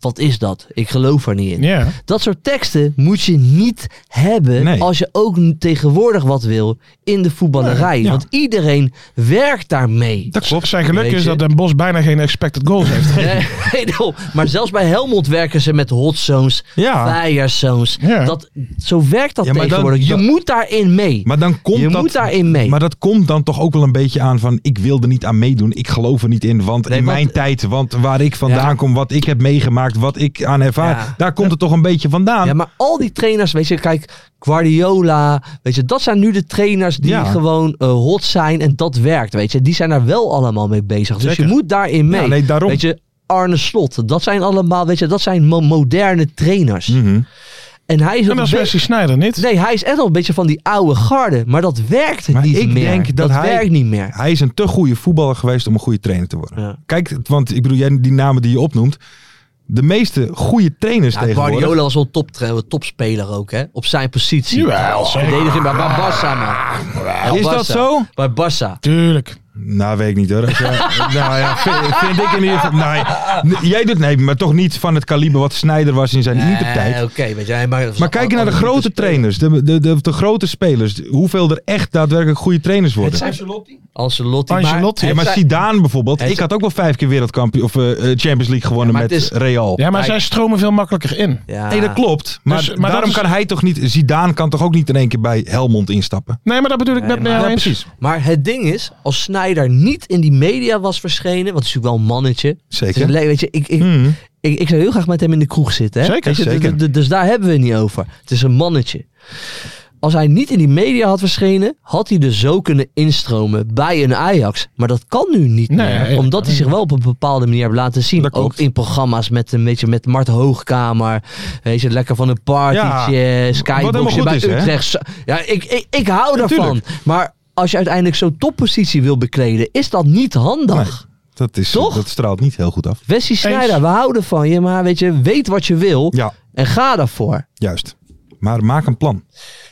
Wat is dat? Ik geloof er niet in.
ja.
Dat soort teksten moet je niet hebben
Nee.
als je ook n- tegenwoordig wat wil in de voetballerij.
Ja, ja.
Want iedereen werkt daarmee.
Dat klopt.
Zijn geluk
Weet
is
je.
dat Den Bosch bijna geen expected goals heeft.
Nee, nee, no. Maar zelfs bij Helmond werken ze met hot zones,
Ja,
fire zones.
Ja.
Dat, zo werkt dat
Ja, maar dan-
tegenwoordig.
dan-
je moet daarin mee.
maar dan komt
je
dat...
moet daarin mee.
Maar dat komt dan toch ook wel een beetje aan van ik wil er niet aan meedoen. Ik geloof er niet in. Want
Nee,
in
want-
mijn tijd, want waar ik vandaan
Ja.
kom, wat ik heb meegemaakt, wat ik aan ervaar,
Ja.
daar komt het toch een beetje vandaan.
Ja, maar al die trainers, weet je, kijk, Guardiola, weet je, dat zijn nu de trainers die
Ja.
gewoon eh, hot zijn en dat werkt, weet je. Die zijn daar wel allemaal mee bezig. Dus
Zeker.
je moet daarin mee.
Ja, nee, daarom.
Weet je, Arne Slot, dat zijn allemaal, weet je, dat zijn mo- moderne trainers.
Mhm.
En hij is
En
nog
dat is
een
Wesley Sneijder niet.
beetje- Nee, hij is echt nog een beetje van die oude garde, maar dat werkt
Maar
niet
ik
meer.
denk dat hij-
werkt niet meer.
Hij is een te goede voetballer geweest om een goede trainer te worden.
Ja.
Kijk, want ik bedoel, jij die namen die je opnoemt. De meeste goede trainers
Ja,
tegenwoordig.
Guardiola was wel een top, eh, topspeler ook, hè? Op zijn positie.
Jawel, zeker.
Verdediging bij bij Barca, man. Bij
Ah, Is dat
Barca.
zo?
Bij Barca.
Tuurlijk.
Nou, weet ik niet hoor. Als jij- nou ja, vind, vind ik in ieder geval. Nee, N- jij doet nee, maar toch niet van het kaliber wat Snyder was in zijn intertijd.
Eh, Oké, weet jij, maar... Oh, dus-
Maar kijk je naar de grote trainers, de, de, de, de grote spelers. Hoeveel er echt daadwerkelijk goede trainers worden.
Ancelotti.
Ancelotti.
Ja, maar
het zijn-
Zidane bijvoorbeeld.
het
Ik had ook wel vijf keer wereldkampioen of eh, eh, Champions League gewonnen
Ja, maar
met
het is-
Real.
Ja, maar zij stromen veel makkelijker in.
Ja.
Nee, dat klopt. Maar,
Dus- maar
daarom
dat is-
kan hij toch niet... Zidane kan toch ook niet in één keer bij Helmond instappen?
Nee, maar dat bedoel ik net
maar-
mee
Ja,
eens.
precies.
Maar het ding is, als Snyder niet in die media was verschenen, want het is natuurlijk wel een mannetje. Het is
Zeker.
een le- weet je, ik, ik,
Hmm.
ik, ik zou heel graag met hem in de kroeg zitten. Hè?
Zeker,
Weet je,
zeker.
d- d- Dus daar hebben we het niet over. Het is een mannetje. Als hij niet in die media had verschenen, had hij dus zo kunnen instromen bij een Ajax. Maar dat kan nu niet
Nee,
meer.
ja,
Omdat hij zich wel op een bepaalde manier heeft laten zien.
Dat
Ook
klopt.
in programma's met, een beetje met Mart Hoogkamer. Weet je, lekker van een partytje,
helemaal
skyboxje
goed
bij
is, hè?
Utrecht. Zo- Ja, ik, ik, ik hou daarvan.
tuurlijk.
Maar als je uiteindelijk zo'n toppositie wil bekleden, is dat niet handig.
Nee, dat, is,
Toch?
dat straalt niet heel goed af.
Wesley Sneijder, we houden van je, maar weet je, weet wat je wil
Ja,
en ga daarvoor.
juist. Maar maak een plan.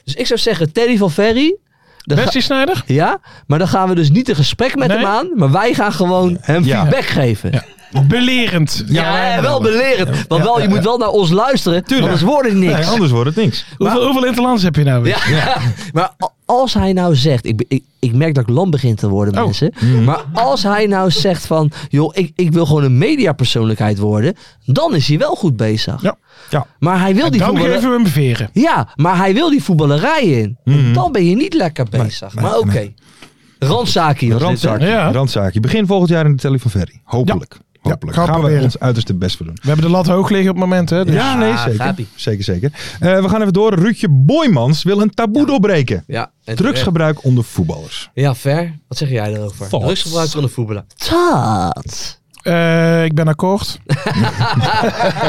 Dus ik zou zeggen, Teddy van Ferry. dan ga-
Bestie Snijder?
ja, maar dan gaan we dus niet een gesprek met
Nee.
hem aan. Maar wij gaan gewoon hem
Ja.
feedback geven. Ja,
Belerend.
hè, wel belerend. Maar wel, je moet wel naar ons luisteren. Anders wordt het niks.
Nee, anders wordt het niks.
Hoeveel, hoeveel interlands heb je nou weer?
Ja. maar a- als hij nou zegt, ik, be- ik, ik merk dat ik lam begin te worden,
Oh.
mensen. Maar als hij nou zegt van, joh, ik, ik wil gewoon een mediapersoonlijkheid worden, dan is hij wel goed bezig.
Ja.
Ja.
Maar hij wil die
Dan
voetballer-
geven we hem veren.
Ja, maar hij wil die voetballerij in. Dan ben je niet lekker bezig.
Mhm. nee,
maar oké. Randzaakie was dit, hè?
Randzaakje.
Ja.
Randzaakje. Begin volgend jaar in de Telly van Ferry. Hopelijk. Hopelijk.
Ja, gaan we
gaan we
proberen.
ons uiterste best voor doen.
We hebben de lat hoog liggen op het moment. Hè? Dus-
Ja, nee, zeker.
Ah, Gabi.
Zeker, zeker. Eh, we gaan even door. Ruudje Boymans wil een taboe doorbreken.
Ja, en terecht.
Drugsgebruik onder voetballers.
Ja, ver. Wat zeg jij daarover?
Tot.
Drugsgebruik van de voetballer. Tot.
Eh, ik ben akkoord.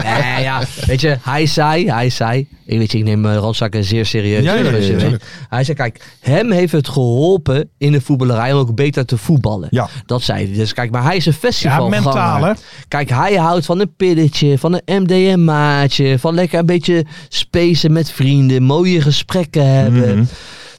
Nee, ja, weet je, hij zei, hij zei, ik weet je, ik neem eh, randzakken zeer serieus.
Ja, ja, ja,
Zoals je
ja,
weet. Hij zei, kijk, hem heeft het geholpen in de voetballerij om ook beter te voetballen.
Ja.
Dat zei hij. Dus kijk, maar hij is een
Ja,
festival.
mentaal hè.
Kijk, hij houdt van een pilletje, van een MDMA'tje, van lekker een beetje spacen met vrienden, mooie gesprekken hebben.
Mhm.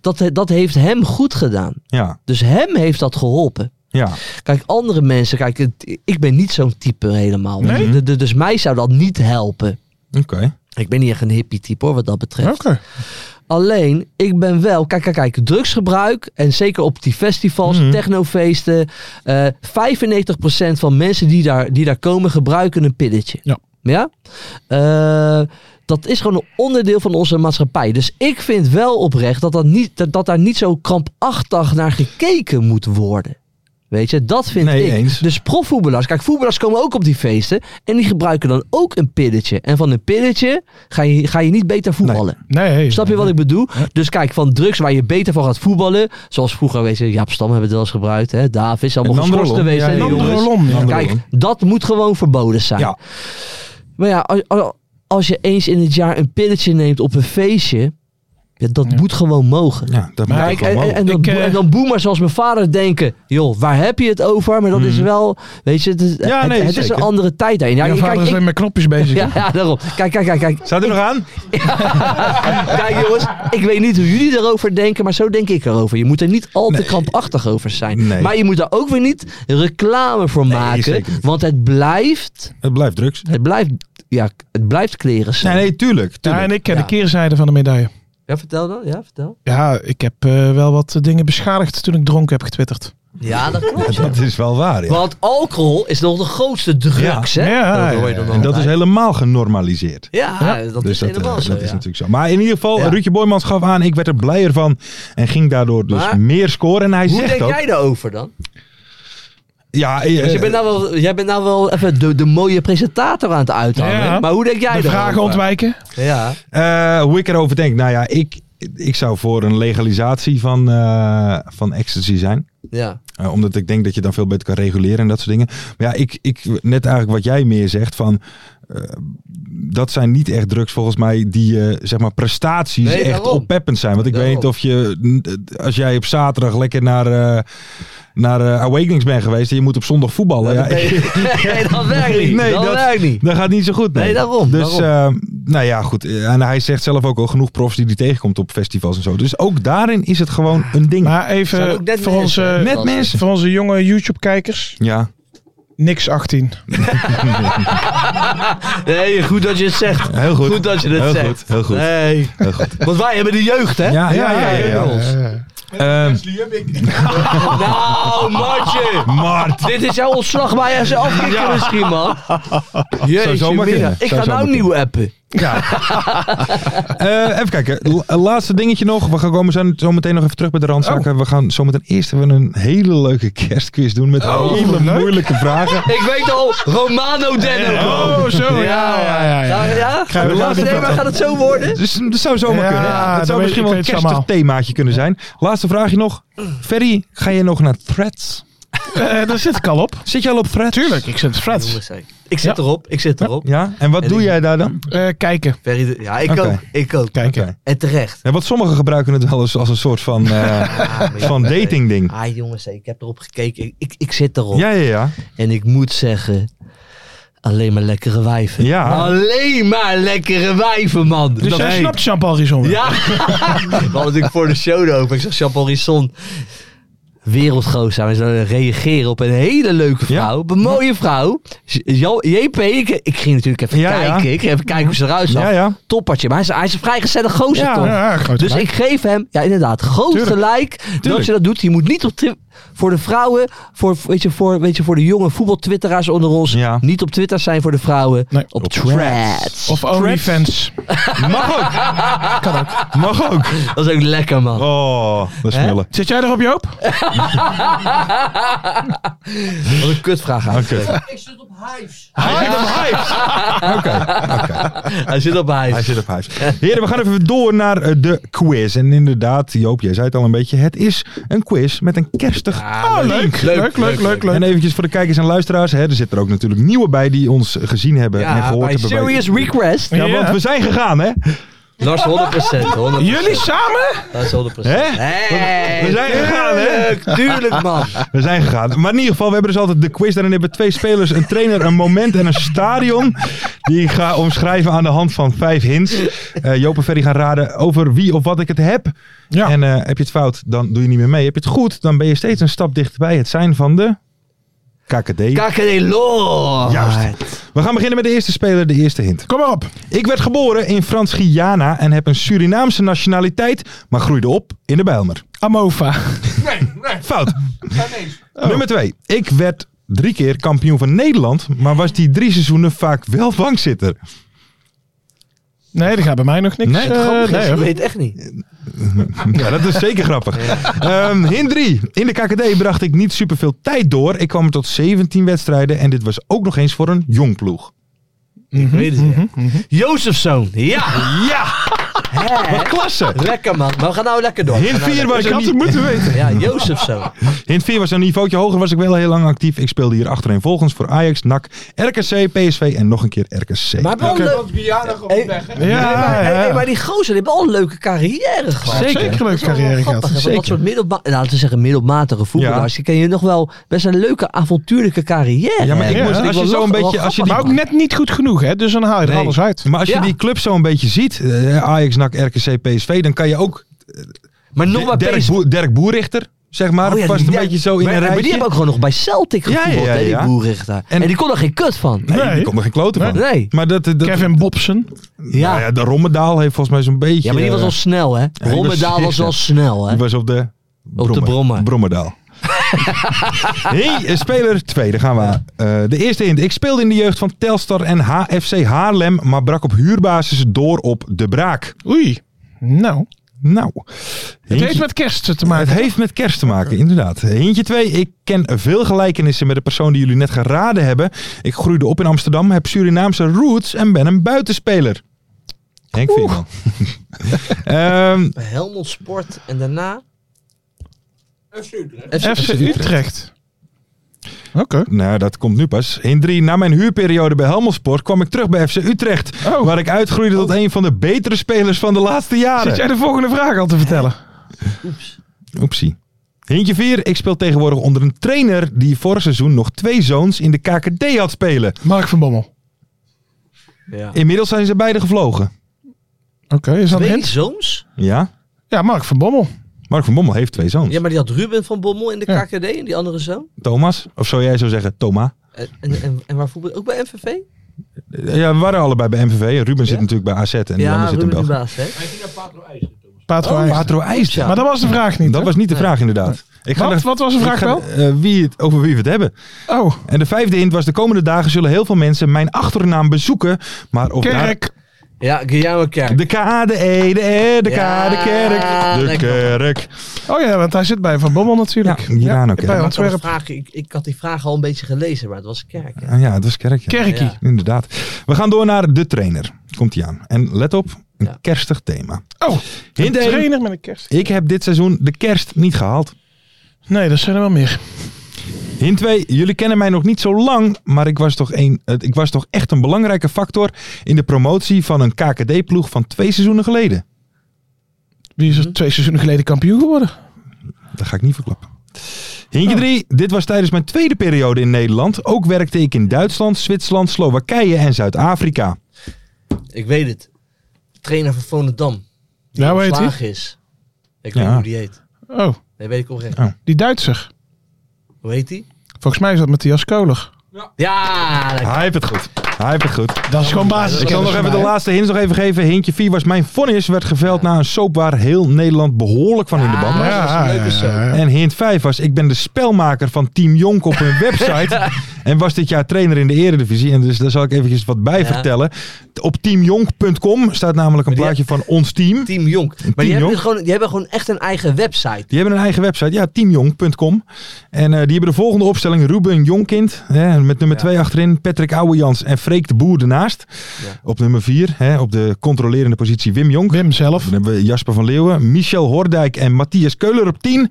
Dat, dat heeft hem goed gedaan.
Ja,
Dus hem heeft dat geholpen.
ja.
Kijk, andere mensen, kijk, het- ik ben niet zo'n type helemaal.
Nee?
De- de- dus mij zou dat niet helpen.
Oké.
Ik ben niet echt een hippie type hoor, wat dat betreft.
Oké.
Alleen, ik ben wel, kijk, kijk, kijk, drugsgebruik. En zeker op die festivals,
Mhm.
technofeesten. eh 95% van mensen die daar, die daar komen, gebruiken een pilletje.
Ja.
ja? Eh, dat is gewoon een onderdeel van onze maatschappij. Dus ik vind wel oprecht dat, dat, niet, dat, dat daar niet zo krampachtig naar gekeken moet worden. Weet je, dat vind
Nee,
ik.
eens.
Dus profvoetballers, kijk, voetballers komen ook op die feesten. En die gebruiken dan ook een pilletje. En van een pilletje ga je, ga je niet beter voetballen.
Nee.
Snap je wat ik bedoel? Dus kijk, van drugs waar je beter van gaat voetballen. Zoals vroeger, weet je, Jaap Stam hebben het wel eens gebruikt. Hè? Davis, allemaal
En
geschorst
Nandrolon.
geweest.
Ja,
hè,
ja, ja.
jongens.
Nandrolon, ja.
Kijk,
Nandrolon.
dat moet gewoon verboden zijn.
Ja.
Maar ja, als, als- als je eens in het jaar een pilletje neemt op een feestje. ja, dat moet gewoon mogen.
Ja, dat
Maar
moet
ik-
ook
En,
wel
en,
mogen.
en, dan,
Ik, eh,
en dan boomers zoals mijn vader denken, joh, waar heb je het over? Maar dat is wel, weet je, het is,
Mm. Ja,
het-
nee,
het, is
zeker.
een andere tijd daarin. Ja,
Jouw
kijk,
vader is
ik-
alleen met knopjes bezig.
ja, ja, daarom. Kijk, kijk, kijk, kijk.
Staat er nog aan?
Kijk jongens, ik weet niet hoe jullie erover denken, maar zo denk ik erover. Je moet er niet al te krampachtig over zijn.
Nee.
Maar je moet daar ook weer niet reclame voor maken.
zeker niet.
Want het blijft,
Het blijft drugs.
het blijft, ja, het blijft kleren
Nee,
zijn.
nee, tuurlijk.
Ja,
tuurlijk.
en ik ken
Ja.
de keerzijde van de medaille.
Ja, vertel dan. Ja, vertel.
Ja, ik heb eh, wel wat eh, dingen beschadigd toen ik dronken heb getwitterd.
Ja, dat klopt.
Dat is wel waar. Ja.
Want alcohol is nog de grootste drugs, hè?
Ja,
dat hoor je dan
En dat is
altijd.
helemaal genormaliseerd.
Ja, dat
dus
is
dat, eh,
helemaal
dat
zo,
is
ja.
natuurlijk zo. Maar in ieder geval,
Ja.
Ruudje Boymans gaf aan, ik werd er blijer van. En ging daardoor dus
Maar-
meer scoren. En hij
Hoe
zegt
denk
ook...
jij daarover dan?
Ja, eh,
Dus je bent nou wel, jij bent nou wel even de, de mooie presentator aan het uithangen.
Ja.
Maar hoe denk jij
De
daarover?
vragen ontwijken.
Ja.
Eh, hoe ik erover denk? Nou ja, ik, ik zou voor een legalisatie van, eh, van ecstasy zijn.
ja.
Eh, omdat ik denk dat je dan veel beter kan reguleren en dat soort dingen. Maar ja, ik, ik, net eigenlijk wat jij meer zegt van... eh, dat zijn niet echt drugs volgens mij die eh, zeg maar prestaties
Nee,
echt
daarom.
oppeppend zijn. Want ik
Daarom.
weet niet of je, n- als jij op zaterdag lekker naar, eh, naar eh, Awakenings bent geweest en je moet op zondag voetballen. Ja, ik-
nee, dat werkt niet.
Nee,
dat,
dat-
werkt niet.
dat gaat niet zo goed.
Nee, daarom,
Dus, eh, nou ja, goed. Eh, En hij zegt zelf ook al genoeg profs die hij tegenkomt op festivals en zo. Dus ook daarin is het gewoon een ding.
Maar
Zijn
even
ook net
voor
mensen,
onze,
hè?
Net mensen.
voor onze jonge YouTube-kijkers.
Ja.
Niks 18.
Nee, goed dat je het zegt.
Heel goed.
Goed dat je het
Heel
zegt.
goed, heel goed.
Nee.
Heel goed.
Want wij hebben de jeugd, hè?
Ja, ja, ja. ja, ja. Ehm,
Nou, Martje.
Mart.
Dit is jouw ontslag bij je afkikken misschien, man. Jeetje,
zomaar
mina.
kunnen.
Ik
Zou
ga
zomaar
nou nieuw appen.
Ja. Eh, even kijken. La- laatste dingetje nog. We gaan komen zo- zo meteen nog even terug bij de
Oh.
randzakken. We gaan zo meteen eerst even een hele leuke kerstquiz doen. Met hele
Oh, leuk.
moeilijke vragen.
Ik weet al, Romano Denno.
Oh, zo. Ja, ja, ja. ja.
Nou, ja?
Ga je
laten
Nee,
doen.
maar gaat het zo worden?
Dus dat zou zomaar
Ja,
kunnen. Dat
dan
zou misschien
weet- ik
wel een
weet het
kerstig
allemaal.
themaatje kunnen zijn. Laatste vraagje nog. Ferry, ga je nog naar Threads?
Eh, daar zit ik al op.
Zit je al op Threads?
Tuurlijk, ik zit Freds.
Jongens, hé. Ik zit
Ja.
erop, ik zit erop.
Ja, en wat
En
doe
ik-
jij daar dan?
Eh, kijken.
Ferry de- Ja, ik
Oké.
ook. Ik ook.
Kijken.
Oké.
En terecht.
Ja, want sommigen gebruiken het wel eens als een soort van, eh,
Ah, maar-
van dating ding.
Ah, jongens, hé, ik heb erop gekeken. Ik, ik, ik zit erop.
Ja, ja, ja.
En ik moet zeggen, Alleen maar lekkere wijven.
Ja.
Alleen maar lekkere wijven, man.
Dus
Dat-
jij
Hey.
snapt Jean-Paul Rizon. wel.
Ja. We hadden natuurlijk voor de show erover. Ik zag Jean-Paul Risson. Wereldgroot zijn. We zouden reageren op een hele leuke vrouw. Op Een mooie vrouw. J- Jan- JP, ik, ik ging natuurlijk even
Ja, ja.
kijken. Ik ging even kijken hoe ze eruit zag.
Ja, ja.
Toppertje. Maar hij is, hij is een vrij gezellig gozer
Ja,
toch?
Ja, groot
Dus
gelijk.
ik geef hem, ja inderdaad, groot
Tuurlijk.
gelijk dat
Tuurlijk.
je dat doet. Je moet niet op Twi- voor de vrouwen, voor, weet je, voor, weet je, voor de jonge voetbaltwitteraars onder ons,
Ja.
niet op Twitter zijn voor de vrouwen,
Nee.
op, threads. Oh.
Of OnlyFans.
Mag ook. Mag ook.
Dat is ook lekker man.
Oh, dat is
Hè?
smullen.
Zit jij erop, Joop?
Wat een kutvraag eigenlijk.
Hij zit op hypes.
Hij zit op ijs.
Hij zit op hypes. Heren, we gaan even door naar eh, de quiz. En inderdaad, Joop, jij zei het al een beetje. Het is een quiz met een kerstig
Oh, leuk. Leuk, leuk, leuk, leuk.
En eventjes voor de kijkers en luisteraars. Hè, er zitten er ook natuurlijk nieuwe bij die ons gezien hebben en
Ja,
gehoord
bij
hebben. bij-
Serious Request.
Ja, want we zijn gegaan, hè?
Lars 100%. 100%.
Jullie samen?
Dat is 100%.
Hè?
Hey,
We zijn gegaan, hè?
tuurlijk, Tuurlijk, man.
We zijn gegaan. Maar in ieder geval, we hebben dus altijd de quiz. Daarin hebben we twee spelers, een trainer, een moment en een stadion. Die ik ga omschrijven aan de hand van vijf hints. Eh, Joop en Ferry gaan raden over wie of wat ik het heb.
Ja.
En eh, heb je het fout, dan doe je niet meer mee. Heb je het goed, dan ben je steeds een stap dichterbij het zijn van de KKD.
KKD Lord.
Juist. we gaan beginnen met de eerste speler, de eerste hint.
Kom maar op.
Ik werd geboren in Frans-Guyana en heb een Surinaamse nationaliteit, maar groeide op in de Bijlmer.
Amova.
Fout.
Oh.
Nummer twee. Ik werd drie keer kampioen van Nederland, maar was die drie seizoenen vaak wel bankzitter.
Nee, dat gaat bij mij nog niks.
Nee,
eh,
Grappig is,
nee,
ik
hoor.
weet het echt niet.
Ja, dat is zeker grappig. Ehm hint drie. In de KKD bracht ik niet superveel tijd door. Ik kwam er tot 17 wedstrijden en dit was ook nog eens voor een jong ploeg.
Ik weet het niet. Jozefzoon. Ja.
Mhm, Ja,
Hè?
wat klasse.
Lekker, man. Maar we gaan nou lekker door. We
Hint
gaan nou
4 was,
Ik
een
had het
ni-
moeten weten.
lekker- Ja, Jozefzoon.
hint vier was een niveautje hoger, was ik wel heel lang actief. Ik speelde hier achterin volgens voor Ajax, NAC, RKC, PSV en nog een keer RKC.
Maar wel leuk. Hey,
Ja, ja,
hey, hey, maar die gozer, die hebben al een leuke carrière gehad.
Zeker een leuke carrière
Grappig,
gehad.
hè, want
Zeker.
dat soort middelma nou, laten we zeggen middelmatige voetballers, die kan je nog wel best een leuke avontuurlijke carrière.
Ja, maar ik
hebben.
moest-
Dat is
als je
wel
zo een
lach-
beetje-
wel
als je
Maar
Oh, grappig,
ook
man.
net niet goed genoeg, hè? Dus dan haal je er
Nee.
alles uit.
Maar als je
Ja.
die club zo een beetje ziet, eh, Ajax, NAC, RKC, PSV, dan kan je ook
Maar nog maar
Dirk,
PSV.
Boer- Dirk Boerrichter, zeg maar,
Oh ja,
past
die
een
Dirk-
beetje zo in
maar,
een
maar
rijtje.
die hebben ook gewoon nog bij Celtic
Ja,
gevoetbald,
ja,
hè, die
ja.
Boerrichter. En,
En-
die kon er geen kut van.
Nee,
Nee.
die komt er geen kloten van.
Nee.
Maar dat, dat,
Kevin Bobsen.
Ja.
nou ja, de Rommedaal heeft volgens mij zo'n beetje...
Ja, maar die was
eh,
al snel, hè?
was
Rommedaal was
zeker.
al snel, hè?
die was op de...
Op de Brommer.
Brommerdaal. hey, eh, speler 2, daar gaan we aan. Eh, de eerste hint. Ik speelde in de jeugd van Telstar en HFC Haarlem, maar brak op huurbasis door op De Braak.
Oei. Nou,
Nou.
het
hintje-
heeft met kerst te
Maar
maken.
het heeft met kerst te maken, inderdaad. Hintje 2. Ik ken veel gelijkenissen met de persoon die jullie net geraden hebben. Ik groeide op in Amsterdam, heb Surinaamse roots en ben een buitenspeler. Henk Veerman. Ehm
Bij Helmond Sport en daarna... FC Utrecht.
FC Utrecht. Oké.
nou, dat komt nu pas. Hint 3. Na mijn huurperiode bij Helmelsport kwam ik terug bij FC Utrecht.
Oh.
Waar ik uitgroeide tot een van de betere spelers van de laatste
Zit jij
jaren.
de volgende vraag al te vertellen?
Oepsie. Hintje 4. Ik speel tegenwoordig onder een trainer die vorig seizoen nog twee zoons in de KKD had spelen.
Mark van Bommel.
Ja.
Inmiddels zijn ze beide gevlogen.
Oké, is dat een
Twee
hint?
zoons?
Ja?
Ja, Mark van Bommel.
Mark van Bommel heeft twee zoons.
Ja, maar die had Ruben van Bommel in de
Ja.
KKD en die andere zoon.
Thomas, of zou jij zo zeggen, Toma.
En, en, en, en waar voetbal... Ook bij MVV?
Ja, we waren allebei bij MVV. Ruben zit
Ja?
natuurlijk bij AZ en die
ja,
ander zit in
Ruben de
België.
baas, hè?
Paat van
Oh,
IJs.
Patro IJs.
Ja.
Maar dat was de vraag niet.
Dat
hè?
was niet de vraag inderdaad. Ik
Wat?
er-
Wat was de
ik
vraag
ga-
wel?
eh, wie het, over wie we het hebben.
Oh,
En de vijfde hint was, de komende dagen zullen heel veel mensen mijn achternaam bezoeken. Maar of daar-
Kerk.
Ja, Guillaume Kerk.
De K, de E, de E, de K,
Ja,
de kerk. De
lekker.
kerk.
Oh ja, want hij zit bij Van Bommel natuurlijk.
Ja, Milano Kerk.
bij
Maar ik had, de
Antwerpen.
vraag, ik, ik had die vraag al een beetje gelezen, maar het was Kerk. hè?
Ah ja, het was kerk. ja.
Kerkie.
Ja.
Inderdaad. We gaan door naar de trainer. Komt hij aan. En let op, een
Ja.
kerstig thema.
Oh, een
Hint één.
trainer met een kerst.
Ik heb dit seizoen de kerst niet gehaald.
Nee, dat zijn er wel meer.
Hint 2. Jullie kennen mij nog niet zo lang, maar ik was toch, een, het- ik was toch echt een belangrijke factor in de promotie van een KKD-ploeg van twee seizoenen geleden. Mhm.
Wie is er twee seizoenen geleden kampioen geworden?
Dat ga ik niet verklappen. Hintje 3. Dit was tijdens mijn tweede periode in Nederland. Ook werkte ik in Duitsland, Zwitserland, Slowakije en Zuid-Afrika.
Ik weet het. De trainer van Volendam. Die
Ja, hoe heet
ontslagen is. Ik weet
Ja.
niet hoe die heet.
Oh,
Nee, weet ik oprecht.
Ja.
die Duitser.
Hoe heet die?
Volgens mij is dat Matthias Koler.
Ja, dat-
Hij heeft het goed. Hij heeft het goed.
Dat is gewoon basis.
Ik zal nog even de laatste hint nog even geven. Hintje 4 was mijn vonnis werd geveld na een soap waar heel Nederland behoorlijk van in de band was.
Ja, dat is een leuke show.
En hint 5 was, ik ben de spelmaker van Team Jonk op hun website. En was dit jaar trainer in de eredivisie. En dus daar zal ik eventjes wat bij
Ja.
vertellen. Op teamjonk.com staat namelijk een
Maar die-
plaatje van ons team.
Team Jonk. Maar die,
Jonk?
Hebben dus gewoon, die hebben gewoon echt een eigen website.
Die hebben een eigen website, ja, teamjong.com. En eh, die hebben de volgende opstelling. Ruben Jongkind, hè, met nummer
Ja.
2 achterin. Patrick Ouwejans en Freek de Boer ernaast.
Ja.
Op nummer 4, op de controlerende positie Wim Jonk.
Wim zelf.
Dan hebben we Jasper van Leeuwen, Michel Hordijk en Matthias Keuler op 10.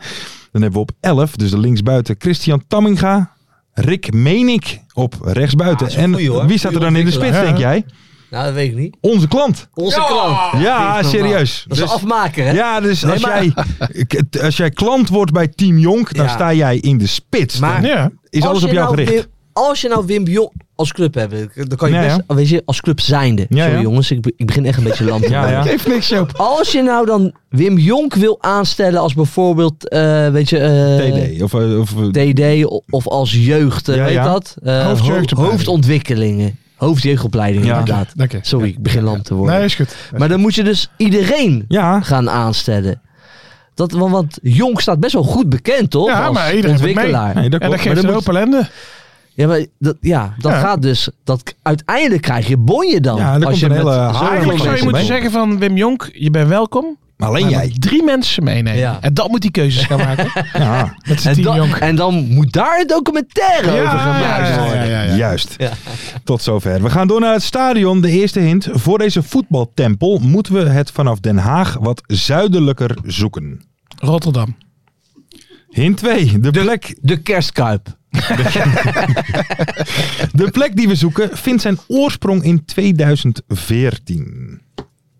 Dan hebben we op 11, dus de linksbuiten, Christian Tamminga. Rick Menik op rechtsbuiten.
Ah, dat is een
en
goeie, hoor.
wie staat er dan in de spits,
Ja,
denk
ja.
jij?
Nou, dat weet ik niet.
Onze klant.
Onze klant.
Ja,
Niet normaal.
serieus.
Dat is
Dus-
een afmaker, hè?
Ja, dus als,
maar-
jij, k- als jij klant wordt bij Team Jonk, dan
Ja.
sta jij in de spits.
Maar-
Dan
Ja.
is alles
je
op jou
nou
gericht.
Wim- als je nou Wim Bjorn als club hebt, dan kan je
Ja,
best, weet je, als club zijnde.
Ja,
Sorry
ja.
jongens, ik, be- ik begin echt een beetje lam te
Ja,
worden.
ja.
Heeft niks, Joop.
Als je nou dan Wim Jonk wil aanstellen als bijvoorbeeld, eh, weet je, eh,
TD. Of, eh, of, eh,
TD o- of als jeugd, eh,
Ja,
weet
ja.
dat? Eh,
Hoofdjeugdopleiding.
hoofdontwikkelingen. Hoofdjeugdopleiding
Ja.
inderdaad.
Dank je.
Sorry, ik begin lam te worden.
Nee, is goed.
maar dan moet je dus iedereen
ja,
gaan aanstellen. Dat, want, want Jonk staat best wel goed bekend, toch?
Ja,
als
maar iedereen doet mee.
ontwikkelaar.
nee, dat
En
klopt.
dat
Maar
geeft een
dan
hoop ellende.
Ja, maar dat, ja, dat
Ja.
gaat dus. Dat, uiteindelijk krijg je bonje dan.
Ja, daar komt
als je
een
met
hele
zoveel
haai
Eigenlijk zou je
mensen
moeten
mee.
zeggen van Wim Jonk, je bent welkom.
moet- alleen
Maar
jij.
moet drie mensen meenemen.
Ja.
En dat moet die keuzes gaan maken.
Ja,
Met zijn
En
team
dan,
Jonk.
en dan moet daar een documentaire over gemaakt worden.
ja, ja, ja.
Juist. Tot zover. We gaan door naar het stadion. De eerste hint. Voor deze voetbaltempel moeten we het vanaf Den Haag wat zuidelijker zoeken.
Rotterdam.
Hint 2. De plek,
De kerstkuip.
de plek die we zoeken vindt zijn oorsprong in 2014.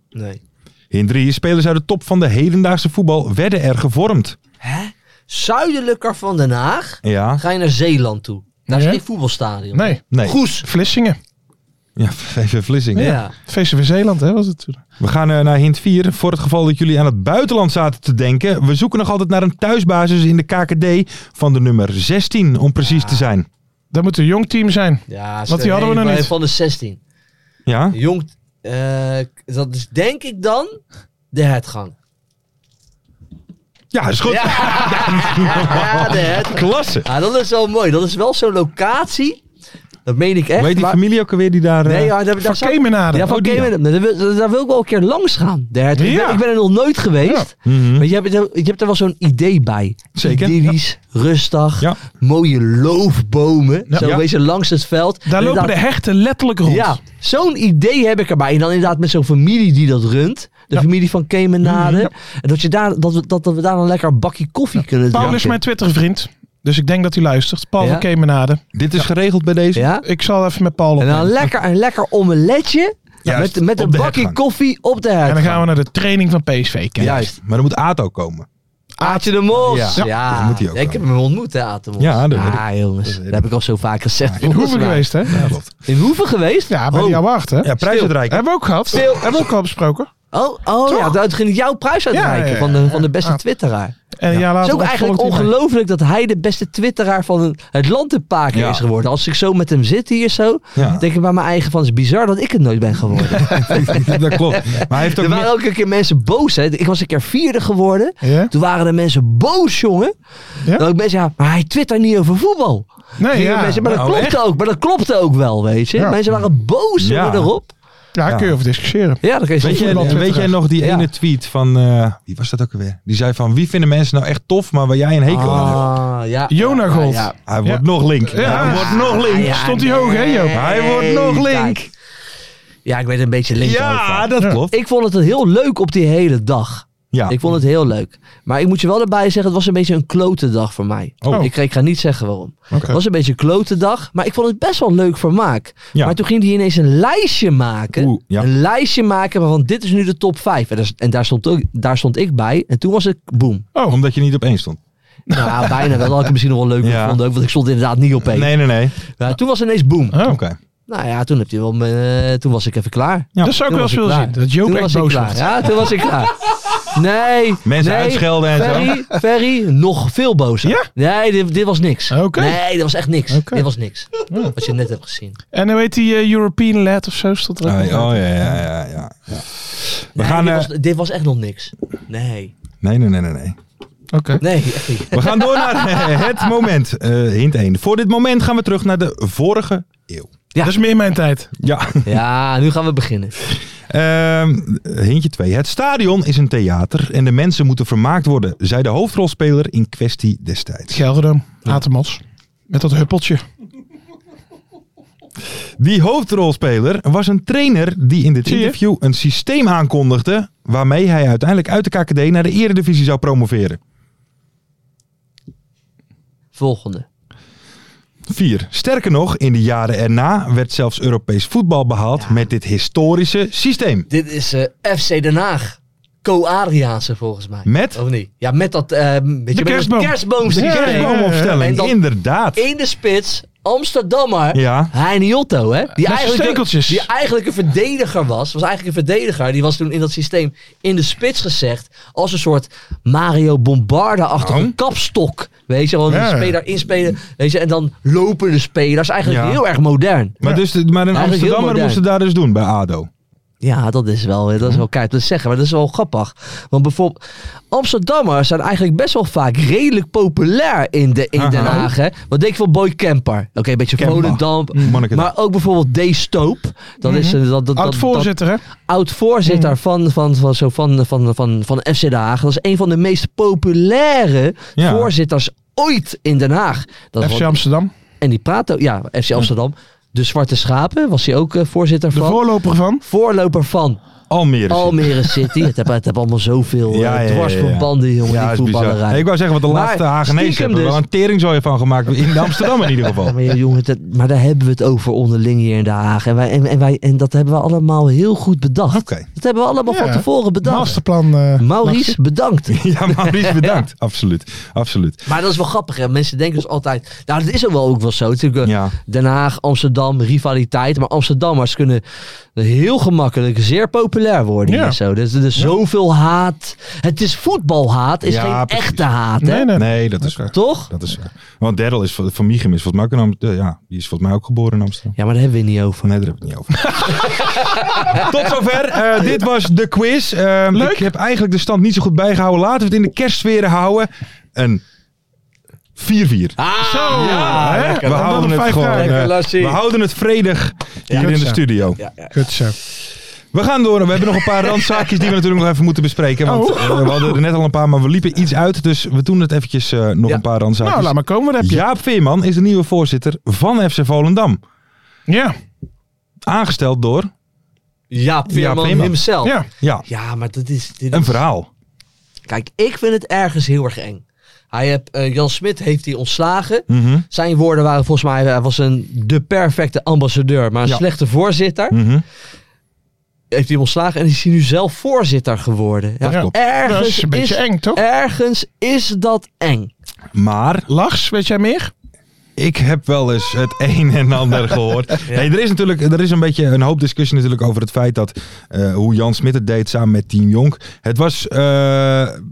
Nee.
In drie spelers uit de top van de hedendaagse voetbal werden er gevormd.
Hè? Zuidelijker van Den Haag
Ja,
ga je naar Zeeland toe. Daar
Ja.
is geen voetbalstadion.
Nee.
nee.
Goes. Vlissingen.
Ja, even Vlissingen.
Ja.
VCV Zeeland, hè, was het toen.
We gaan eh, naar hint 4. Voor het geval dat jullie aan het buitenland zaten te denken. We zoeken nog altijd naar een thuisbasis in de KKD van de nummer 16, om precies te zijn.
Dat moet een jong team zijn.
Ja,
die
stel-
hadden we nou
nee,
nog
maar
niet.
Van de 16.
Ja?
Jong, eh, dat is denk ik dan de hertgang.
Ja, is goed.
Ja, de hertgang.
Klasse.
Ja, Ah, dat is wel mooi. Dat is wel zo'n locatie. Dat meen ik echt.
Weet die
maar-
familie ook alweer die daar... eh,
Nee, ja, daar, daar
Van
zou-
Kemenade.
Ja, van
Oh, die
Kemenade. Daar wil, daar wil ik wel een keer langs gaan. De hertog. Ik,
Ja.
ben, ik ben er nog nooit geweest.
mhm.
Maar je hebt, er- je hebt er wel zo'n idee bij.
Zeker,
Idyllisch, rustig,
Ja.
mooie loofbomen.
Ja.
Zo
Ja.
een beetje langs het veld.
Daar lopen de
Inderdaad-
hechten letterlijk rond.
Ja, zo'n idee heb ik erbij. En dan inderdaad met zo'n familie die dat runt. De familie van Kemenade.
Mhm,
En dat, je daar, dat, we, dat, dat we daar een lekker bakje koffie kunnen
Paul is
drinken.
mijn Twitter-vriend. Dus ik denk dat hij luistert. Paul
Ja.
van Kemenade.
Dit is geregeld bij deze.
Ja?
Ik zal even met Paul op.
En dan
En
lekker, een lekker omeletje.
Juist,
met met
op
een
de
bakje
hertgang.
koffie op de hertog.
dan gaan we naar de training van PSV. Ken.
Juist.
Maar dan moet Ato komen.
Aatje de Mos.
Ja.
Ja,
dat moet hij ook
ik heb
wel.
hem ontmoet, hè, Aatje de Mos.
Ja, dat weet
ah, jongens, dat, heb ik al zo vaak gezegd.
In
volgens
Hoeven
mij.
geweest, hè?
Ja, klopt.
In Hoeven geweest?
Ja, bij
oh.
die award, hè?
Ja, prijsuitreiking.
Hebben we ook gehad. Hebben we ook al besproken.
Oh, oh ja, dat ging jouw prijs uitreiken
Ja, ja, ja.
van, de, van de beste
Ja.
twitteraar.
En een
Het
jaar
is
later
ook eigenlijk
ontvolgt hij mij.
ongelooflijk dat hij de beste twitteraar van het land te paken
Ja.
is geworden. Als ik zo met hem zit hier zo,
Ja.
denk ik bij mijn eigen van, het is bizar dat ik het nooit ben geworden.
dat klopt. Maar hij heeft ook...
er
meer-
waren ook een keer mensen boos. Hè. Ik was een keer vierde geworden.
Ja?
Toen waren de mensen boos, jongen.
Ja?
Dan ook mensen, ja, maar hij twittert niet over voetbal.
Nee,
Gingen
ja.
mensen, maar dat
Nou,
klopte ook, maar dat klopte ook wel, weet je.
Ja.
Mensen waren boos
Ja.
jongen, erop.
Ja, daar kun je over discussiëren.
Ja, dat kan je
Weet
zeggen.
jij,
voetbal
weet jij
twitteraar.
nog die
Ja.
ene tweet van... eh, wie was dat ook alweer? Die zei van, wie vinden mensen nou echt tof, maar waar jij een hekel aan hebt?
Ah, ja.
Jona Gold.
Ja,
Hij
Ja.
wordt nog link.
Ja.
Hij wordt nog link.
Ah, ja,
Stond hij hoog, hè, Joop?
Hij wordt nog link.
Kijk. Ja, ik ben een beetje link
Ja,
over.
dat klopt.
Ik vond het heel leuk op die hele dag.
Ja.
Ik vond het heel leuk. Maar ik moet je wel erbij zeggen, het was een beetje een klote dag voor mij.
Oh.
Ik, ik ga niet zeggen waarom.
Oké.
Het was een beetje een klote dag, maar ik vond het best wel leuk vermaak.
Ja.
Maar toen ging hij ineens een lijstje maken.
Oeh, ja.
Een lijstje maken van dit is nu de top 5. En, daar, en daar, stond ook, daar stond ik bij. En toen was het boom.
Oh.
Omdat je niet op één stond.
Nou, bijna wel. Dat had ik misschien nog wel leuk
Ja.
gevonden. Ook, want ik stond inderdaad niet op één.
Nee, nee, nee.
Maar toen was ineens boom.
Oh.
Oké.
Nou ja, toen, heb je wel, me- toen was ik even klaar.
Ja,
dat zou ik
toen
wel
was
eens
ik
willen
klaar.
zien. Dat Joop
toen
echt
was ik
boos
klaar.
wordt.
Ja, toen was ik klaar. Nee.
Mensen
nee,
uitschelden en zo.
Ferry, Ferry, nog veel bozer.
Ja?
Nee, dit, dit was niks.
Oké.
Nee, dit was echt niks.
Oké.
Dit was niks. Wat je net hebt gezien.
En hoe heet die eh, European Lad of zo? Stond er ook
Oh,
nog
ja,
bij.
oh ja, ja, ja, ja. ja. We
Nee,
gaan...
dit, was,
eh,
dit was echt nog niks. Nee.
nee, nee, nee, nee, nee.
Oké.
Nee, echt niet.
We gaan door naar het moment. Eh, hint 1. Voor dit moment gaan we terug naar de vorige eeuw.
Ja.
Dat is meer mijn tijd.
Ja.
Ja, nu gaan we beginnen.
Ehm, hintje 2. Het stadion is een theater en de mensen moeten vermaakt worden, zei de hoofdrolspeler in kwestie destijds.
Gelderdom. Atemos. Met dat huppeltje.
Die hoofdrolspeler was een trainer die in dit
Zie je?
interview een systeem aankondigde waarmee hij uiteindelijk uit de KKD naar de Eredivisie zou promoveren.
Volgende.
4. Sterker nog, in de jaren erna werd zelfs Europees voetbal behaald
Ja.
met dit historische systeem.
Dit is eh, FC Den Haag. Co-Adriaanse volgens mij.
Met?
Of niet? Ja, met dat... eh, weet je, met dat
kerstboom.
kerstboomsysteem. En
Kerstboomopstelling,
dan
inderdaad.
in de spits Amsterdammer.
Ja.
Heine Otto, hè? Die
zijn stekeltjes.
die eigenlijk een verdediger was. Was eigenlijk een verdediger. Die was toen in dat systeem in de spits gezegd. Als een soort Mario Bombarda-achtige
Nou.
kapstok. Weet je, gewoon
Ja.
een speler inspelen. Weet je, en dan lopende spelers. Eigenlijk
Ja.
heel erg modern.
Maar, dus, de- maar een
heel
Amsterdammer
modern.
moest het daar dus doen bij ADO.
Ja, dat is wel, dat is wel keihard te zeggen, maar dat is wel grappig. Want bijvoorbeeld, Amsterdammers zijn eigenlijk best wel vaak redelijk populair in, de, in Den
Aha.
Haag. Hè? Wat denk je van Boy Kemper? Oké, een beetje
Kemper.
Volendam.
Monnikendam.
Maar ook bijvoorbeeld D. Stoop. Dat is eh, dat, dat, dat, dat-
Oud-voorzitter, hè?
oud-voorzitter van, van, van, zo van, van, van, van FC Den Haag. Dat is een van de meest populaire
Ja.
voorzitters ooit in Den Haag. Dat
FC
was-
Amsterdam.
en die praat ook, ja, FC Amsterdam. De Zwarte Schapen was hij ook eh, voorzitter
De
van.
voorloper van.
Voorloper van
Almere.
Almere City. het heeft heb allemaal zoveel eh,
Ja, ja, ja, ja.
dwarsverbanden, jongen,
Ja,
die
is bizar.
voetballerij.
Ik wou zeggen, wat de
Maar
laatste Hagenees
stiekem
hebben er
dus-
wel een teringzooi van gemaakt. In Amsterdam in ieder
Ja,
geval.
maar, ja, jongen, dat- maar daar hebben we het over onderling hier in Den Haag. En, wij, en, en, wij, en dat hebben we allemaal heel goed bedacht.
Oké.
Dat hebben we allemaal
Ja.
van tevoren bedacht.
Masterplan. eh,
Maurice, bedankt.
Ja, Maurice, bedankt. Absoluut. Absoluut.
Maar dat is wel grappig, hè? Mensen denken dus altijd... Nou, dat is ook wel, ook wel zo. Natuurlijk, eh,
Ja.
Den Haag, Amsterdam, rivaliteit. Maar Amsterdammers kunnen heel gemakkelijk zeer populair worden.
Ja.
hier Zo. Dus er is zoveel haat. Het is voetbalhaat, is
Ja,
geen
precies.
echte haat, hè?
Nee, nee.
Nee, dat is waar.
Toch?
Dat is waar. Want Daryl is van van Michum is volgens mij ook in Amsterdam. Ja, die is volgens mij ook geboren in Amsterdam.
Ja, maar daar hebben we het niet over.
Nee, daar heb ik het niet over. Tot zover. Eh, dit was de quiz. Ehm,
Leuk.
Ik heb eigenlijk de stand niet zo goed bijgehouden. Laten we het in de kerstsfeer houden. Een 4-4.
Ah,
Zo! Ja, hè?
We houden, het gewoon, eh, we houden het vredig hier in de
zo.
studio.
Goed zo.
We gaan door. We hebben nog een paar randzaakjes die we natuurlijk nog even moeten bespreken. Want eh, we hadden er net al een paar, maar we liepen iets uit. Dus we doen het eventjes eh, nog
Ja.
een paar randzaakjes.
Nou, laat maar komen. Wat heb je?
Jaap Veerman is de nieuwe voorzitter van FC Volendam.
Ja.
Aangesteld door
Jaap
Jaap
Veerman
Veerman.
himself. Ja.
Ja.
ja,
maar dat is... Dit
een
is-
verhaal.
Kijk, ik vind het ergens heel erg eng. Hij heb, eh, Jan Smit heeft hij ontslagen.
Mhm,
Zijn woorden waren volgens mij... Hij was een, de perfecte ambassadeur, maar een
Ja.
slechte voorzitter.
mhm.
heeft hij ontslagen en is hij nu zelf voorzitter geworden. Ja,
Ja, klopt.
Ergens
Dat is een beetje eng, toch?
Ergens is dat eng.
Maar
Lars, weet jij meer?
ik heb wel eens het een en ander gehoord. Nee, er is natuurlijk er is een beetje een hoop discussie natuurlijk over het feit dat eh, hoe Jan Smit het deed samen met Team Jonk. Het was eh,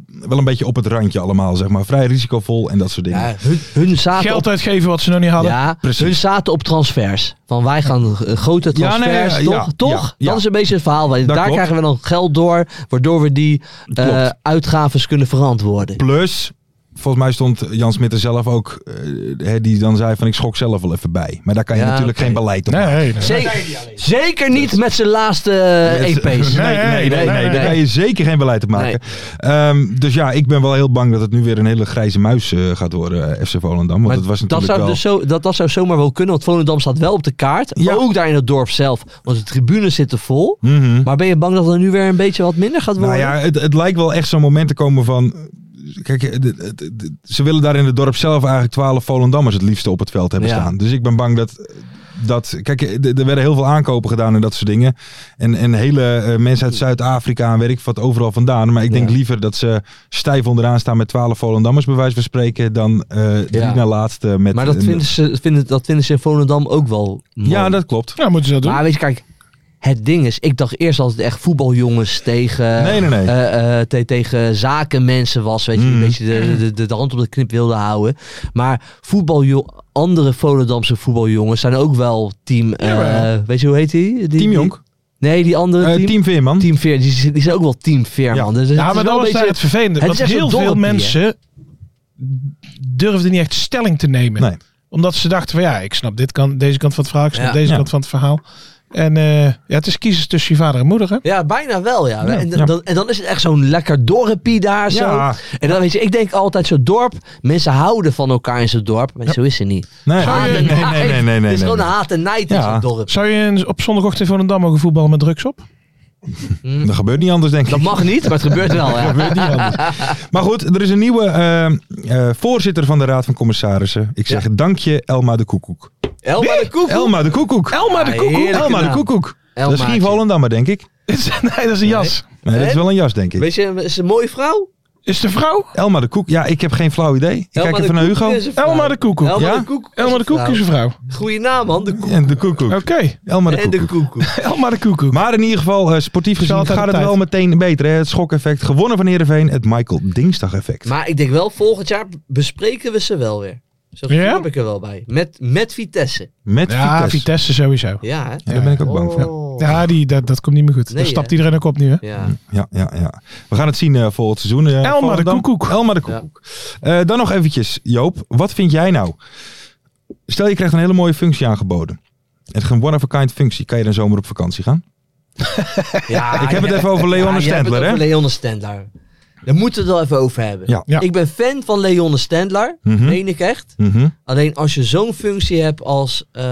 wel een beetje op het randje allemaal, zeg maar. Vrij risicovol en dat soort dingen.
Ja, hun, hun zaten
Geld
op,
uitgeven wat ze nog niet hadden.
ja,
Precies.
hun zaten op transfers. Van wij gaan eh, grote
Ja, nee,
transfers,
ja,
toch?
ja,
toch?
ja, ja.
Dat is een beetje het verhaal. Wij-
Dat
Daar
klopt.
krijgen we dan geld door, waardoor we die eh,
Klopt.
uitgaves kunnen verantwoorden.
Plus, volgens mij stond Jan Smit er zelf ook, eh, hè, die dan zei van ik schok zelf wel even bij. Maar daar kan je
Ja,
natuurlijk
oké.
geen beleid op
Nee,
maken.
nee, nee.
Zeker, zeker niet met zijn laatste eh,
Met-
EP's.
Nee, nee, nee, nee,
nee,
daar kan je zeker geen beleid op maken. Ehm, dus ja, ik ben wel heel bang dat het nu weer een hele grijze muis eh, gaat worden, eh, FC Volendam. Want
Maar
het was
dat,
natuurlijk
zou
wel...
dus zo, dat, dat zou zomaar wel kunnen, want Volendam staat wel op de kaart.
Ja.
Ook daar in het dorp zelf, want de tribunes zitten vol.
Mhm.
Maar ben je bang dat het nu weer een beetje wat minder gaat
Nou
worden?
ja, het, het lijkt wel echt zo'n moment te komen van... Kijk, het- het- het- ze willen daar in het dorp zelf eigenlijk twaalf Volendammers het liefste op het veld hebben
Ja.
staan. Dus ik ben bang dat dat, kijk, eh, d- er werden heel veel aankopen gedaan en dat soort dingen. En, en hele eh, mensen uit Zuid-Afrika en weet ik wat overal vandaan. Maar ik denk
Ja.
liever dat ze stijf onderaan staan met 12 Volendammers, bij wijze van spreken, dan eh drie
Ja.
na laatste met...
Maar dat
een-
vinden, ze, vinden, dat vinden ze in Volendam ook wel mooi.
Ja, dat klopt.
Ja, moeten ze dat doen.
Maar weet je, kijk, het ding is, ik dacht eerst altijd echt voetbaljongens tegen,
Nee, nee, nee.
eh, eh, te- tegen zakenmensen was, weet je,
Mhm.
een beetje de, de, de, de hand op de knip wilde houden. Maar voetbaljo- andere Volendamse voetbaljongens zijn ook wel team, eh,
Jawel.
weet je hoe heet die? die
Team
die-
Jonk.
Nee, die andere
Eh,
team. Team,
team Veerman.
Veer, die, die zijn ook wel Team Veerman. Dus het
Ja,
is wel
maar dat
een
was daar
beetje-
het vervelende.
het
Want
is echt zo'n
heel veel
dorpje, hè?
mensen durfden niet echt stelling te nemen.
Nee.
Omdat ze dachten van ja, ik snap dit kan, deze kant van het verhaal, ik snap
Ja.
deze
Ja.
kant van het verhaal. En eh, ja, het is kiezen tussen je vader en moeder. Hè?
Ja, bijna wel, ja. en,
ja.
Dan, en dan is het echt zo'n lekker dorpie daar zo.
Ja.
En dan weet je, ik denk altijd zo'n dorp, mensen houden van elkaar in zo'n dorp, maar zo is het niet.
Nee,
Zou
Ah, nee,
je-
nee, nee, nee, nee, nee,
Het is
nee.
gewoon haat en nijd
Ja.
in zo'n dorp.
Zou je een- op zondagochtend in Volendam mogen voetballen met drugs
Nou.
op?
Dat gebeurt niet anders, denk ik.
Dat mag niet, maar het gebeurt wel. Ja.
Gebeurt niet anders. Maar goed, er is een nieuwe eh, eh, voorzitter van de Raad van Commissarissen. Ik zeg dank je, Elma de Koekoek.
Elma de Koekoek.
Elma de Koekoek.
Elma de Koekoek. Heerlijke
Elma de
naam.
Koekoek. Dat is geen
Elmaatje.
Volendammer, denk ik.
nee, dat is een jas.
Nee, dat is
Nee?
wel een jas, denk ik.
Weet je, is een mooie vrouw?
Is de vrouw?
Elma de Koek. Ja, ik heb geen flauw idee. Ik
Elma
kijk
de
even naar
Koekoek
Hugo.
is een vrouw.
Elma de Koekoek.
Elma
Ja?
de Koekoek. is
Elma de
een
Koekoek is een
vrouw.
vrouw.
Goeie naam, man. De Koekoek.
En de Koekoek.
Oké,
Elma de
En de
Koekoek.
Koekoek.
Elma de Koekoek.
Maar in ieder geval, eh, sportief gezien
altijd
gaat
op
het wel meteen beter. Hè? Het schokeffect. Gewonnen van Heerenveen. Het Michael Dingsdag effect.
Maar ik denk wel, volgend jaar bespreken we ze wel weer. Zo
Ja?
heb ik er wel bij. Met, met Vitesse.
Met
ja,
Vitesse.
Vitesse. sowieso.
Ja, hè?
Ja, daar ben ik ook bang voor.
Oh.
Ja, die, dat, dat komt niet meer goed.
Nee,
Daar stapt
hè?
iedereen ook op nu. Hè?
Ja.
Ja, ja, ja. We gaan het zien eh, volgend seizoen. eh,
Elma de
Volendam.
Koekoek.
Elma de
Ja.
Koekoek. Eh, dan nog eventjes, Joop. Wat vind jij nou? Stel, je krijgt een hele mooie functie aangeboden. Het is een one-of-a-kind functie. Kan je dan zomer op vakantie gaan?
Ja,
Ik heb het
ja.
even over Leon
Ja,
en
jij hebt het
Stendler, hè?
over Leon Stendler. Daar moeten we het wel even over hebben.
Ja.
Ja.
Ik ben fan van Leon Stendler.
Mhm.
Meen ik echt.
Mhm.
Alleen als je zo'n functie hebt als eh,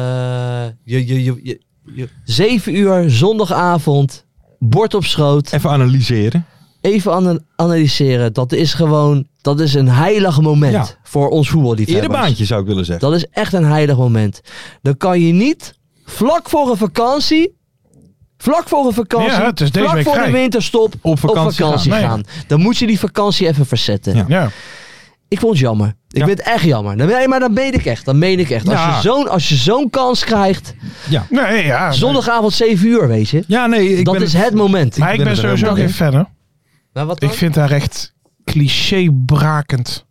je, je, je, je, je- zeven uur zondagavond, bord op schoot,
Even analyseren.
even ana- analyseren. Dat is gewoon, dat is een heilig moment
Ja.
voor ons
Eerder
voetballiefhebbers.
baantje, zou ik willen zeggen.
Dat is echt een heilig moment. Dan kan je niet vlak voor een vakantie, vlak voor een vakantie,
Ja, het is deze
vlak
week
voor
vrij.
een winterstop
Op vakantie,
op vakantie
gaan.
gaan. Dan moet je die vakantie even verzetten.
Ja.
Ja.
Ik vond het jammer. Ik
Ja.
vind het echt jammer. Dan, nee, maar dat meen ik echt. Dat meen ik echt.
Ja.
Als je zo'n als je zo'n kans krijgt,
Nee, ja.
zondagavond 7 uur, weet je.
Ja, nee. Ik
dat
ben
is het moment.
Maar ik ben,
ben het er
sowieso
helemaal
geen fan. Hè?
Maar wat
Ik
dan?
vind haar echt clichébrakend.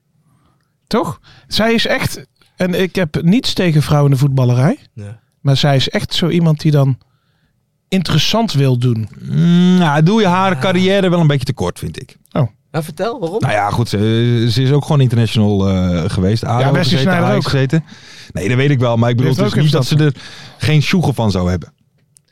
Toch? Zij is echt. En ik heb niets tegen vrouwen in de voetballerij.
Nee.
Maar zij is echt zo iemand die dan interessant wil doen.
Mm, nou, doe je haar carrière wel een beetje tekort, vind ik.
Nou, vertel, waarom?
Nou ja, goed. Ze, ze is ook gewoon international eh, geweest. ADO
Ja, Wesley
gezeten,
Sneijder
Ajax
ook.
gezeten. Nee, dat weet ik wel. Maar ik bedoel
heeft
dus
ook
niet dat ze
even
er geen sjoegel van zou hebben.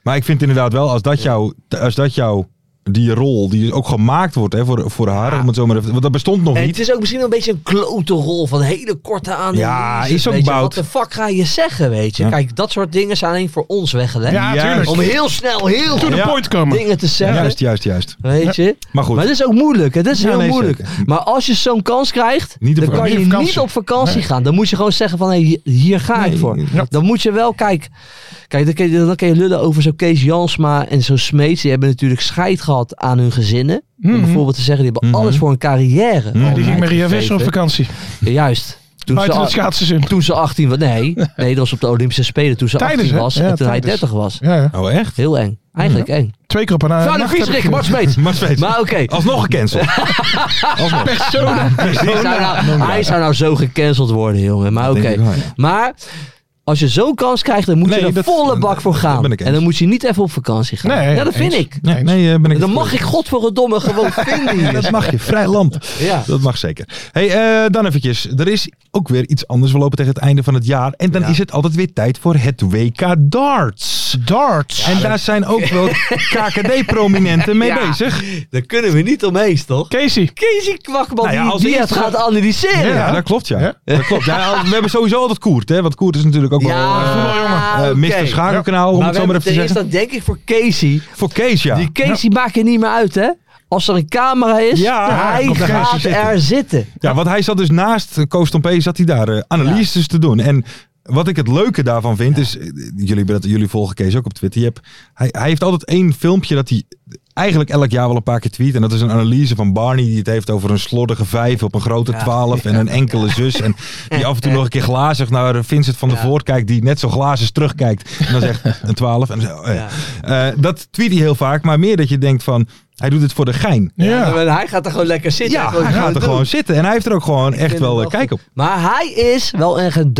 Maar ik vind inderdaad wel, als dat jou, als dat jou die rol, die ook gemaakt wordt hè, voor, voor haar, om het zo maar even, want dat bestond nog
En
niet.
het is ook misschien wel een beetje een klote rol van hele korte aan.
Ja, is ook
weet je.
bout.
Wat de fuck ga je zeggen, weet je?
Ja.
Kijk, dat soort dingen zijn alleen voor ons weggelegd.
Ja,
juist.
tuurlijk.
Om heel snel heel
To the
Ja.
point komen.
dingen te zeggen.
Juist, juist, juist.
Weet je?
Maar goed.
Maar het is ook moeilijk. Het is
Ja,
heel
nee,
moeilijk.
zeker.
Maar als je zo'n kans krijgt,
Niet op
dan kan
vakantie.
je
Niet op vakantie.
niet op vakantie gaan. Dan moet je gewoon zeggen van, hé, hi- hier ga ik
Nee,
voor.
ja.
Dan moet je wel, kijk, kijk dan, kun je, dan kun je lullen over zo'n Kees Jansma en zo'n Smeets. Die hebben natuurlijk scheid gehad aan hun gezinnen. Om
Mhm.
bijvoorbeeld te zeggen, die hebben
Mhm.
alles voor een carrière. al
Die ging met Ria Visser op
uitgegeven.
vakantie.
Ja, Juist. Toen
Buiten
ze,
het schaatsseizoen.
toen ze 18 was. Nee, nee, dat was op de Olympische Spelen toen ze
Tijdens,
18
hè?
was.
Ja,
en toen hij
tijdens.
30 was.
Ja, ja.
Oh, echt?
Heel eng. Eigenlijk eng.
Twee keer op een nacht.
Zou de
heb ik
Vriesrik,
gezien. Oh,
Mart Smeets.
Maar steeds.
Maar oké.
Alsnog gecanceld. Alsnog.
Hij zou nou, hij zou nou zo gecanceld worden, jongen. Maar
Dat
oké.
denk ik wel, ja.
Maar als je zo'n kans krijgt, dan moet
Nee,
je er
dat-
volle bak voor
dat
gaan.
ben ik eens.
En dan moet je niet even op vakantie gaan.
Nee,
ja, dat vind
eens.
ik.
Ja, nee, eh, ben ik
Dan
het-
mag ik godverdomme gewoon vinden
Ja, dat
hier.
mag je. Vrij land.
Ja.
Dat mag zeker. Hey, eh, dan eventjes. Er is ook weer iets anders. We lopen tegen het einde van het jaar. En dan
Ja.
is het altijd weer tijd voor het WK darts.
Darts.
en daar zijn ook wel KKD-prominenten mee
Ja.
bezig.
Daar kunnen we niet omheen, toch?
Casey.
Casey Kwakman,
Nou ja,
die,
als
die het
eerste-
gaat analyseren.
Ja, dat klopt ja. Dat klopt. Ja, al- we hebben sowieso altijd Koert. Hè? Want Koert is natuurlijk ook wel eh,
Ja, Ah,
eh,
oké.
Mr. Schakelkanaal, om
Maar
het
we
zo maar
hebben
even te
ten eerste,
zeggen.
dan denk ik voor Casey.
Voor Kees ja.
Die Casey maakt het niet meer uit, hè? Als er een camera is,
Ja,
hij
komt er Casey
gaat
zitten.
er zitten.
Ja, want hij zat dus naast eh, Koos Tompé, zat hij daar eh, analyses te doen. En Wat ik het leuke daarvan vind is, eh, jullie, hebben dat, jullie volgen Kees ook op Twitter. Je hebt, hij, hij heeft altijd één filmpje dat hij eigenlijk elk jaar wel een paar keer tweet. En dat is een analyse van Barney die het heeft over een slordige vijf op een grote twaalf en een enkele zus. En die af en toe nog een keer glazig naar Vincent van der Voort kijkt die net zo glazig terugkijkt. En dan zegt een twaalf. En dan zegt, oh ja. Eh, dat tweet hij heel vaak, maar meer dat je denkt van, hij doet het voor de gein.
Ja.
En hij gaat er gewoon lekker zitten.
Ja,
gewoon
hij gaat er
doen.
gewoon zitten. En hij heeft er ook gewoon echt
vind
wel
hem
eh, kijk op.
goed. Maar hij is wel echt een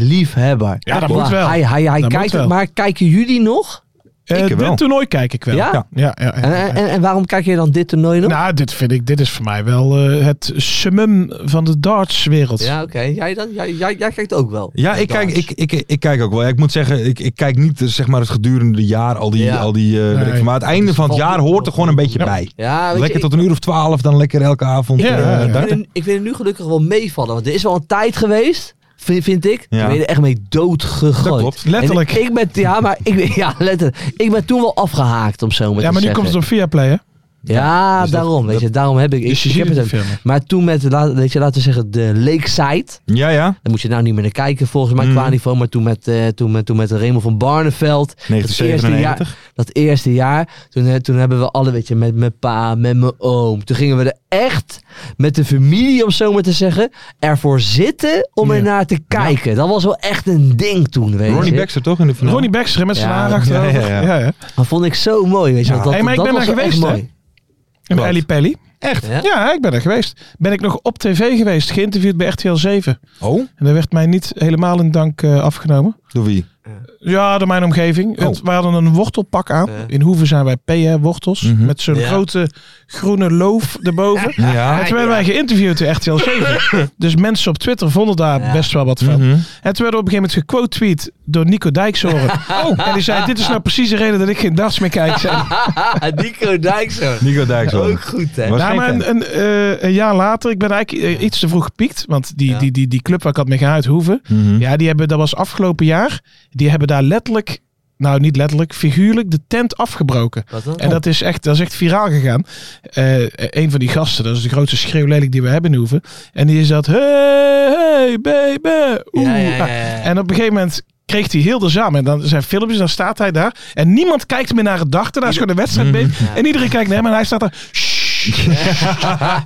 dartsliefhebber.
Ja, dat
Maar
moet wel.
Hij, hij, hij
Dat moet
kijkt,
wel.
maar kijken jullie nog?
Eh,
Ik wel.
dit toernooi kijk ik wel.
Ja?
Ja, ja, ja, ja.
En, en, en waarom kijk je dan dit toernooi nog?
Nou, dit vind ik, dit is voor mij wel eh, het summum van de dartswereld.
ja, oké. Jij, dan? Jij, jij, jij kijkt ook wel.
Ja, ik kijk, ik, ik, ik kijk ook wel. Ja, Ik moet zeggen, ik, ik kijk niet eh, zeg maar, het gedurende jaar al die...
Ja.
Al die eh, weet ik veel. maar het einde van het jaar hoort er gewoon een beetje
Ja.
bij.
Ja, weet je,
Lekker
ik-
tot een uur of twaalf, dan lekker elke avond.
Ja,
eh,
ja, ja.
daar.
Ik vind, er, ik vind er nu gelukkig wel meevallen. Want er is wel een tijd geweest, vind, vind ik.
Ja.
Toen ben je er echt mee doodgegooid.
Dat klopt,
letterlijk.
En ik ben, ja, maar ik, ja, letterlijk. Ik ben toen wel afgehaakt, om zo maar
Ja,
te
maar nu
zeggen.
komt het op Viaplay, hè?
Ja,
Dus dat-
daarom. weet
dat-
je, daarom heb ik... ik,
Dus je
ik
ziet
heb
het
het
in
ook.
filmen.
Maar toen met, la- weet je, laten we zeggen, de Lakeside.
Ja, ja.
Daar moet je nou niet meer naar kijken, volgens mij,
Mhm.
qua niveau. Maar toen met, eh toen met, toen met Raymond van Barneveld. Dat eerste
1997.
jaar, dat eerste jaar toen, eh, toen hebben we alle, weet je, met mijn pa, met mijn oom. Toen gingen we er echt met de familie, om zo maar te zeggen, ervoor zitten om
Ja.
er naar te kijken. Dat was wel echt een ding toen, weet
Ronnie
je.
Baxter toch in de finale?
Ronnie Baxter hè, met zijn
Ja,
haar
ja,
achterover. Ja,
ja,
ja.
ja.
Dat vond ik zo mooi, weet je. want Dat,
Hey, maar ik
dat
ben
was
daar
wel echt
geweest, hè?
mooi.
En
Wat?
Ellie Pelly. Echt?
Ja?
Ja? ik ben er geweest. Ben ik nog op tv geweest, geïnterviewd bij RTL 7.
Oh,
En daar werd mij niet helemaal in dank eh, afgenomen.
door wie?
Ja, door mijn omgeving.
Oh.
Het, wij hadden een wortelpak aan.
Ja.
In Hoeven zijn wij P, hè, wortels.
Mhm.
Met zo'n
Ja.
grote groene loof erboven. En
Ja.
toen werden wij geïnterviewd door RTL 7. dus mensen op Twitter vonden daar
Ja.
best wel wat van.
Mhm.
En toen werd op een gegeven moment gequote tweet door Nico Dijkshoren. oh. En die zei, dit is nou precies de reden dat ik geen darts meer kijk. Zei,
Ah, Nico Dijkstra.
Nico Dijkshoorn.
Ook goed, hè?
Was
Ja,
geen
maar
fan.
een, een, eh, een jaar later, ik ben eigenlijk eh, iets te vroeg gepiekt. Want die,
Ja.
die, die, die club waar ik had mee geuit hoeven,
Mhm.
ja, die hebben, dat was afgelopen jaar, die hebben daar letterlijk, nou niet letterlijk, figuurlijk de tent afgebroken.
Wat dan?
En dat is echt, dat is echt viraal gegaan. Eh, een van die gasten, dat is de grootste schreeuwlelijk die we hebben in Hoeven. En die is dat, hey, hey, baby, oeh.
Ja, ja, ja, ja.
En op een gegeven moment kreeg hij heel de zaal. En dan zijn filmpjes, dan staat hij daar. En niemand kijkt meer naar het dag. Daarna is gewoon de wedstrijd
Mhm.
bezig. En iedereen kijkt naar hem en hij staat daar. "Shh."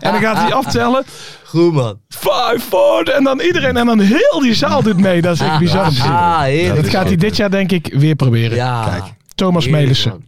en dan gaat hij aftellen.
Goed, man.
Five, four. En dan iedereen. En dan heel die zaal doet mee. Dat is echt bizar.
Ah, heerlijk.
dat gaat hij dit jaar denk ik weer proberen.
Ja.
Kijk,
Thomas
Heerlijk,
Melissen.
man.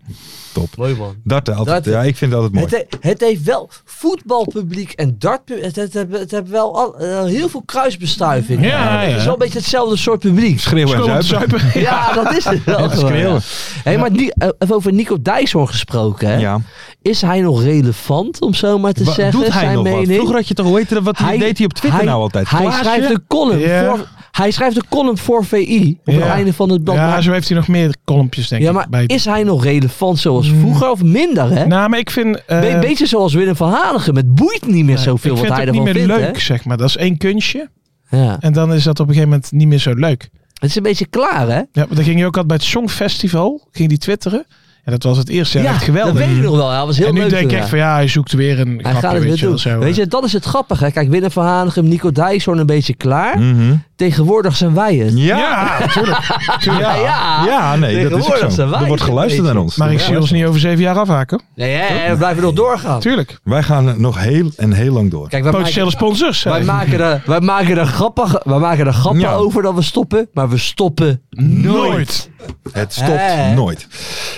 Top.
Mooi, man.
Darten altijd.
Darten.
Ja, ik vind het altijd mooi.
Het, he- het heeft wel voetbalpubliek en dartpubliek. Het, het, hebben- het heeft wel al, eh, heel veel kruisbestuiving. Eh,
Ja, ja.
Het is wel een beetje hetzelfde soort publiek.
Schreeuwen en
Kom op,
zuipen.
zuipen.
Ja, dat is het wel. gewoon, ja.
schreeuwen.
Hey, maar Ni- eh, even over Nico Dijkshoorn gesproken. Hè?
Ja.
Is hij nog relevant, om zo maar te
Wat
zeggen?
doet hij
zijn
nog wat?
mening?
Vroeger had je toch, hoe heette dat, wat hij, deed hij op Twitter
hij-
nou altijd?
Hij
Klaasje?
schrijft, een column
Ja.
voor, hij schrijft een column voor VI op het
Ja.
einde van het blad.
Ja,
Maar-
zo heeft hij nog meer kolompjes denk
ja,
ik.
maar
bij-
is hij nog relevant zoals
Mm.
vroeger of minder? Hè?
Nou, maar ik vind... eh,
Be- beetje zoals Willem van Hanegem. Het boeit niet meer
ik
zoveel
vind
wat hij
het ook
ervan
niet meer
vindt. hè?
leuk, zeg maar. Dat is één kunstje.
Ja.
En dan is dat op een gegeven moment niet meer zo leuk.
Het is een beetje klaar, hè?
Ja, maar dan ging je ook altijd bij het Songfestival, ging die twitteren. En dat was het eerste jaar echt geweldig. Mhm.
dat weet ik nog wel. Hij was heel
en nu
leuk.
denk ik
toen,
echt
ja.
van ja, hij zoekt weer een
hij gaat
grapje,
het
weet
weer
je wel.
doen.
Zo,
weet
eh.
je, dat is het grappige. hè. Kijk, Willem van Hanegem, Nico Dijshoorn een beetje klaar.
Mhm.
Tegenwoordig zijn wij het.
Ja,
Mm. Ja, natuurlijk.
Ja,
ja.
Ja, nee, dat is ook
Tegenwoordig
zo.
zijn wij
Er wordt
het
geluisterd
een
naar
beetje.
ons.
Maar
Er
ik
wordt
zie ons niet over zeven jaar afhaken.
Nee, hè, we blijven nog doorgaan.
Tuurlijk.
Wij gaan nog heel en heel lang door.
Kijk, wij
Potentiële
maken,
sponsors. hè.
wij maken er, wij maken er grappig, wij maken er grappen
Ja.
over dat we stoppen. Maar we stoppen nooit.
Het stopt
Hè?
nooit.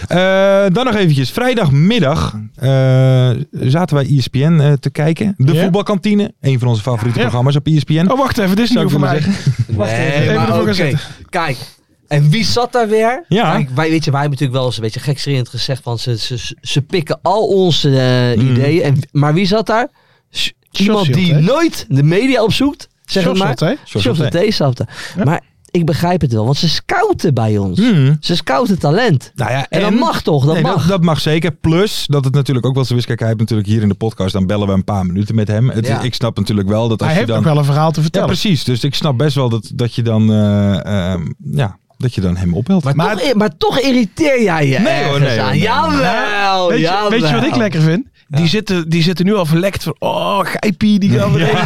Eh, dan nog eventjes. Vrijdagmiddag eh, zaten wij ESPN eh, te kijken. De
Ja?
voetbalkantine. Een van onze favoriete
Ja.
programma's op E ESPN.
Oh, wacht even, dit is
Zou
nieuw
ik
voor
maar
mij.
Nee,
even
maar
ervoor
oké.
gaan zitten.
Kijk, en wie zat daar weer?
Ja.
Kijk, wij, weet je, wij hebben natuurlijk wel eens een beetje gekscherend gezegd van ze, ze, ze pikken al onze eh,
Hmm.
ideeën. En, maar wie zat daar? S- Iemand
Shortshield,
die
hè?
nooit de media opzoekt. Zeg het maar.
Shortshield, hè?
Sjors
Shortshield,
zat daar. Maar ik begrijp het wel, want ze scouten bij ons.
Hmm.
Ze scouten talent.
Nou ja,
En dat mag toch, dat
Nee,
mag.
Dat, mag zeker. Plus dat het natuurlijk ook wel zo is. Kijk, hij heeft natuurlijk hier in de podcast. Dan bellen we een paar minuten met hem. Het,
Ja.
Ik snap natuurlijk wel dat als
Hij
je
heeft
dan.
nog wel een verhaal te
ja,
vertellen.
precies. Dus ik snap best wel dat, dat je dan. eh, ehm, ja, dat je dan hem opbelt.
Maar, toch, i- maar toch irriteer jij je
Nee, hoor,
ergens
nee, hoor,
aan.
nee.
Jawel,
Weet je,
jawel.
weet je wat ik lekker vind? Die, zitten, die zitten nu al verlekt van, oh, Gijpie, die gaan we erin.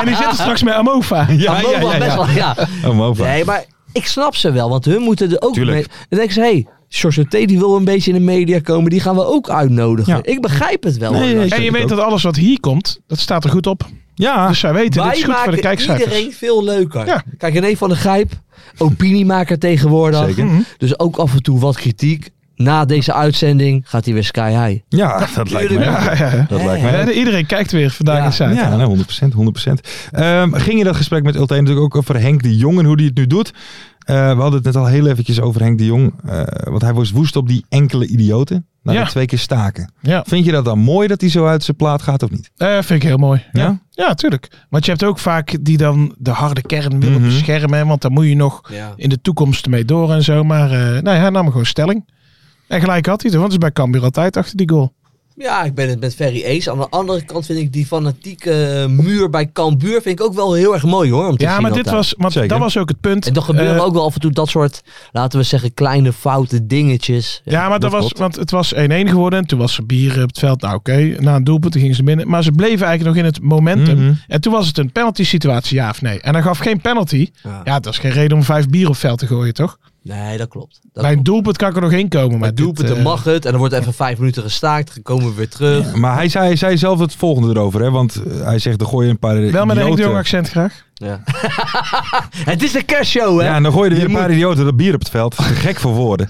En die zitten straks met Amofa.
ja,
Ja, Boba best wel, ja.
Oh, Mova.
Nee, maar ik snap ze wel, want hun moeten er ook
Tuurlijk.
mee. Dan denk ik, hé, hey, George T. die wil een beetje in de media komen, die gaan we ook uitnodigen.
Ja.
Ik begrijp het wel.
Nee,
hoor.
ik
En je
het
weet
ook.
dat alles wat hier komt, dat staat er goed op.
Ja,
Dus zij weten, dit
Ah, Wij
is goed voor de
maken
kijkcijfers.
iedereen veel leuker.
Ja.
Kijk, René van de Gijp, opiniemaker tegenwoordig.
Zeker.
Mhm.
Dus ook af en toe wat kritiek. Na deze uitzending gaat hij weer sky high.
ja, dat lijkt me.
Ja, ja, ja.
Dat
Ja,
lijkt
ja.
mij.
Ja, iedereen kijkt weer vandaag
Ja.
in zijn.
Ja, nou, 100%. 100%. Ehm, ging je dat gesprek met Ulte natuurlijk ook over Henk de Jong en hoe hij het nu doet? Eh, we hadden het net al heel eventjes over Henk de Jong. eh, want hij was woest op die enkele idioten. Na de
Ja.
twee keer staken.
Ja.
Vind je dat dan mooi dat hij zo uit zijn plaat gaat of niet?
Eh, vind ik heel mooi. Ja?
Ja?
ja, tuurlijk. Want je hebt ook vaak die dan de harde kern willen
Mhm.
beschermen. hè, Want daar moet je nog in de toekomst mee door en zo. Maar eh nou, ja, hij nam gewoon stelling. En gelijk had hij het. Want het is bij Cambuur altijd achter die goal.
Ja, ik ben het met Ferry eens. Aan de andere kant vind ik die fanatieke eh, muur bij Cambuur vind ik ook wel heel erg mooi hoor. Om te
Ja,
zien
maar dit
altijd.
was, want
Zeker.
dat was ook het punt.
En dan gebeuren
Eh,
ook wel af en toe dat soort, laten we zeggen, kleine foute dingetjes.
Ja, maar dat, was,
klopt.
want het was 1-1 geworden. En toen was er bier op het veld. Nou, oké. Na een doelpunt gingen ze binnen. Maar ze bleven eigenlijk nog in het momentum.
Mhm.
En toen was het een penalty situatie, ja of nee. En hij gaf geen penalty.
Ja.
Ja, dat is geen reden om vijf bier op het veld te gooien, toch?
Nee, dat klopt. Dat
Bij een
klopt.
doelpunt kan ik er nog in komen. Maar
Bij doelpunten
dit, eh,
mag het en dan wordt even vijf minuten gestaakt. Dan komen we weer terug.
Maar hij zei, hij zei zelf het volgende erover. Hè? Want eh, hij zegt, dan gooi je een paar
Wel met een Henk de
idioten.
Jong accent graag.
Ja. het is de kerstshow, hè?
Ja, en dan gooi je er weer
Je
een paar idioten dat bier op het veld. Gek voor woorden.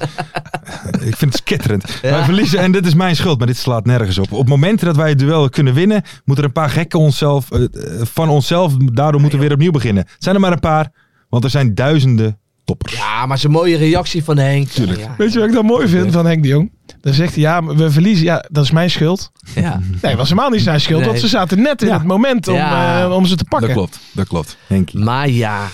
ik vind het skitterend. Wij verliezen, en dit is mijn schuld, maar dit slaat nergens op. Op momenten dat wij het duel kunnen winnen, moeten er een paar gekken onszelf, eh, eh, van onszelf, daardoor moeten we weer opnieuw beginnen. Het zijn er maar een paar, want er zijn duizenden toppers.
Ja, maar zo'n mooie reactie van Henk. Tuurlijk. Ja,
Weet je wat ik dan mooi vind van Henk de Jong? Dan zegt hij, ja, maar we verliezen. Ja, dat is mijn schuld.
ja.
Nee, dat was helemaal niet zijn schuld.
Nee.
Want ze zaten net in
Ja.
het moment om,
Ja.
eh, om ze te
dat
pakken.
klopt, dat klopt. Henkie.
Maar ja,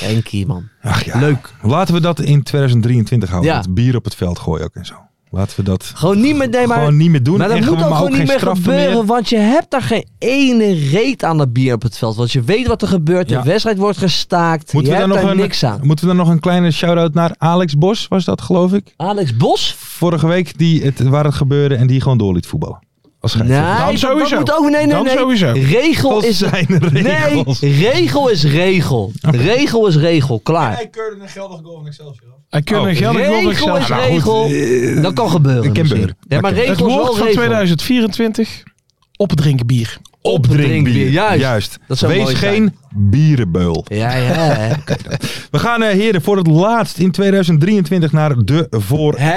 Henkie, man.
Ach ja.
Leuk.
Laten we dat in 2023 houden.
Ja.
Dat bier op het veld gooien ook en zo. Laten we dat
Gewoon niet meer, nee, maar...
gewoon niet meer doen.
maar dat
en
moet ook
maar
gewoon niet
geen
meer
straffen
gebeuren, want je hebt daar geen ene reet aan dat bier op het veld. Want je weet wat er gebeurt,
Ja.
de wedstrijd wordt gestaakt,
Moeten
je hebt
we, dan nog
daar
een,
niks aan.
moeten we dan nog een kleine shout-out naar Alex Bos, was dat geloof ik?
Alex Bos?
Vorige week die het, waar het gebeurde en die gewoon door liet voetballen. Als
Nee,
scheidsrechter.
dat- dat
sowieso.
moet ook, nee, nee,
Dan
nee.
sowieso.
Regel
Dat
Nou, is...
zijn de regels.
Nee, regel is regel. Regel is regel, klaar.
keurde een geldig goal van Excelsior.
Hij kunnen
Oh.
een geldig goal
Regel
voor
is
zichzelf.
nou goed,
regel.
eh,
dat kan gebeuren.
kan
misschien.
gebeuren.
Ja, maar
Dat kan.
Het
regel is wel
woord van
regel.
2024, opdrinken bier.
Opdrinkbier, juist.
Juist.
Dat zou
Wees
mooi zijn.
geen bierenbeul.
Ja, ja.
We gaan eh, heren voor het laatst in 2023 naar de voor
Hè?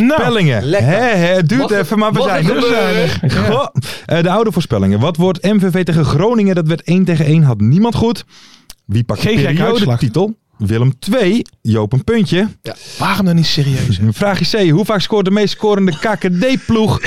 Nou,
Spellingen.
Nou, lekker.
Hè, hè, het duurt
Mag het-
even, maar we
mag
zijn
het
er.
gebeuren?
We zijn er. Goh. Eh, de oude voorspellingen. Wat wordt MVV tegen Groningen? Dat werd 1 tegen 1, had niemand goed. Wie pakt
Geen
de
gekke
periode
uitslag.
titel? Willem 2, Joop een puntje.
Waarom dan niet serieus?
Vraag C. Hoe vaak scoort de meest scorende KKD-ploeg?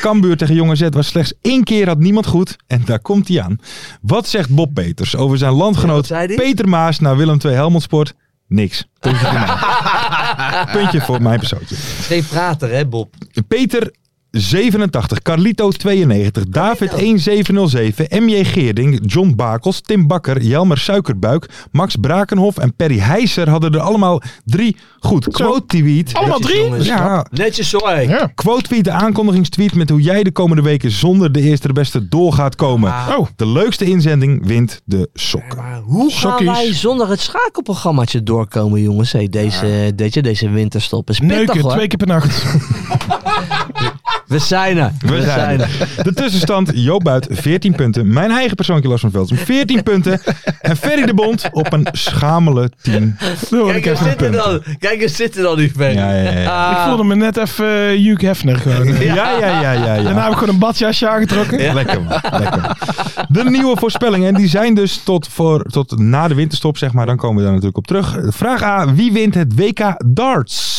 Kambuur tegen Jonge Z was slechts één keer had niemand goed. En daar komt hij aan. Wat zegt Bob Peters over zijn landgenoot
Ja, wat zei die?
Peter Maas naar Willem II Helmondsport? Niks. Puntje voor mij. Puntje voor mijn persoontje.
Geen prater, hè, Bob?
Peter 87, Carlito 92, David 1707, MJ Geerding, John Bakels, Tim Bakker, Jelmer Suikerbuik, Max Brakenhof en Perry Heijser hadden er allemaal drie goed. Quote-tweet.
Allemaal drie?
Ja,
Netjes zo, hè.
Ja.
quote-tweet, de aankondigingstweet met hoe jij de komende weken zonder de eerste de beste door gaat komen.
Ah.
Oh.
De leukste inzending wint de sokken.
Maar hoe gaan
Sokkies.
wij zonder het schakelprogrammaatje doorkomen, jongens? Hey, deze, deze, deze winterstop is pittig,
Neuken,
hoor.
twee keer per nacht.
We zijn er.
We zijn er. De tussenstand, Joop Buit 14 punten. Mijn eigen persoontje Lars van Velsen 14 punten. En Ferry de Bond op een schamele 10
Kijk, eens zitten
punten.
dan. Kijk, eens zitten dan die fan.
Ja, ja, ja, ja.
Ik voelde me net even eh, Hugh Hefner gewoon. eh.
Ja, ja, ja, ja.
Daarna
ja.
heb ik gewoon een badjasje aangetrokken.
Lekker man, lekker man. De nieuwe voorspellingen, en die zijn dus tot, voor, tot na de winterstop, zeg maar. Dan komen we daar natuurlijk op terug. Vraag A, wie wint het WK darts?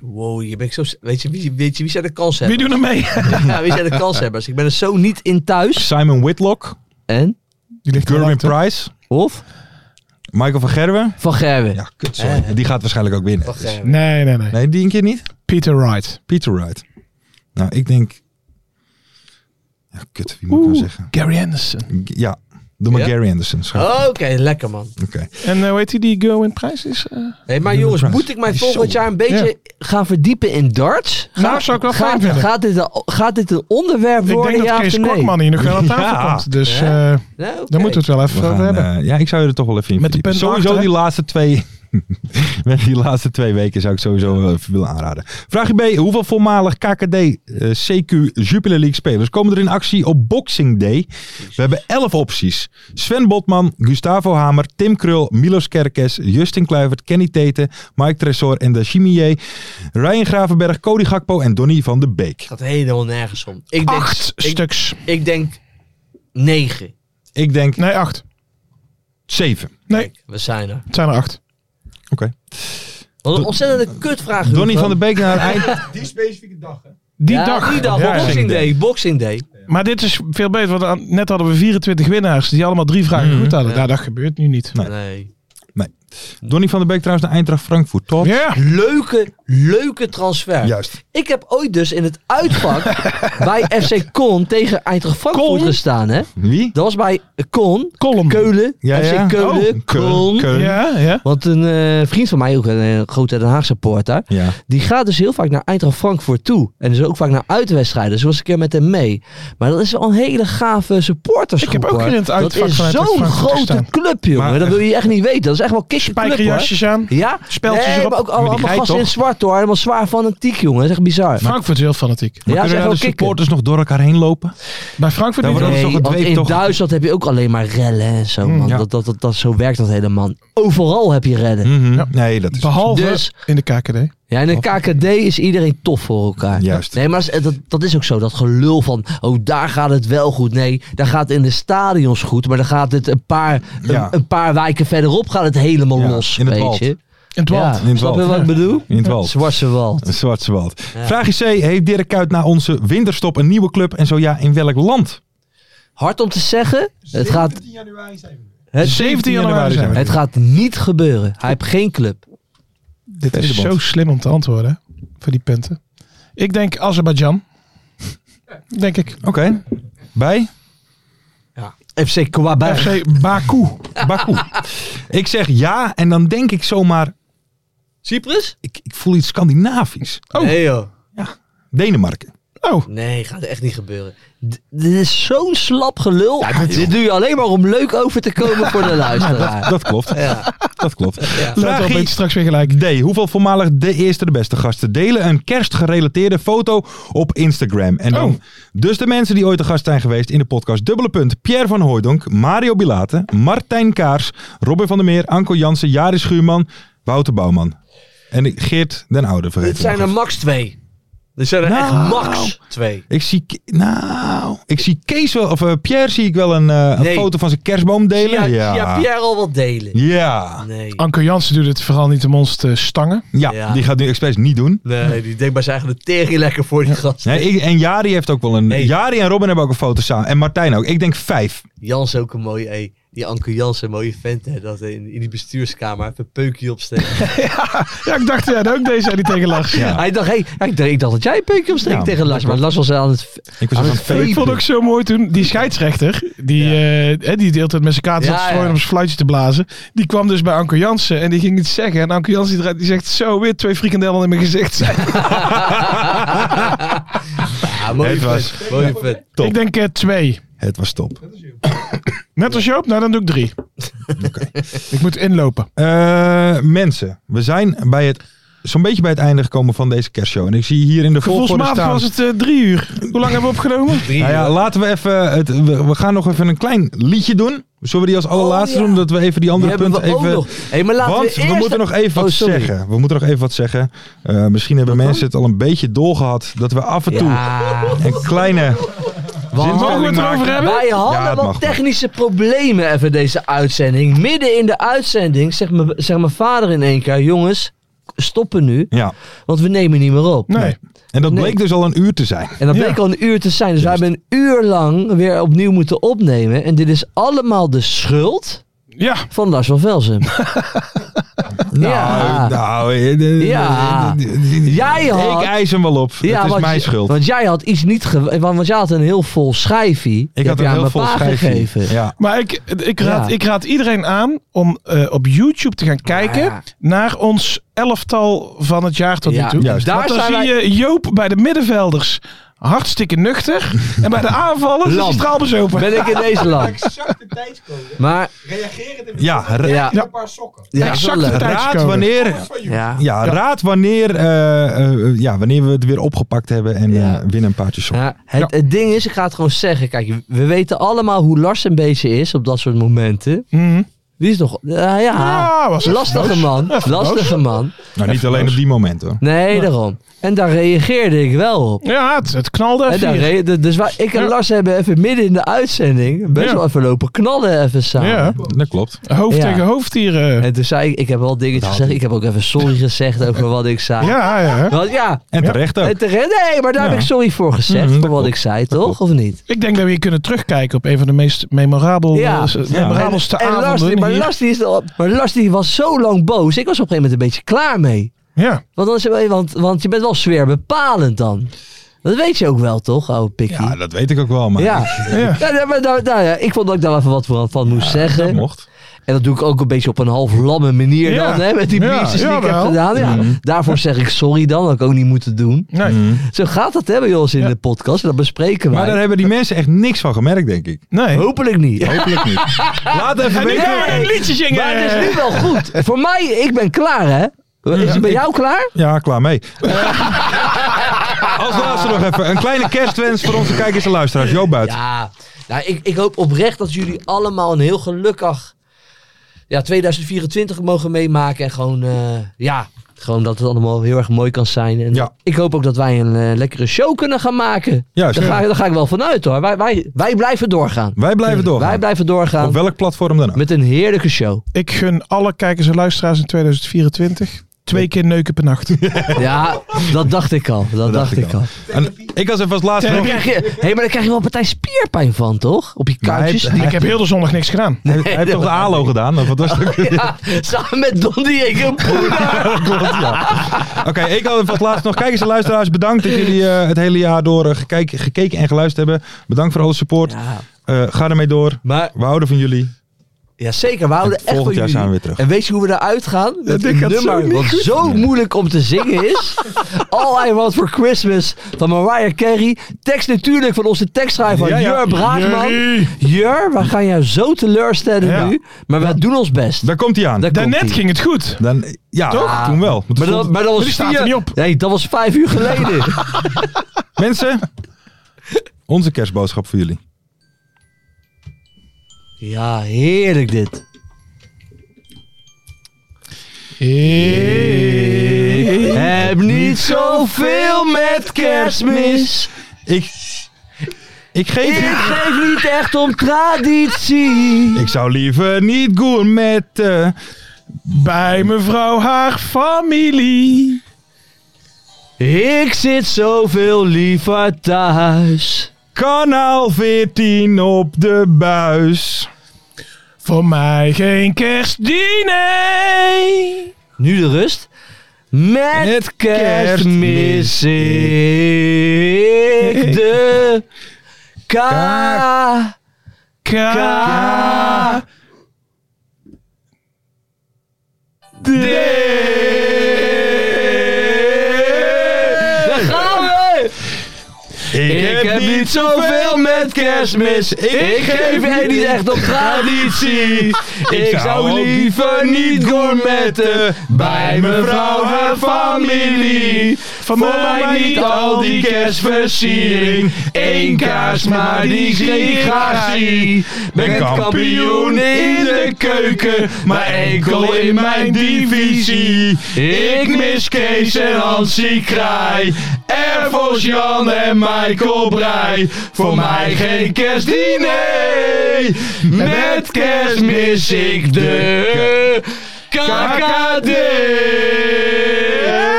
Wow, je bent zo... Weet je, wie, weet je wie zijn de
Wie
kanshebbers?
doet er mee?
Ja, wie zijn de kanshebbers? Ik ben er zo niet in thuis.
Simon Whitlock,
En?
Die ligt er
Gerwin
lang, toch?
Price,
Of?
Michael van Gerwen.
Van Gerwen.
Ja, kut, sorry. Die gaat waarschijnlijk ook winnen.
Van Gerwen.
Nee, nee, nee.
Nee, die een keer niet?
Peter Wright.
Peter Wright. Nou, ik denk... Ja, kut, wie moet ik nou zeggen?
Gary Anderson.
Ja, Oh. doe maar
Ja?
Gary Anderson. schat.
Oké, lekker man.
Oké.
En eh, hoe heet die die Gerwin Prijs is? eh?
Hey, maar jongens,
Price.
moet ik mij
Zo.
volgend jaar een beetje gaan verdiepen in darts?
Nou, zou ik wel fijn
gaat,
vinden.
Gaat dit, een- gaat dit een onderwerp
ik
worden?
denk
ja
dat
of
Kees
nee?
Kortman hier nog wel aan tafel
Ja.
komt. Dus eh
Ja?
daar
Nou, oké.
moeten we het wel even
We gaan,
over hebben.
eh, ja, ik zou je er toch wel even in
Met de
verdiepen.
punten
Sowieso
achter, hè?
die laatste twee Met die laatste twee weken zou ik sowieso wel even willen aanraden. Vraag B. Hoeveel voormalig KKD eh, CQ Jupiler League spelers komen er in actie op Boxing Day? We hebben elf opties. Sven Botman, Gustavo Hamer, Tim Krul, Milos Kerkes, Justin Kluivert, Kenny Tete, Mike Tresor en Dachimier. Ryan Gravenberg, Cody Gakpo en Donny van de Beek.
gaat helemaal nergens om. Ik denk,
Acht
ik,
stuks.
ik denk negen.
Ik denk
Nee, acht.
zeven.
Nee,
We zijn er.
het zijn er acht.
Oké.
Wat een ontzettende kutvraag.
Donny
Hugo.
van de Beek naar het eind.
Die
Ja,
dag.
Die dag,
Ja, ja.
Boxing Day. Boxing Day.
Maar dit is veel beter, want aan- net hadden we 24 winnaars die allemaal drie vragen goed hadden. Nou, dat gebeurt nu niet.
Mhm. Nee.
Nee.
Donny van de Beek trouwens naar Eintracht Frankfurt, toch?
Ja,
Leuke, leuke transfer.
Juist.
Ik heb ooit dus in het uitvak bij FC Kon tegen Eintracht Frankfurt
Kon?
gestaan. Hè?
Wie?
Dat was bij Kon,
column.
Keulen,
Ja,
FC
ja.
Keulen,
Oh,
Kon.
Keulen.
Ja, ja.
Want een eh, vriend van mij, ook een eh, grote Den Haag supporter,
Ja.
die gaat dus heel vaak naar Eintracht Frankfurt toe. En dus ook vaak naar uitwedstrijden. Dus was ik een keer met hem mee. Maar dat is wel een hele gave supportersgroep.
Ik heb ook
hoor.
in het uitvak
Dat is
van Eintracht
zo'n
Frankfurt
grote
gestaan.
club, jongen.
Maar
dat wil je echt niet weten. Dat is echt wel kikken club, hoor.
Spijkerjasjes aan.
Ja,
Speltjes
nee,
erop.
maar ook
die
allemaal
geit
gasten in
toch?
zwart hoor. Helemaal zwaar fanatiek, jongen. Dat is echt bizar.
Frankfurt is heel fanatiek.
ja,
Kunnen
ze
nou
hebben
de
wel kikken.
supporters nog door elkaar heen lopen?
Bij Frankfurt
Daar
niet.
wordt
hoor.
is toch
Nee,
een
want in
dweeptocht?
Duitsland heb je ook alleen maar rellen en zo,
Hmm,
man.
ja.
Dat, dat, dat, dat- zo werkt dat helemaal. Overal heb je rellen.
Mhm.
Ja.
Nee, dat is...
Behalve
Dus-
in de KKD.
Ja, in een KKD is iedereen tof voor elkaar.
Juist.
Nee, maar dat, is- dat, dat is ook zo. Dat gelul van, oh, daar gaat het wel goed. Nee, daar gaat het in de stadions goed. Maar dan gaat het een paar, een,
Ja.
een paar wijken verderop gaat het helemaal
Ja,
los.
in het
weet
Wald.
je?
In het
Ja,
Wald.
in het
snap je
Wald.
wat ik bedoel?
In het wald.
Zwartse Wald.
Een Zwartse wald.
Ja.
Vraag C. Heeft Dirk Kuyt na onze winterstop een nieuwe club? En zo ja, in welk land?
Hard om te zeggen, het gaat, het,
17 januari zijn we.
het gaat niet gebeuren. Hij heeft geen club.
Dit is
Festival.
zo slim om te antwoorden hè, voor die punten. Ik denk Azerbeidzjan. Denk ik.
Oké. Bij?
FC Kwabar.
FC Baku.
Baku. ik zeg ja en dan denk ik zomaar...
Cyprus?
Ik, ik voel iets Scandinavisch. Oh,
Nee joh.
Denemarken.
Oh,
Nee, gaat echt niet gebeuren. D- dit is zo'n slap gelul. dit doe je alleen maar om leuk over te komen voor de luisteraar.
Dat klopt. Dat klopt.
dat
Vraag
wel
I.
beter straks weer gelijk.
D. Hoeveel voormalig de eerste de beste gasten delen een kerstgerelateerde foto op Instagram? En dan
Oh.
dus de mensen die ooit de gast zijn geweest in de podcast Dubbele Punt. Pierre van Hooijdonk, Mario Bilate, Martijn Kaars, Robin van der Meer, Anko Jansen, Jari Schuurman, Wouter Bouwman. En ik- Geert den Oude vergeten.
Dit zijn
nog
er
eens.
max twee. Dit zijn er
Nou.
echt max twee.
Ik zie, Ke- nou, ik zie Kees wel, of eh, Pierre zie ik wel een, eh,
Nee.
een foto van zijn kerstboom
Zie
delen.
jij- zie jij
ja.
Pierre al wat delen?
Ja.
Nee.
Anko Jansen doet het vooral niet om ons te stangen.
Ja,
Ja.
die gaat nu expres niet doen.
Nee, die denkt bij zijn eigen tering lekker voor die gast.
Nee, ik- en Jari heeft ook wel een.
Nee.
Jari en Robin hebben ook een foto samen. En Martijn ook. Ik denk vijf.
Jans ook een mooie, hé, die Anke Jans een mooie vent, hè, dat hij in, in die bestuurskamer even een peukje opsteekt.
Ja, ik dacht, ja, dat ook deze die tegen Lars.
Ja.
hij dacht, hé, ja, ik, dacht, ik dacht dat jij een peukje opsteekt
Ja,
tegen Lars, maar Lars was aan het... v-
Ik was
Aan
ook
het
aan het
Ik vond ook zo mooi toen die scheidsrechter, die, eh, hè, die deelt het met zijn kaart
Ja,
zat te strooien
ja.
om zijn fluitje te blazen, die kwam dus bij Anko Jansen en die ging iets zeggen. En Anko Jansen die, draait- die zegt zo weer twee frikandellen in mijn gezicht.
Ja, mooie
Het was-
vent, mooie vent.
Top.
Ik denk eh, twee.
Het was top.
Net als Joop, nou dan doe ik drie. Ik moet inlopen.
Eh, mensen, we zijn bij het. Zo'n beetje bij het einde gekomen van deze kerstshow. En ik zie hier in de volgorde
Gevoelsmatig
staan.
was het eh, drie uur. Hoe lang hebben we opgenomen?
Drie,
Nou ja,
hoor.
laten we even. Het, we, we gaan nog even een klein liedje doen. Zullen we die als allerlaatste
Oh, ja.
doen? Dat we even die
Die
andere
hebben
punten
we ook
even.
nog. Hé, maar laten we,
Want we
eerst-
moeten nog even
Oh,
wat
sorry.
zeggen. We moeten nog even wat zeggen. Eh, misschien hebben mensen het al een beetje doorgehad dat we af en toe
Ah, Ja.
een kleine.
Mogen we het
maken.
erover hebben?
Wij hadden
Ja, het mag
wat
wel.
technische problemen even deze uitzending. Midden in de uitzending zegt mijn zegt mijn vader in één keer... Jongens, stoppen nu,
Ja,
want we nemen niet meer op.
Nee.
en dat
Nee.
bleek dus al een uur te zijn.
En dat
Ja.
bleek al een uur te zijn. Dus
Juist.
we hebben een uur lang weer opnieuw moeten opnemen. En dit is allemaal de schuld
Ja.
van Lars van Velsen. Ja.
Nou, nou, eh, eh,
Ja.
eh, eh, eh,
Jij had-
Ik eis hem wel op. het is
want
mijn
je-
schuld.
Want jij had iets niet... ge- want, want jij had een heel vol schijfie. Die heb
ik had
je
een
aan
heel
mijn
vol
pa
schijfje.
gegeven.
Ja.
Maar ik, ik, raad,
Ja.
ik raad iedereen aan om eh, op YouTube te gaan kijken
Ja.
naar ons elftal van het jaar tot
Ja,
nu toe.
juist.
Daar
Daar
dan
zijn
zie je Joop bij de middenvelders hartstikke nuchter. En bij de aanvallen is
Lam.
hij straalbezopen.
Ben ik in deze land.
Exacte tijdscode.
Maar
Reagerend in
Ja, ra-
ja,
een paar sokken.
ja, dat is wel
Exacte
leuk.
raad
tijdscode.
wanneer
Ja.
Ja, raad wanneer, eh, eh, ja, wanneer we het weer opgepakt hebben en
Ja.
eh, winnen een paardje sok.
Ja, het, het ding is, ik ga het gewoon zeggen. Kijk, we weten allemaal hoe Lars een beetje is op dat soort momenten.
Mhm.
Die is nog... eh, ja, ja.
Ja, was
Lastige man. Lastige man.
Nou, niet alleen op die momenten. hoor.
Nee, daarom. En daar reageerde ik wel op.
Ja, het, het knalde
En
even.
daar
hier.
re- de- dus wij- ik en
Ja.
Lars hebben even midden in de uitzending best
Ja.
wel even lopen knallen even samen.
Ja,
Dat klopt.
hoofd
Ja.
tegen hoofd hier. eh.
En toen zei ik, ik heb wel dingetjes gezegd. Ik heb ook even sorry gezegd over wat ik zei.
Nou, Ja, ja.
Want ja,
En terecht ook.
en terecht, nee, maar daar heb ik sorry voor gezegd,
Mhm, dat
voor wat
klopt.
ik zei, toch? Of niet?
Ik denk dat we hier kunnen terugkijken op een van de meest memorabele,
Ja.
eh, memorabelste
En Lars,
avonden.
die- maar,
hier.
Lars, die is al- maar Lars die was zo lang boos. Ik was op een gegeven moment een beetje klaar mee.
ja.
Want, dan is, want, want je bent wel zwaar bepalend dan. Dat weet je ook wel, toch, oude pikkie?
Ja, dat weet ik ook wel, maar
Ja.
Ja.
Ja, nee, maar nou, nou ja, ik vond dat ik daar even wat van, van moest zeggen.
dat mocht.
En dat doe ik ook een beetje op een half lamme manier
Ja.
dan, hè, met die
Ja,
biertjes die ik heb
jawel.
gedaan. Ja.
Mm-hmm.
Daarvoor zeg ik sorry dan, dat had ik ook niet moeten doen.
Nee.
Zo gaat dat hè, bij ons in
Ja.
de podcast, en dat bespreken wij.
Maar daar hebben die mensen echt niks van gemerkt, denk ik.
nee.
Hopelijk niet.
Hopelijk niet. Laat even
Nee,
weten.
een liedje zingen.
Maar het is nu wel goed. Voor mij, ik ben klaar hè. Is het bij jou klaar?
Ja, klaar mee. Eh, als laatste nog even een kleine kerstwens voor onze kijkers en luisteraars. Jo Buit.
Ja, nou, ik, ik hoop oprecht dat jullie allemaal een heel gelukkig ja, 2024 mogen meemaken. En gewoon, eh, ja, gewoon dat het allemaal heel erg mooi kan zijn. En
Ja.
ik hoop ook dat wij een eh, lekkere show kunnen gaan maken.
Juist.
daar, ga, daar ga ik wel vanuit hoor. Wij, wij, wij blijven doorgaan.
Wij blijven doorgaan.
Wij blijven doorgaan
Op welk platform dan ook.
met een heerlijke show.
Ik gun alle kijkers en luisteraars in 2024 twee keer neuken per nacht.
ja, dat dacht ik al. Dat, dacht ik al.
En ik was even als laatste
Dan
nog...
krijg je, hé, maar daar krijg je wel een partij spierpijn van, toch? Op je
Maar hij
kuitjes.
heeft-
ik heb heel de zondag niks gedaan.
Hij hij heeft toch de ALO gedaan? Of wat was het?
Ja, samen met Don Diego Poena.
Klopt, ja. Oké, ik had vast laatst nog kijkers en luisteraars. Bedankt dat jullie eh, het hele jaar door eh, gekijk- gekeken en geluisterd hebben. Bedankt voor alle support.
Ja,
Eh, ga ermee door.
maar
We houden van jullie.
ja, zeker, we
En
houden echt
volgend
van
jaar
jullie.
zijn we weer terug.
En weet je hoe we eruit gaan? Met
dit
een
gaat zo
nummer
niet
wat zo moeilijk om te zingen is. All I Want For Christmas van Mariah Carey. Tekst natuurlijk van onze tekstschrijver
Ja, ja.
Jur Braakman.
Jerry.
Jur, we gaan jou zo teleurstellen
Ja.
nu. Maar we doen ons best.
Daar komt hij aan.
Daar
Daarnet
komt-ie.
ging het goed.
Dan, ja,
Toch?
toen wel. Want
Maar
toen
dat, maar dat was
die staat
vier-
er niet op.
Nee, dat was vijf uur geleden.
stond- Mensen, onze kerstboodschap voor jullie.
ja, heerlijk dit. Ik heb niet zoveel met kerstmis.
Ik, ik
Ik
geef...
geef niet echt om traditie.
Ik zou liever niet eh, gourmetten.
Bij mevrouw haar familie.
Ik zit zoveel liever thuis.
Kanaal 14 op de buis.
Voor mij geen kerstdiner.
Nu de rust. Met,
Met
kerstmis
kerstmis
ik de
Ka-
ka,
Ka.
ka Daar gaan we! Ik heb niet zoveel met kerstmis. Ik geef er niet echt op traditie. Ik zou liever niet gourmetten bij mevrouw haar familie. Voor mij niet al die kerstversiering. Eén kaars, maar die zie ik graag zie. Ben kampioen in de keuken, maar enkel in mijn divisie. Ik mis Kees en Hansie Kraai. Erfos Jan en Michael Breij. Voor mij geen kerstdiner. Met kerst mis ik de KKD.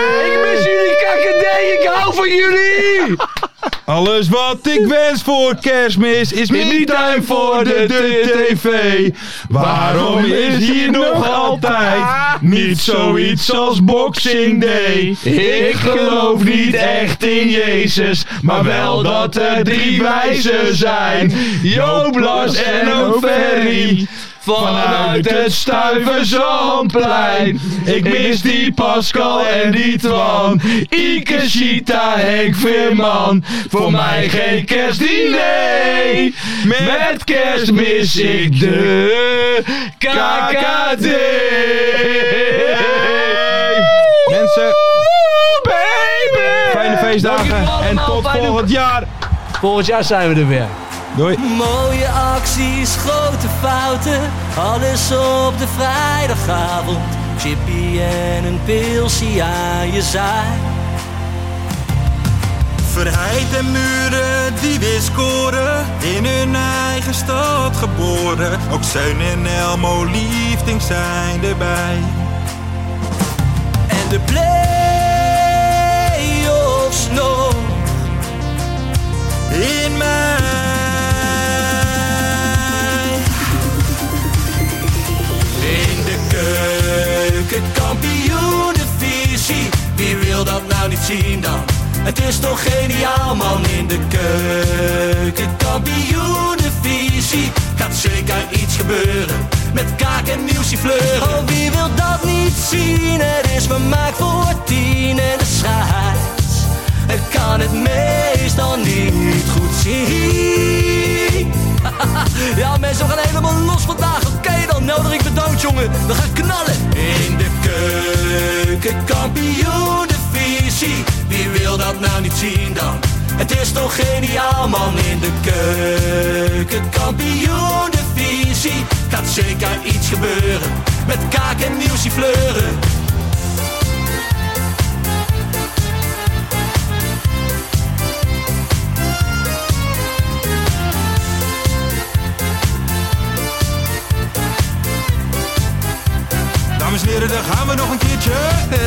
Ik mis jullie KKD. Ik hou van jullie.
Alles wat ik wens voor kerstmis is niet time voor de, tv. Waarom is hier nog altijd niet zoiets als Boxing Day? Ik geloof niet echt in Jezus, maar wel dat er drie wijzen zijn. Joop, Lars en ook Ferry. Vanuit het stuive Zandplein. Ik mis die Pascal en die Twan. Ike, Chita, Henk Veerman. Voor mij geen kerstdiner. Met kerst mis ik de KKD.
Mensen,
Baby!
fijne feestdagen en tot volgend jaar.
Volgend jaar zijn we er weer.
Doei.
Mooie acties, grote fouten, alles op de vrijdagavond. Chippy en een pilsie aan je zaai.
Verheid en muren die weer scoren, in hun eigen stad geboren. Ook Zeun en Elmo liefding zijn erbij.
En de play-offs nog
in mij.
In de keuken, kampioenenvisie. Wie wil dat nou niet zien dan? Het is toch geniaal man in de keuken, kampioenenvisie. Gaat zeker iets gebeuren met kaak en nieuwsie fleuren. Oh, wie wil dat niet zien? Het is vermaakt voor tien en de scheids. Het kan het meestal niet goed zien. Ja, mensen, we gaan helemaal los vandaag. Oké dan, Nelderik bedankt, jongen. We gaan knallen. In de keuken, kampioenenvisie. Wie wil dat nou niet zien dan? Het is toch geniaal, man. In de keuken, kampioenenvisie. Gaat zeker iets gebeuren. Met kaak en nieuwsie fleuren.
Dames en heren, daar gaan we nog een keertje.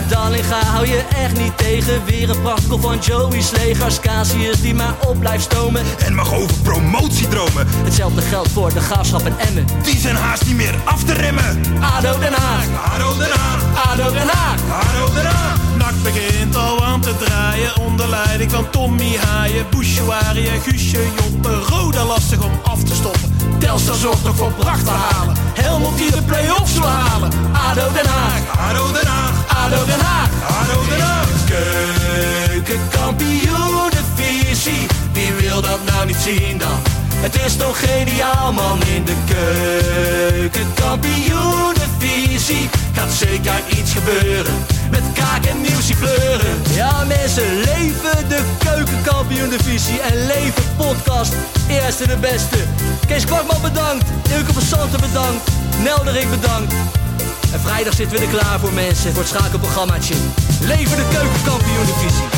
Dallinga Eh, hou je echt niet tegen. Weer een prachtkel van Joey's legers. Casius die maar op blijft stomen.
En mag over promotiedromen.
Hetzelfde geldt voor de graafschap en Emmen.
Die zijn haast niet meer af te remmen.
ADO Den Haag.
Haro eraan,
ADO Den Haag.
haro eraan.
Nak begint al aan te draaien onder leiding van Tommy Haaien, Bouchouari en Guusje Joppen. Roda lastig om af te stoppen. Telstar zorgt nog voor pracht te halen. Helmond die de play-offs wil halen.
ADO Den Haag.
Haro eraan,
ADO Den Haag.
haro eraan.
Keukenkampioenenvisie. Wie wil dat nou niet zien dan? Het is toch geniaal man in de keukenkampioenenvisie. Gaat zeker iets gebeuren. Met kaak en nieuwsie fleuren. Ja mensen, leven de keukenkampioenenvisie. En leven podcast. Eerste de beste. Kees Kwakman bedankt. Ilke van Santen bedankt. Nelderik bedankt. En vrijdag zitten we er klaar voor mensen, voor het schakelprogrammaatje. Leven de keukenkampioen divisie.